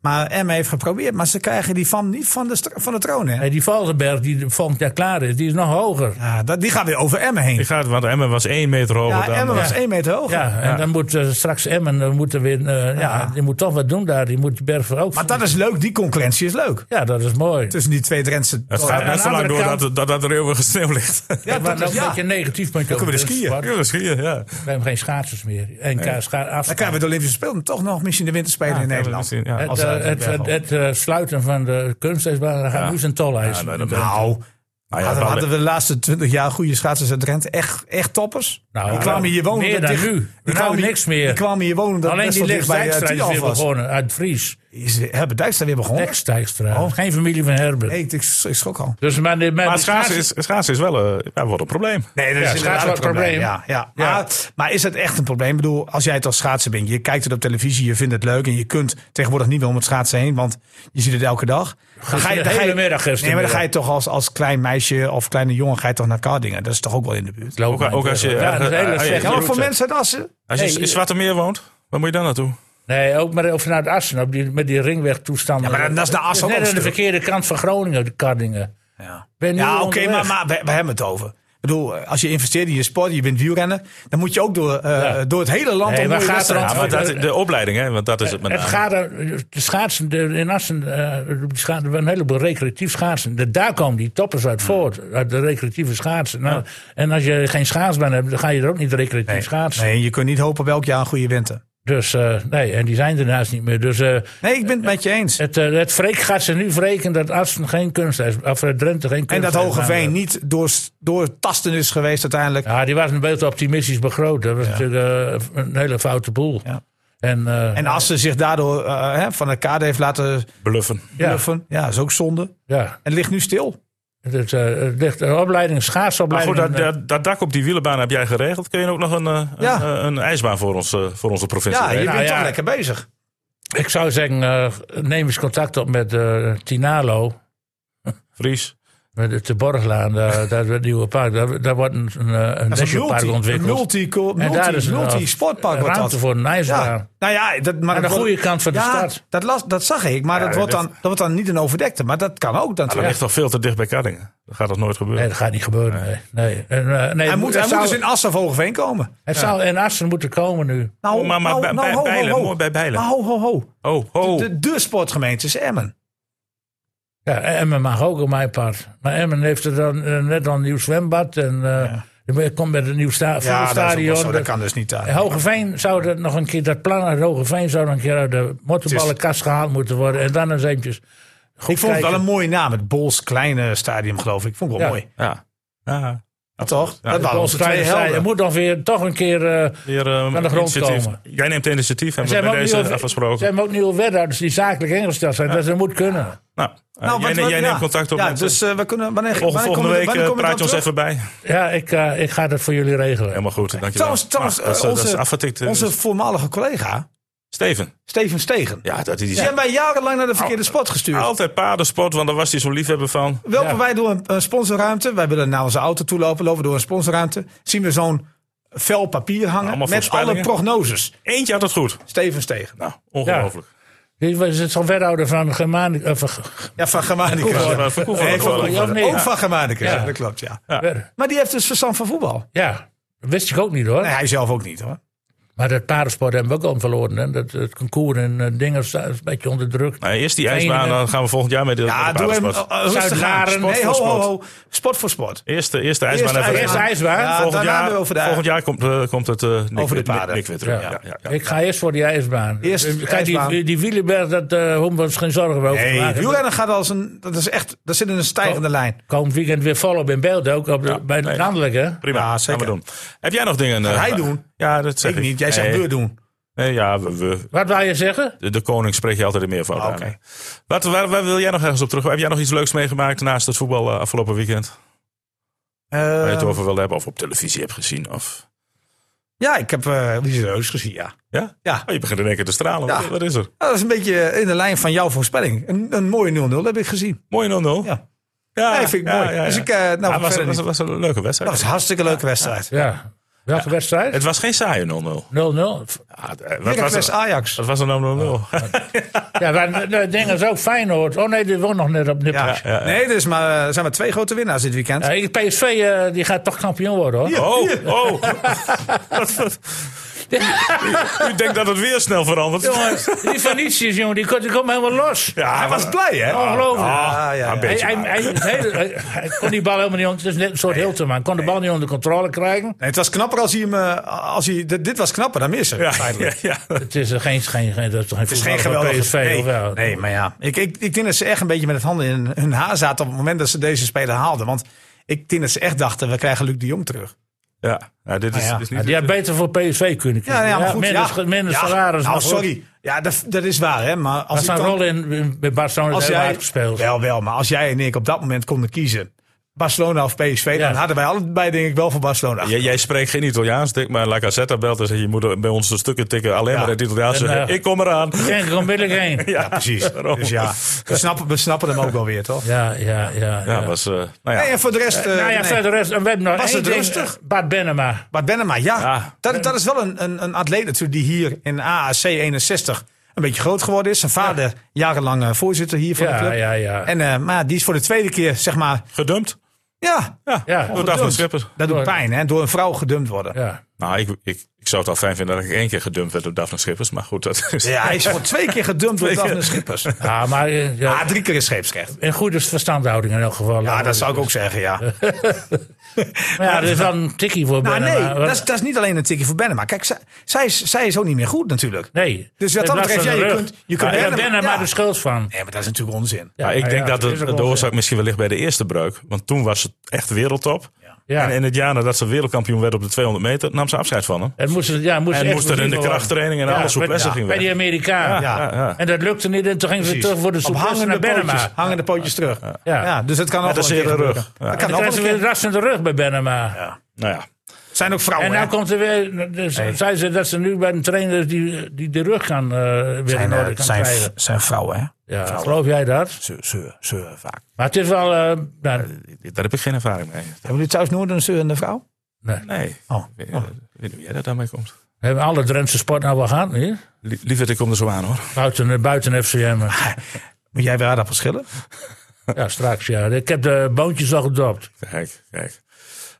[SPEAKER 4] Maar Emma heeft geprobeerd, maar ze krijgen die van niet van de, stra- van de troon, hè?
[SPEAKER 1] Hey, die Valkenberg die volgend jaar klaar is, die is nog hoger.
[SPEAKER 4] Ja, dat, die gaat weer over Emma heen.
[SPEAKER 3] Ik ga, het- want Emmen was één meter hoger
[SPEAKER 4] Ja,
[SPEAKER 3] dan...
[SPEAKER 4] Emma was
[SPEAKER 3] Ja.
[SPEAKER 4] één meter hoog.
[SPEAKER 1] Ja, en dan moet eh, straks Emmen eh, moet er weer... eh, ja, die moet toch wat doen daar. Die moet die berg voor ook...
[SPEAKER 4] Maar dat is leuk, die concurrentie is leuk.
[SPEAKER 1] Ja, dat is mooi.
[SPEAKER 4] Tussen die twee Drentse...
[SPEAKER 3] Het
[SPEAKER 4] dorpen.
[SPEAKER 3] gaat
[SPEAKER 1] aan
[SPEAKER 3] net
[SPEAKER 1] de
[SPEAKER 3] zo lang
[SPEAKER 1] andere
[SPEAKER 3] door
[SPEAKER 1] kant-
[SPEAKER 3] dat, dat, dat er eeuwige sneeuw ligt. Ja,
[SPEAKER 1] Ja, dat
[SPEAKER 4] dat
[SPEAKER 1] is
[SPEAKER 4] is-
[SPEAKER 1] een
[SPEAKER 4] ja.
[SPEAKER 1] beetje een negatief punt. Dan
[SPEAKER 4] kunnen we skiën.
[SPEAKER 1] We
[SPEAKER 3] dat is hier, ja.
[SPEAKER 1] hebben geen schaatsers meer. NK scha af.
[SPEAKER 4] Dan krijgen we de Olympische Spelen toch nog misschien de winterspelen in Nederland.
[SPEAKER 3] Misschien, ja.
[SPEAKER 1] Het,
[SPEAKER 4] als, eh,
[SPEAKER 1] eh, het, het, het, eh, sluiten van de kunstijsbaan, daar gaat nu zijn tol
[SPEAKER 3] Ja, nou,
[SPEAKER 1] eisen.
[SPEAKER 3] dat-
[SPEAKER 4] Nou,
[SPEAKER 3] Nou ja,
[SPEAKER 4] hadden,
[SPEAKER 3] wel-
[SPEAKER 4] hadden we de laatste 20 jaar goede schaatsers uit Drenthe echt, echt toppers?
[SPEAKER 1] Nou,
[SPEAKER 4] die kwamen hier wonen.
[SPEAKER 1] meer
[SPEAKER 4] omdat
[SPEAKER 1] dan
[SPEAKER 4] dicht-
[SPEAKER 1] nu.
[SPEAKER 4] Die
[SPEAKER 1] Nou,
[SPEAKER 4] kwamen, hier-
[SPEAKER 1] niks meer.
[SPEAKER 4] Die kwamen hier wonen omdat
[SPEAKER 1] Alleen
[SPEAKER 4] best
[SPEAKER 1] die
[SPEAKER 4] wel dicht bij
[SPEAKER 1] Lex-Dijkstra
[SPEAKER 4] eh,
[SPEAKER 1] is weer
[SPEAKER 4] Tialf was.
[SPEAKER 1] begonnen uit Fries.
[SPEAKER 4] Is, hebben Dijkstra weer begonnen?
[SPEAKER 1] Lex-Dijkstra. Geen familie van Herbert.
[SPEAKER 4] Nee, ik, ik, ik schrok al.
[SPEAKER 1] Dus, maar de,
[SPEAKER 3] Maar schaatsen is, schaatsen is wel eh, ja, wordt een probleem.
[SPEAKER 4] Nee, dat
[SPEAKER 1] Ja,
[SPEAKER 4] is inderdaad
[SPEAKER 1] schaatsen
[SPEAKER 4] een
[SPEAKER 1] was een
[SPEAKER 4] probleem.
[SPEAKER 1] probleem.
[SPEAKER 4] Ja, ja. Maar, maar is het echt een probleem? Ik bedoel, als jij het als schaatser bent, je kijkt het op televisie, je vindt het leuk en je kunt tegenwoordig niet meer om het schaatsen heen, want je ziet het elke dag. Dan
[SPEAKER 1] de hele middag
[SPEAKER 4] nee, maar dan
[SPEAKER 1] gistermiddag.
[SPEAKER 4] ga je toch als, als klein meisje of kleine jongen ga je toch naar Kardingen. Dat is toch ook wel in de buurt.
[SPEAKER 1] Loop
[SPEAKER 3] Ook-
[SPEAKER 1] maar
[SPEAKER 3] ook als je-
[SPEAKER 1] tegen. Ja, dat is een hele
[SPEAKER 3] Ah, ja,
[SPEAKER 1] slechte
[SPEAKER 4] Ja, maar voor
[SPEAKER 1] route.
[SPEAKER 4] mensen uit Assen.
[SPEAKER 3] Als je
[SPEAKER 1] Nee,
[SPEAKER 3] in Zwarte Meer woont, waar moet je dan naartoe?
[SPEAKER 1] Nee, ook maar ook vanuit Assen, op die, met die ringwegtoestanden.
[SPEAKER 4] Ja, maar dat- dat is naar Assen
[SPEAKER 1] Het
[SPEAKER 4] ook
[SPEAKER 1] net
[SPEAKER 4] een
[SPEAKER 1] aan de
[SPEAKER 4] stuk.
[SPEAKER 1] verkeerde kant van Groningen, de Kardingen.
[SPEAKER 4] Ja,
[SPEAKER 1] Ben je nu
[SPEAKER 4] oké,
[SPEAKER 1] onderweg?
[SPEAKER 4] maar, maar we, we hebben het over. Ik bedoel, eh, als je investeert in je sport, je bent wielrennen, dan moet je ook door, eh,
[SPEAKER 1] Ja.
[SPEAKER 4] door het hele land
[SPEAKER 1] Nee,
[SPEAKER 4] om
[SPEAKER 1] maar
[SPEAKER 4] mooie
[SPEAKER 1] gaat
[SPEAKER 4] wedstrijden
[SPEAKER 1] er
[SPEAKER 3] Ja,
[SPEAKER 1] aan-
[SPEAKER 3] maar dat, de opleiding, hè, want dat is het met
[SPEAKER 1] Het
[SPEAKER 3] name.
[SPEAKER 1] gaat er, de schaatsen de, in Assen, eh, op die scha- er waren een heleboel recreatief schaatsen. De, daar komen die toppers uit voort, uit de recreatieve schaatsen. Nou, En als je geen schaatsbaan hebt, dan ga je er ook niet recreatief schaatsen.
[SPEAKER 4] Nee, je kunt niet hopen welk jaar een goede winter.
[SPEAKER 1] Dus eh, nee, en die zijn er naast niet meer. Dus eh,
[SPEAKER 4] Nee, ik ben het met je eens.
[SPEAKER 1] het, eh, het wreek gaat ze nu wreken dat Assen geen kunst is, of eh, Drenthe geen
[SPEAKER 4] En
[SPEAKER 1] kunst
[SPEAKER 4] dat Hogeveen niet door, doortasten is geweest uiteindelijk.
[SPEAKER 1] Ja, die was een beetje optimistisch begroot. Dat was natuurlijk eh, een hele foute boel.
[SPEAKER 4] Ja.
[SPEAKER 1] En, eh,
[SPEAKER 4] En als ze zich daardoor eh, hè, van de kade heeft laten
[SPEAKER 3] Bluffen.
[SPEAKER 1] Ja.
[SPEAKER 4] bluffen, ja. is ook zonde. En
[SPEAKER 1] ja,
[SPEAKER 4] het ligt nu stil.
[SPEAKER 1] het, eh, het ligt een opleiding, een
[SPEAKER 3] Maar goed,
[SPEAKER 1] schaatsopleiding.
[SPEAKER 3] dat,
[SPEAKER 4] eh,
[SPEAKER 3] dat, dat dak op die wielenbaan heb jij geregeld. Kun je ook nog een, eh,
[SPEAKER 4] Ja.
[SPEAKER 3] een, een ijsbaan voor, ons, eh, voor onze provincie
[SPEAKER 4] Ja, je
[SPEAKER 3] regelen?
[SPEAKER 4] bent
[SPEAKER 1] ja.
[SPEAKER 4] toch lekker bezig.
[SPEAKER 1] Ik zou zeggen, eh, neem eens contact op met eh, Tinalo.
[SPEAKER 3] Fries.
[SPEAKER 1] Met de Borglaan,
[SPEAKER 4] *laughs*
[SPEAKER 1] daar, daar het nieuwe park. Daar, daar wordt een, een, eh, een
[SPEAKER 4] Dat is een
[SPEAKER 1] nationaal park
[SPEAKER 4] multi, een
[SPEAKER 1] ontwikkeld.
[SPEAKER 4] multi, multi,
[SPEAKER 1] en daar is een
[SPEAKER 4] multi
[SPEAKER 1] eh,
[SPEAKER 4] sportpark wordt
[SPEAKER 1] ruimte
[SPEAKER 4] dat.
[SPEAKER 1] voor een ijsbaan.
[SPEAKER 4] Ja, nou ja, dat, maar
[SPEAKER 1] Aan de
[SPEAKER 4] dat wordt-
[SPEAKER 1] goede kant van de
[SPEAKER 4] ja,
[SPEAKER 1] stad.
[SPEAKER 4] Dat, las, dat zag ik, maar dat,
[SPEAKER 3] dat- Nou,
[SPEAKER 4] wordt dan, dat wordt dan niet een overdekte. Maar dat kan ook
[SPEAKER 3] Dat
[SPEAKER 4] natuurlijk.
[SPEAKER 3] ligt toch veel te dicht bij Kaddingen. Dat gaat toch nooit gebeuren?
[SPEAKER 1] Nee, dat gaat niet gebeuren. Nee. Nee. En, eh, nee,
[SPEAKER 4] hij
[SPEAKER 1] het
[SPEAKER 4] moet,
[SPEAKER 1] het
[SPEAKER 4] hij
[SPEAKER 1] zou,
[SPEAKER 4] moet dus in Assen of Hogeveen komen.
[SPEAKER 1] het zou in Assen moeten komen nu.
[SPEAKER 4] Nou,
[SPEAKER 3] Oh, maar- maar
[SPEAKER 4] nou,
[SPEAKER 3] bij-
[SPEAKER 4] nou,
[SPEAKER 3] bij
[SPEAKER 4] ho, ho,
[SPEAKER 3] Bijlen,
[SPEAKER 4] ho.
[SPEAKER 3] mooi bij Bijlen.
[SPEAKER 4] Maar ho, ho, ho.
[SPEAKER 3] Oh, oh.
[SPEAKER 4] De, de sportgemeente is Emmen.
[SPEAKER 1] Ja, Emmen mag ook op mijn part. Maar Emmen heeft er dan, eh, net al een nieuw zwembad. En eh je komt met een nieuw sta
[SPEAKER 4] Ja, dat, is ook wel
[SPEAKER 1] stadion.
[SPEAKER 4] zo, dat kan dus niet. daar.
[SPEAKER 1] Hogeveen zou dat nog een keer, dat plan uit Hogeveen zou nog een keer uit de mottenballenkast gehaald moeten worden. En dan eens eventjes goed
[SPEAKER 4] Ik vond het
[SPEAKER 1] kijken.
[SPEAKER 4] wel een mooie naam. Het Bols Kleine Stadium, geloof ik. Vond ik wel
[SPEAKER 1] Ja.
[SPEAKER 4] mooi.
[SPEAKER 3] Ja. Ja.
[SPEAKER 4] toch?
[SPEAKER 3] Ja,
[SPEAKER 4] dat waren onze twee
[SPEAKER 1] Je
[SPEAKER 4] helden.
[SPEAKER 1] moet nog weer toch een keer. eh,
[SPEAKER 3] Hier, ehm,
[SPEAKER 1] Aan de grond
[SPEAKER 3] initiatief.
[SPEAKER 1] komen.
[SPEAKER 3] Jij neemt initiatief, hebben
[SPEAKER 1] ze
[SPEAKER 3] we
[SPEAKER 1] hebben
[SPEAKER 3] bij
[SPEAKER 1] ook
[SPEAKER 3] deze
[SPEAKER 1] nieuwe-
[SPEAKER 3] afgesproken.
[SPEAKER 1] Ze hebben ook nieuwe wethouders die zakelijk ingesteld zijn. Dus dat moet kunnen.
[SPEAKER 3] nou, eh,
[SPEAKER 4] Nou,
[SPEAKER 3] jij,
[SPEAKER 4] want we-
[SPEAKER 3] jij
[SPEAKER 4] ja.
[SPEAKER 3] neemt contact op
[SPEAKER 4] Ja,
[SPEAKER 3] met
[SPEAKER 4] dus eh, we kunnen... Wanneer,
[SPEAKER 3] Volgende,
[SPEAKER 4] wanneer
[SPEAKER 3] volgende
[SPEAKER 4] kom je-
[SPEAKER 3] week
[SPEAKER 4] wanneer
[SPEAKER 3] eh,
[SPEAKER 4] kom je
[SPEAKER 3] praat je
[SPEAKER 4] dan
[SPEAKER 3] ons
[SPEAKER 4] terug?
[SPEAKER 3] even bij.
[SPEAKER 1] Ja, ik, eh, ik ga dat voor jullie regelen.
[SPEAKER 3] Helemaal goed, dankjewel.
[SPEAKER 4] Trouwens, trouwens
[SPEAKER 3] Nou, dat is-
[SPEAKER 4] eh,
[SPEAKER 3] dat is
[SPEAKER 4] onze,
[SPEAKER 3] afgetikt, eh,
[SPEAKER 4] onze voormalige collega,
[SPEAKER 3] Steven.
[SPEAKER 4] Steven Stegen.
[SPEAKER 3] Ja, dat is
[SPEAKER 4] Die hebben mij jarenlang naar de verkeerde spot gestuurd.
[SPEAKER 3] Altijd paardensport, want daar was hij zo liefhebber van.
[SPEAKER 4] Lopen
[SPEAKER 1] Ja.
[SPEAKER 4] wij door een, een sponsorruimte. Wij willen naar onze auto toe lopen. Lopen door een sponsorruimte. Zien we zo'n vel papier hangen.
[SPEAKER 3] Allemaal
[SPEAKER 4] met alle
[SPEAKER 3] voorspellingen.
[SPEAKER 4] prognoses.
[SPEAKER 3] Eentje had het goed.
[SPEAKER 4] Steven Stegen.
[SPEAKER 3] Nou, ongelooflijk.
[SPEAKER 1] Die was het zo'n wethouder van Germani- eh, van-
[SPEAKER 4] Ja, van Germanicus.
[SPEAKER 3] Ja. dat Van Koevoorde
[SPEAKER 4] Nee, van
[SPEAKER 3] wel.
[SPEAKER 1] Koevoorde.
[SPEAKER 4] Germanicus.
[SPEAKER 1] Ja.
[SPEAKER 4] Ook van Germanicus.
[SPEAKER 1] Ja.
[SPEAKER 4] Ja, dat klopt, ja.
[SPEAKER 1] Ja.
[SPEAKER 4] Maar die heeft dus verstand van voetbal.
[SPEAKER 1] dat wist ik ook niet hoor.
[SPEAKER 4] Nee, hij zelf ook niet hoor.
[SPEAKER 1] Maar dat paardensport hebben we ook al verloren. Hè? Dat, het concours en eh, dingen staan een beetje onder druk.
[SPEAKER 3] Nou, eerst die ijsbaan,
[SPEAKER 1] Trainen.
[SPEAKER 3] dan gaan we volgend jaar mee.
[SPEAKER 4] Ja, doe hem
[SPEAKER 3] Eerst
[SPEAKER 4] eh, rustig aan.
[SPEAKER 1] Zuidlaren,
[SPEAKER 4] Sport nee,
[SPEAKER 1] voor
[SPEAKER 4] ho, ho,
[SPEAKER 3] sport.
[SPEAKER 4] ho. Sport voor sport.
[SPEAKER 3] Eerste, eerste ijsbaan
[SPEAKER 4] Eerste
[SPEAKER 3] even
[SPEAKER 4] ijsbaan.
[SPEAKER 3] weg.
[SPEAKER 1] Eerst ijsbaan.
[SPEAKER 4] Ja,
[SPEAKER 3] volgend,
[SPEAKER 4] daarna
[SPEAKER 3] jaar,
[SPEAKER 4] weer over de-
[SPEAKER 3] volgend jaar komt, eh, komt het eh, Nick,
[SPEAKER 4] Over de
[SPEAKER 3] Nick-
[SPEAKER 4] paarden.
[SPEAKER 3] Nick weer terug. Ja. Ja, ja,
[SPEAKER 1] Ik ga eerst voor die ijsbaan.
[SPEAKER 4] Eerst
[SPEAKER 1] Eh, Kijk, die,
[SPEAKER 4] ijsbaan.
[SPEAKER 1] die, die wielenberg, dat eh hoeven we ons geen zorgen over te
[SPEAKER 4] Nee,
[SPEAKER 1] maken.
[SPEAKER 4] wielrennen gaat als een... Dat is echt... Daar zit in een stijgende lijn.
[SPEAKER 1] Komend weekend weer volop in beeld, ook op de,
[SPEAKER 3] Ja,
[SPEAKER 1] bij de
[SPEAKER 3] nee.
[SPEAKER 1] landelijke.
[SPEAKER 3] Prima,
[SPEAKER 4] Ja,
[SPEAKER 3] gaan we
[SPEAKER 4] zeker.
[SPEAKER 3] doen. Heb jij nog dingen? eh,
[SPEAKER 4] hij doen?
[SPEAKER 3] Ja, dat zeg
[SPEAKER 4] Ik
[SPEAKER 3] ik.
[SPEAKER 4] niet. Jij zegt
[SPEAKER 3] Nee.
[SPEAKER 4] deur doen.
[SPEAKER 3] Nee, ja, we, we-
[SPEAKER 1] Wat wou je zeggen?
[SPEAKER 3] de, de koning spreek je altijd in meervoud
[SPEAKER 4] Ah,
[SPEAKER 3] aan.
[SPEAKER 4] oké.
[SPEAKER 3] hè. Wat, waar, waar wil jij nog ergens op terug? Heb jij nog iets leuks meegemaakt naast het voetbal eh, afgelopen weekend? Waar je het
[SPEAKER 4] Eh,
[SPEAKER 3] over wil hebben of op televisie hebt gezien? Of...
[SPEAKER 4] ja, ik heb eh Lise Reus gezien, ja.
[SPEAKER 3] Ja?
[SPEAKER 4] Ja.
[SPEAKER 3] Oh, je begint in één keer te stralen.
[SPEAKER 4] Ja.
[SPEAKER 3] Wat, wat is er?
[SPEAKER 4] Nou, dat is een beetje in de lijn van jouw voorspelling. Een, een mooie 0-0 heb ik gezien.
[SPEAKER 3] Mooi 0-0.
[SPEAKER 4] Ja.
[SPEAKER 3] ja,
[SPEAKER 4] Nee, vind ik mooi. Dus ik, eh, nou,
[SPEAKER 3] Ja, was,
[SPEAKER 4] verder
[SPEAKER 3] was,
[SPEAKER 4] niet.
[SPEAKER 3] was een leuke
[SPEAKER 4] Dat
[SPEAKER 3] wedstrijd.
[SPEAKER 4] was een hartstikke leuke wedstrijd.
[SPEAKER 1] Ja. Welke wedstrijd? 0-0.
[SPEAKER 3] Het was geen saaie 0-0. Ja, eh, wat was
[SPEAKER 4] Heracles
[SPEAKER 3] er?
[SPEAKER 4] Ajax.
[SPEAKER 3] Wat was er nou 0-0?
[SPEAKER 1] Ja, maar de ding is ook Feyenoord. Oh nee, die won nog net op
[SPEAKER 4] Ja.
[SPEAKER 1] nippertje.
[SPEAKER 3] ja, ja.
[SPEAKER 4] Nee, er is maar, eh, er zijn maar twee grote winnaars dit weekend.
[SPEAKER 1] Ja, ik- PSV eh, die gaat toch kampioen worden hoor.
[SPEAKER 3] Oh, oh. Wat- wat- u, u denkt dat het weer snel verandert.
[SPEAKER 1] Jongens, die Venetius, jongen, die komt, die komt helemaal los.
[SPEAKER 3] Ja,
[SPEAKER 4] Ah, Hij was blij, hè? Ah,
[SPEAKER 1] Ongelooflijk. Ah,
[SPEAKER 4] ja, ja.
[SPEAKER 3] een
[SPEAKER 1] Hij,
[SPEAKER 3] beetje.
[SPEAKER 1] hij, hij, het hele-
[SPEAKER 4] *laughs*
[SPEAKER 1] hij- hij kon die bal helemaal niet onder. Het is net een soort Hilton, man. Kon de bal niet onder controle krijgen.
[SPEAKER 4] Nee, het was knapper als hij hem... eh, Als hij, dit, dit was knapper dan missen.
[SPEAKER 3] Ja,
[SPEAKER 4] feitelijk.
[SPEAKER 3] ja, ja.
[SPEAKER 1] Het is eh, geen, geen, geen, dat is toch geen
[SPEAKER 4] Het is geen
[SPEAKER 1] voetballer
[SPEAKER 4] geweldige...
[SPEAKER 1] van PSV. of wel?
[SPEAKER 4] nee, nee, maar ja. Ik, ik, ik denk dat ze echt een beetje met het handen in hun haar zaten... op het moment dat ze deze speler haalden. Want ik denk dat ze echt dachten, we krijgen Luc de Jong terug.
[SPEAKER 3] ja. Nou, dit is,
[SPEAKER 4] Ah, ja.
[SPEAKER 3] dit is
[SPEAKER 1] Ja,
[SPEAKER 3] niet...
[SPEAKER 1] die had beter voor PSV kunnen kiezen.
[SPEAKER 4] Ja, ja, maar goed.
[SPEAKER 1] minder
[SPEAKER 4] ja.
[SPEAKER 1] scha- minder
[SPEAKER 4] Ja,
[SPEAKER 1] salaris.
[SPEAKER 4] nou,
[SPEAKER 1] maar goed.
[SPEAKER 4] sorry. Ja, dat, dat is waar, hè. Maar als
[SPEAKER 1] Maar
[SPEAKER 4] ik
[SPEAKER 1] zijn
[SPEAKER 4] dan-
[SPEAKER 1] rol in, in- bij Barcelona is
[SPEAKER 4] als
[SPEAKER 1] heel
[SPEAKER 4] jij,
[SPEAKER 1] hard gespeeld.
[SPEAKER 4] Wel, wel, maar als jij en ik op dat moment konden kiezen. Barcelona of PSV,
[SPEAKER 1] Ja.
[SPEAKER 4] dan hadden wij allebei denk ik wel voor Barcelona.
[SPEAKER 3] Jij, jij spreekt geen Italiaans, Dick, maar La Gazzetta belt en zegt... je moet er bij ons de stukken tikken, alleen maar in het Italiaans.
[SPEAKER 1] En,
[SPEAKER 3] zeggen,
[SPEAKER 1] eh,
[SPEAKER 3] ik kom eraan.
[SPEAKER 1] Denk ik onmiddellijk
[SPEAKER 4] *laughs*
[SPEAKER 1] heen. Ja, *laughs*
[SPEAKER 4] Ja, precies.
[SPEAKER 3] daarom.
[SPEAKER 4] Dus ja, we snappen, we snappen hem ook wel weer, toch?
[SPEAKER 1] ja, ja. ja,
[SPEAKER 3] Ja, was... eh, nou ja.
[SPEAKER 4] Nee, en voor de rest... eh
[SPEAKER 1] nou ja,
[SPEAKER 4] nee.
[SPEAKER 1] verder rest, en we hebben nog
[SPEAKER 4] Was
[SPEAKER 1] één
[SPEAKER 4] het
[SPEAKER 1] ding,
[SPEAKER 4] rustig?
[SPEAKER 1] eh, Bart Benema.
[SPEAKER 4] Maar Bennema, ja.
[SPEAKER 3] Ja.
[SPEAKER 4] Dat, dat is wel een, een, een atleet natuurlijk die hier in AAC 61 een beetje groot geworden is. Zijn vader jarenlang eh, voorzitter hier van de
[SPEAKER 1] Ja,
[SPEAKER 4] club.
[SPEAKER 1] ja, ja.
[SPEAKER 4] En, eh, maar die is voor de tweede keer, zeg maar...
[SPEAKER 3] Gedumpt?
[SPEAKER 4] Ja,
[SPEAKER 3] Ja,
[SPEAKER 1] Ja.
[SPEAKER 3] door Daphne Schippers.
[SPEAKER 4] dat doet
[SPEAKER 1] Door-
[SPEAKER 4] pijn, hè. Door een vrouw gedumpt worden. Ja,
[SPEAKER 1] Ja.
[SPEAKER 3] Nou, ik, ik, ik zou het al fijn vinden dat ik één keer gedumpt werd door Daphne Schippers. Maar goed, dat is... *laughs*
[SPEAKER 4] hij is voor twee keer gedumpt door
[SPEAKER 3] Twee keer.
[SPEAKER 4] Daphne Schippers.
[SPEAKER 1] Ja, maar eh, ja,
[SPEAKER 4] Ah, drie keer is scheepsrecht.
[SPEAKER 1] in goede verstandhouding in elk geval.
[SPEAKER 4] Ja, dat zou ik ook zeggen, ja.
[SPEAKER 1] Maar ja, dat is wel een tikkie voor
[SPEAKER 4] Nou,
[SPEAKER 1] Benema.
[SPEAKER 4] nee,
[SPEAKER 1] Want-
[SPEAKER 4] dat is, dat is niet alleen een tikje voor Bennema. Kijk, zij, zij, is, zij is ook niet meer goed natuurlijk.
[SPEAKER 1] nee.
[SPEAKER 4] Dus
[SPEAKER 1] In
[SPEAKER 4] wat dat
[SPEAKER 1] plaats van
[SPEAKER 4] betreft, ja,
[SPEAKER 1] de
[SPEAKER 4] je
[SPEAKER 1] rug.
[SPEAKER 4] kunt- je kunt
[SPEAKER 1] Ja, daar
[SPEAKER 4] Benema-
[SPEAKER 1] ben er maar
[SPEAKER 4] ja.
[SPEAKER 1] de schuld van.
[SPEAKER 4] Nee, maar dat is natuurlijk onzin.
[SPEAKER 3] Ja, ik denk
[SPEAKER 1] ja,
[SPEAKER 3] dat
[SPEAKER 1] is
[SPEAKER 3] de,
[SPEAKER 1] ook
[SPEAKER 3] de
[SPEAKER 1] wel-
[SPEAKER 3] oorzaak misschien wel ligt bij de eerste breuk. Want toen was het echt wereldtop.
[SPEAKER 1] Ja.
[SPEAKER 3] En in het jaar nadat ze wereldkampioen werd op de 200 meter, nam ze afscheid van hem.
[SPEAKER 1] En moest, het- ja, moest
[SPEAKER 3] En
[SPEAKER 1] echt
[SPEAKER 3] moest er in de
[SPEAKER 1] verdiepen worden.
[SPEAKER 3] krachttraining en alles
[SPEAKER 1] bij-
[SPEAKER 3] souplesse
[SPEAKER 1] ja,
[SPEAKER 3] ging
[SPEAKER 1] Bij
[SPEAKER 3] weg.
[SPEAKER 1] die Amerikaan.
[SPEAKER 4] Ja.
[SPEAKER 3] Ja, ja.
[SPEAKER 1] En dat lukte niet en toen gingen ze
[SPEAKER 4] Precies.
[SPEAKER 1] terug voor de
[SPEAKER 4] Op
[SPEAKER 1] souplesse naar
[SPEAKER 4] hangende pootjes,
[SPEAKER 1] Benema.
[SPEAKER 4] hangende pootjes terug. Ja. dus dat kan
[SPEAKER 3] dat
[SPEAKER 4] ook wel
[SPEAKER 3] is
[SPEAKER 4] een keer
[SPEAKER 3] weer een rug.
[SPEAKER 4] gebeuren.
[SPEAKER 3] Ja.
[SPEAKER 4] Dat
[SPEAKER 1] En
[SPEAKER 4] kan
[SPEAKER 1] dan krijgen
[SPEAKER 4] ook wel
[SPEAKER 1] ze
[SPEAKER 4] een
[SPEAKER 1] weer een
[SPEAKER 4] keer.
[SPEAKER 1] rassende
[SPEAKER 4] Oh,
[SPEAKER 1] rug bij Benema.
[SPEAKER 3] Nou ja.
[SPEAKER 4] zijn ook vrouwen,
[SPEAKER 1] En nou
[SPEAKER 4] hè?
[SPEAKER 1] komt er weer. Dus Zei ze dat ze nu bij een trainer die, die de rug kan, eh, weer in
[SPEAKER 4] eh,
[SPEAKER 1] orde kan krijgen.
[SPEAKER 4] zijn vrouwen, hè?
[SPEAKER 1] Ja, geloof jij dat?
[SPEAKER 4] Zeur, zeur, zeur vaak.
[SPEAKER 1] Maar het is wel. eh, nou,
[SPEAKER 3] Daar heb ik geen ervaring mee.
[SPEAKER 4] Hebben jullie thuis nooit een zeurende vrouw?
[SPEAKER 1] nee.
[SPEAKER 3] Nee.
[SPEAKER 4] Oh.
[SPEAKER 3] Ik weet niet hoe jij dat daarmee komt.
[SPEAKER 1] We hebben alle Drentse sport nou wel gehad, hier?
[SPEAKER 3] Lie- Lieverd, ik kom er zo aan hoor.
[SPEAKER 1] Buiten, eh, buiten FCM.
[SPEAKER 4] *laughs* Moet jij weer aardappels schillen?
[SPEAKER 1] Ja, straks, ja. Ik heb de boontjes al gedopt.
[SPEAKER 3] Kijk, kijk.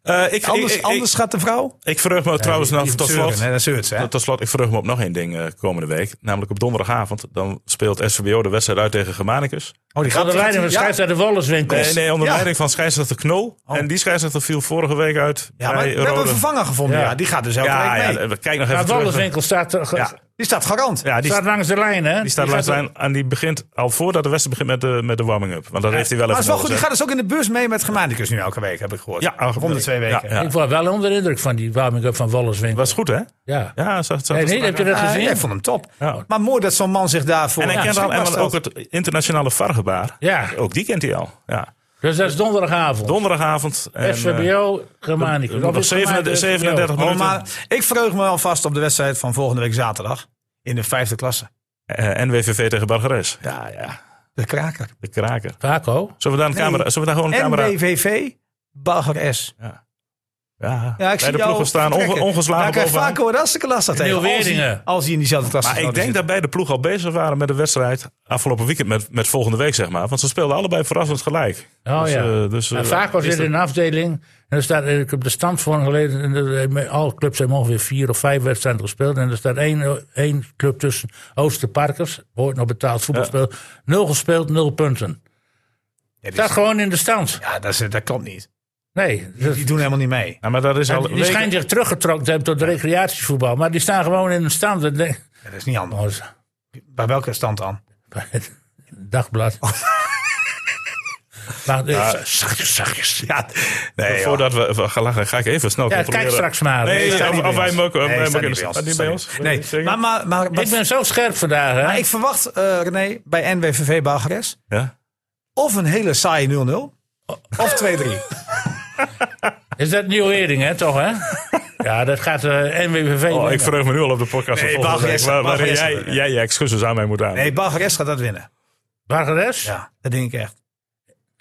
[SPEAKER 3] Eh, ik,
[SPEAKER 4] Anders,
[SPEAKER 3] ik, ik,
[SPEAKER 4] anders gaat de vrouw?
[SPEAKER 3] ik verheug me trouwens nog tot
[SPEAKER 4] Zeuren,
[SPEAKER 3] slot.
[SPEAKER 4] hè? Dat zeurt ze, hè?
[SPEAKER 3] Tot- Tot slot, ik verheug me op nog één ding eh, komende week. Namelijk op donderdagavond. Dan speelt SVBO de wedstrijd uit tegen Germanicus.
[SPEAKER 4] Oh, die
[SPEAKER 1] Onder leiding van
[SPEAKER 4] ja.
[SPEAKER 1] scheidsrechter Wollerswinkel.
[SPEAKER 3] Nee, nee onder
[SPEAKER 4] Ja.
[SPEAKER 3] leiding van scheidsrechter Knol.
[SPEAKER 4] Oh.
[SPEAKER 3] En die scheidsrechter viel vorige week uit
[SPEAKER 4] Ja, maar
[SPEAKER 3] bij
[SPEAKER 4] we hebben
[SPEAKER 3] Rode.
[SPEAKER 4] een vervanger gevonden, ja.
[SPEAKER 1] Ja.
[SPEAKER 4] Die gaat dus elke
[SPEAKER 3] ja,
[SPEAKER 4] week mee. Dus
[SPEAKER 3] ja, we- kijk nog
[SPEAKER 1] Maar
[SPEAKER 3] even terug.
[SPEAKER 1] Wollerswinkel staat er.
[SPEAKER 3] Ja.
[SPEAKER 4] Die staat garant.
[SPEAKER 3] Ja, die,
[SPEAKER 1] staat langs de lijn, hè?
[SPEAKER 3] die staat langs de lijn en die begint al voordat de wedstrijd begint met de, met de warming-up. Want dat heeft hij wel
[SPEAKER 4] maar
[SPEAKER 3] even
[SPEAKER 4] het is wel
[SPEAKER 3] nodig,
[SPEAKER 4] goed, die gaat dus ook in de bus mee met Germanicus nu elke week, heb ik gehoord.
[SPEAKER 3] hè? Ja,
[SPEAKER 4] of om de twee weken.
[SPEAKER 3] Ja, ja.
[SPEAKER 1] Ik was wel onder de indruk van die warming-up van Wollerswinkel.
[SPEAKER 3] Was goed, hè?
[SPEAKER 1] Ja.
[SPEAKER 3] Ja, zag, zag
[SPEAKER 1] Nee, nee,
[SPEAKER 3] dat strak
[SPEAKER 1] heb je dat
[SPEAKER 3] uit.
[SPEAKER 4] Ah,
[SPEAKER 1] gezien?
[SPEAKER 4] ik vond hem top.
[SPEAKER 3] Ja.
[SPEAKER 4] Maar mooi dat zo'n man zich daarvoor...
[SPEAKER 3] En hij
[SPEAKER 4] ja,
[SPEAKER 3] kent al, en
[SPEAKER 4] beschikbaar
[SPEAKER 3] dan ook
[SPEAKER 4] stelt.
[SPEAKER 3] het internationale vargebaar.
[SPEAKER 1] Ja.
[SPEAKER 3] Ook die kent hij al. Ja.
[SPEAKER 1] Dus dat is donderdagavond.
[SPEAKER 3] Donderdagavond. En, eh,
[SPEAKER 1] SVBO,
[SPEAKER 3] er
[SPEAKER 1] Germanicus.
[SPEAKER 3] nog
[SPEAKER 1] Of is
[SPEAKER 3] 37
[SPEAKER 1] Germanicus SVBO?
[SPEAKER 4] Oh,
[SPEAKER 3] minuten.
[SPEAKER 4] maar ik verheug me alvast op de wedstrijd van volgende week zaterdag. In de vijfde klasse.
[SPEAKER 3] eh, NWVV tegen Bargeres.
[SPEAKER 4] Ja, ja. De kraker.
[SPEAKER 3] De kraker.
[SPEAKER 1] Taco.
[SPEAKER 3] Zullen we daar, een
[SPEAKER 4] Nee.
[SPEAKER 3] camera, zullen we daar gewoon een camera...
[SPEAKER 4] NBVV, Bagger S.
[SPEAKER 3] Ja,
[SPEAKER 4] Ja, ik
[SPEAKER 3] bij
[SPEAKER 4] zie
[SPEAKER 3] de ploegen staan onge- ongeslagen
[SPEAKER 4] Ja, kijk,
[SPEAKER 3] bovenaan.
[SPEAKER 4] vaak hoor dat ze klasse tegen. Als die-
[SPEAKER 1] Nieuw-Weringen.
[SPEAKER 4] Als hij in diezelfde klasse
[SPEAKER 1] Dus
[SPEAKER 3] Maar Ah, ik
[SPEAKER 4] zouden
[SPEAKER 3] denk dat beide ploegen al bezig waren met de wedstrijd afgelopen weekend met, met volgende week, zeg maar. Want ze speelden allebei verrassend gelijk.
[SPEAKER 1] Oh
[SPEAKER 3] Dus,
[SPEAKER 1] ja.
[SPEAKER 3] eh, dus, eh,
[SPEAKER 1] en vaak was
[SPEAKER 3] is
[SPEAKER 1] dit
[SPEAKER 3] dat-
[SPEAKER 1] in een afdeling. En er staat, ik heb de stand van geleden. En er- met alle clubs hebben ongeveer vier of vijf wedstrijden gespeeld. En er staat één, eh, één club tussen Oosterparkers. Ooit nog betaald voetbalspel. Nul gespeeld, nul punten.
[SPEAKER 4] zitten. Ja,
[SPEAKER 1] Staat
[SPEAKER 4] die-
[SPEAKER 1] gewoon in de stand.
[SPEAKER 4] ja, dat, is, dat klopt niet.
[SPEAKER 1] Nee. dat-
[SPEAKER 4] Die doen helemaal niet mee.
[SPEAKER 3] Ja, maar dat is al
[SPEAKER 1] die
[SPEAKER 3] weken-
[SPEAKER 1] schijnt zich teruggetrokken te hebben tot de recreatievoetbal. Maar die staan gewoon in de stand. En denk-
[SPEAKER 4] Ja, dat is niet handig.
[SPEAKER 1] Oh, dat is-
[SPEAKER 4] Bij welke stand
[SPEAKER 3] *laughs*
[SPEAKER 4] dan?
[SPEAKER 1] bij het dagblad.
[SPEAKER 4] Oh.
[SPEAKER 1] *laughs* Maar, eh, zachtjes, zachtjes.
[SPEAKER 4] Ja, nee, joh.
[SPEAKER 3] Voordat we, we gaan lachen, ga ik even snel
[SPEAKER 1] Ja,
[SPEAKER 3] controleren.
[SPEAKER 1] kijk straks maar.
[SPEAKER 3] Nee,
[SPEAKER 1] Ik
[SPEAKER 4] staat
[SPEAKER 3] of,
[SPEAKER 4] niet bij
[SPEAKER 3] of wij
[SPEAKER 4] ons.
[SPEAKER 3] hem ook...
[SPEAKER 4] Nee,
[SPEAKER 3] wij hem
[SPEAKER 4] staat
[SPEAKER 3] ook in
[SPEAKER 4] niet
[SPEAKER 3] de-
[SPEAKER 4] bij ons.
[SPEAKER 3] staat niet bij ons?
[SPEAKER 4] Nee,
[SPEAKER 3] Zeker?
[SPEAKER 4] maar, maar, maar, maar,
[SPEAKER 1] ben zo scherp vandaag. Hè?
[SPEAKER 4] maar ik verwacht, eh, René, bij NWVV Bagres
[SPEAKER 3] Ja?
[SPEAKER 4] of een hele saaie 0-0. Of
[SPEAKER 3] *laughs*
[SPEAKER 4] 2-3.
[SPEAKER 1] Is dat nieuw Hering, hè, toch,
[SPEAKER 4] *laughs*
[SPEAKER 1] hè? ja, dat gaat eh NWVV
[SPEAKER 3] Oh,
[SPEAKER 1] winnen.
[SPEAKER 3] ik verheug me nu al op de podcast van
[SPEAKER 4] Nee,
[SPEAKER 3] volgende
[SPEAKER 4] Bagres-
[SPEAKER 3] week, waar- waarin
[SPEAKER 4] Bagres-
[SPEAKER 3] jij, jij je excuses aan mij moet aan.
[SPEAKER 4] Nee, Bagres gaat dat winnen.
[SPEAKER 1] Bargeres?
[SPEAKER 4] Ja, dat denk ik echt.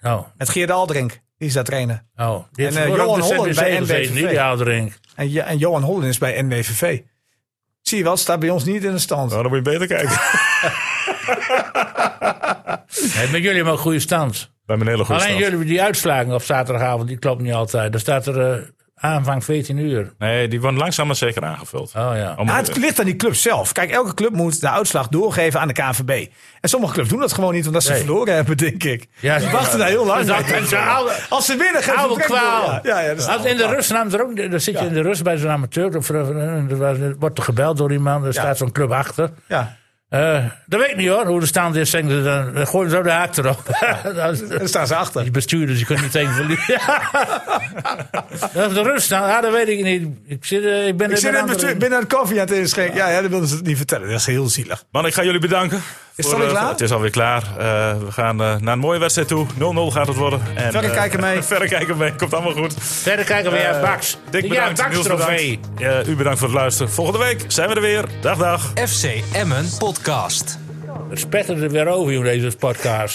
[SPEAKER 1] Oh,
[SPEAKER 4] Met Geert Aldrink, die is daar trainer.
[SPEAKER 1] oh. Die heeft
[SPEAKER 4] eh,
[SPEAKER 1] voor
[SPEAKER 4] Johan
[SPEAKER 1] ook de
[SPEAKER 4] Holland
[SPEAKER 1] CBC
[SPEAKER 4] bij
[SPEAKER 1] gezeten,
[SPEAKER 4] NBVV.
[SPEAKER 1] niet die Aldering.
[SPEAKER 4] En, ja, en Johan Holland is bij NWVV. Zie je wel, staat bij ons niet in de stand.
[SPEAKER 3] Nou, dan moet je beter
[SPEAKER 1] *laughs*
[SPEAKER 3] kijken.
[SPEAKER 1] Nee, maar jullie hebben ook goede stand.
[SPEAKER 3] Bij mijn hele goede
[SPEAKER 1] Alleen
[SPEAKER 3] stand.
[SPEAKER 1] jullie die uitslagen op zaterdagavond, die klopt niet altijd. Dan staat er eh, aanvang 14 uur.
[SPEAKER 3] Nee, die worden langzaam maar zeker aangevuld.
[SPEAKER 1] Oh ja.
[SPEAKER 3] Om-
[SPEAKER 4] Ja, het ligt aan die club zelf. Kijk, elke club moet de uitslag doorgeven aan de KNVB. En sommige clubs doen dat gewoon niet omdat ze
[SPEAKER 1] Nee.
[SPEAKER 4] verloren hebben, denk ik.
[SPEAKER 1] Ja,
[SPEAKER 4] ze
[SPEAKER 1] ze-
[SPEAKER 4] wachten daar heel lang
[SPEAKER 1] Dat-
[SPEAKER 4] mee.
[SPEAKER 1] dat- dat- oude-
[SPEAKER 4] Als ze winnen, gaan ze
[SPEAKER 1] Oude
[SPEAKER 4] direct door,
[SPEAKER 1] kwaal.
[SPEAKER 4] Ja, ja, ja, dat is
[SPEAKER 1] Als in de rust nam er ook, dan zit je in de rust bij zo'n amateur. of- en Er was- er wordt er gebeld door iemand, er staat zo'n club achter.
[SPEAKER 4] Ja,
[SPEAKER 1] Eh, dat weet ik niet hoor, hoe de stand is. Zeggen ze dan, dan gooien ze zo de haak erop. *laughs* Dat is-
[SPEAKER 4] daar staan ze achter.
[SPEAKER 1] Die bestuurders, die kunnen niet tegen
[SPEAKER 4] *laughs*
[SPEAKER 1] verliezen. Dat is de rust. Nou, ja, dat weet ik niet. Ik, zit, eh, ik ben
[SPEAKER 4] Ik
[SPEAKER 1] in
[SPEAKER 4] zit
[SPEAKER 1] een
[SPEAKER 4] net
[SPEAKER 1] andere-
[SPEAKER 4] bestu- binnen het koffie aan het inschenken. Ja, ja, dan wilden ze het niet vertellen. Dat is heel zielig.
[SPEAKER 3] Man, ik ga jullie bedanken.
[SPEAKER 4] het
[SPEAKER 3] voor,
[SPEAKER 4] alweer
[SPEAKER 3] eh,
[SPEAKER 4] klaar?
[SPEAKER 3] Het is alweer klaar. Eh, we gaan eh, naar een mooie wedstrijd toe. 0-0 gaat het worden. En,
[SPEAKER 4] Verder
[SPEAKER 3] eh,
[SPEAKER 4] kijken
[SPEAKER 3] *laughs*
[SPEAKER 4] mee.
[SPEAKER 3] verder kijken mee. Komt allemaal goed.
[SPEAKER 1] Verder kijken we
[SPEAKER 4] Eh,
[SPEAKER 1] naar Bax.
[SPEAKER 3] Eh, Dick
[SPEAKER 1] ja,
[SPEAKER 3] bedankt.
[SPEAKER 1] Bax
[SPEAKER 3] Niels
[SPEAKER 1] trofee.
[SPEAKER 3] bedankt. Eh, u bedankt voor het luisteren. Volgende week zijn we er weer. Dag, dag.
[SPEAKER 2] FC Emmen Podcast.
[SPEAKER 1] Het spetterde weer over in deze podcast.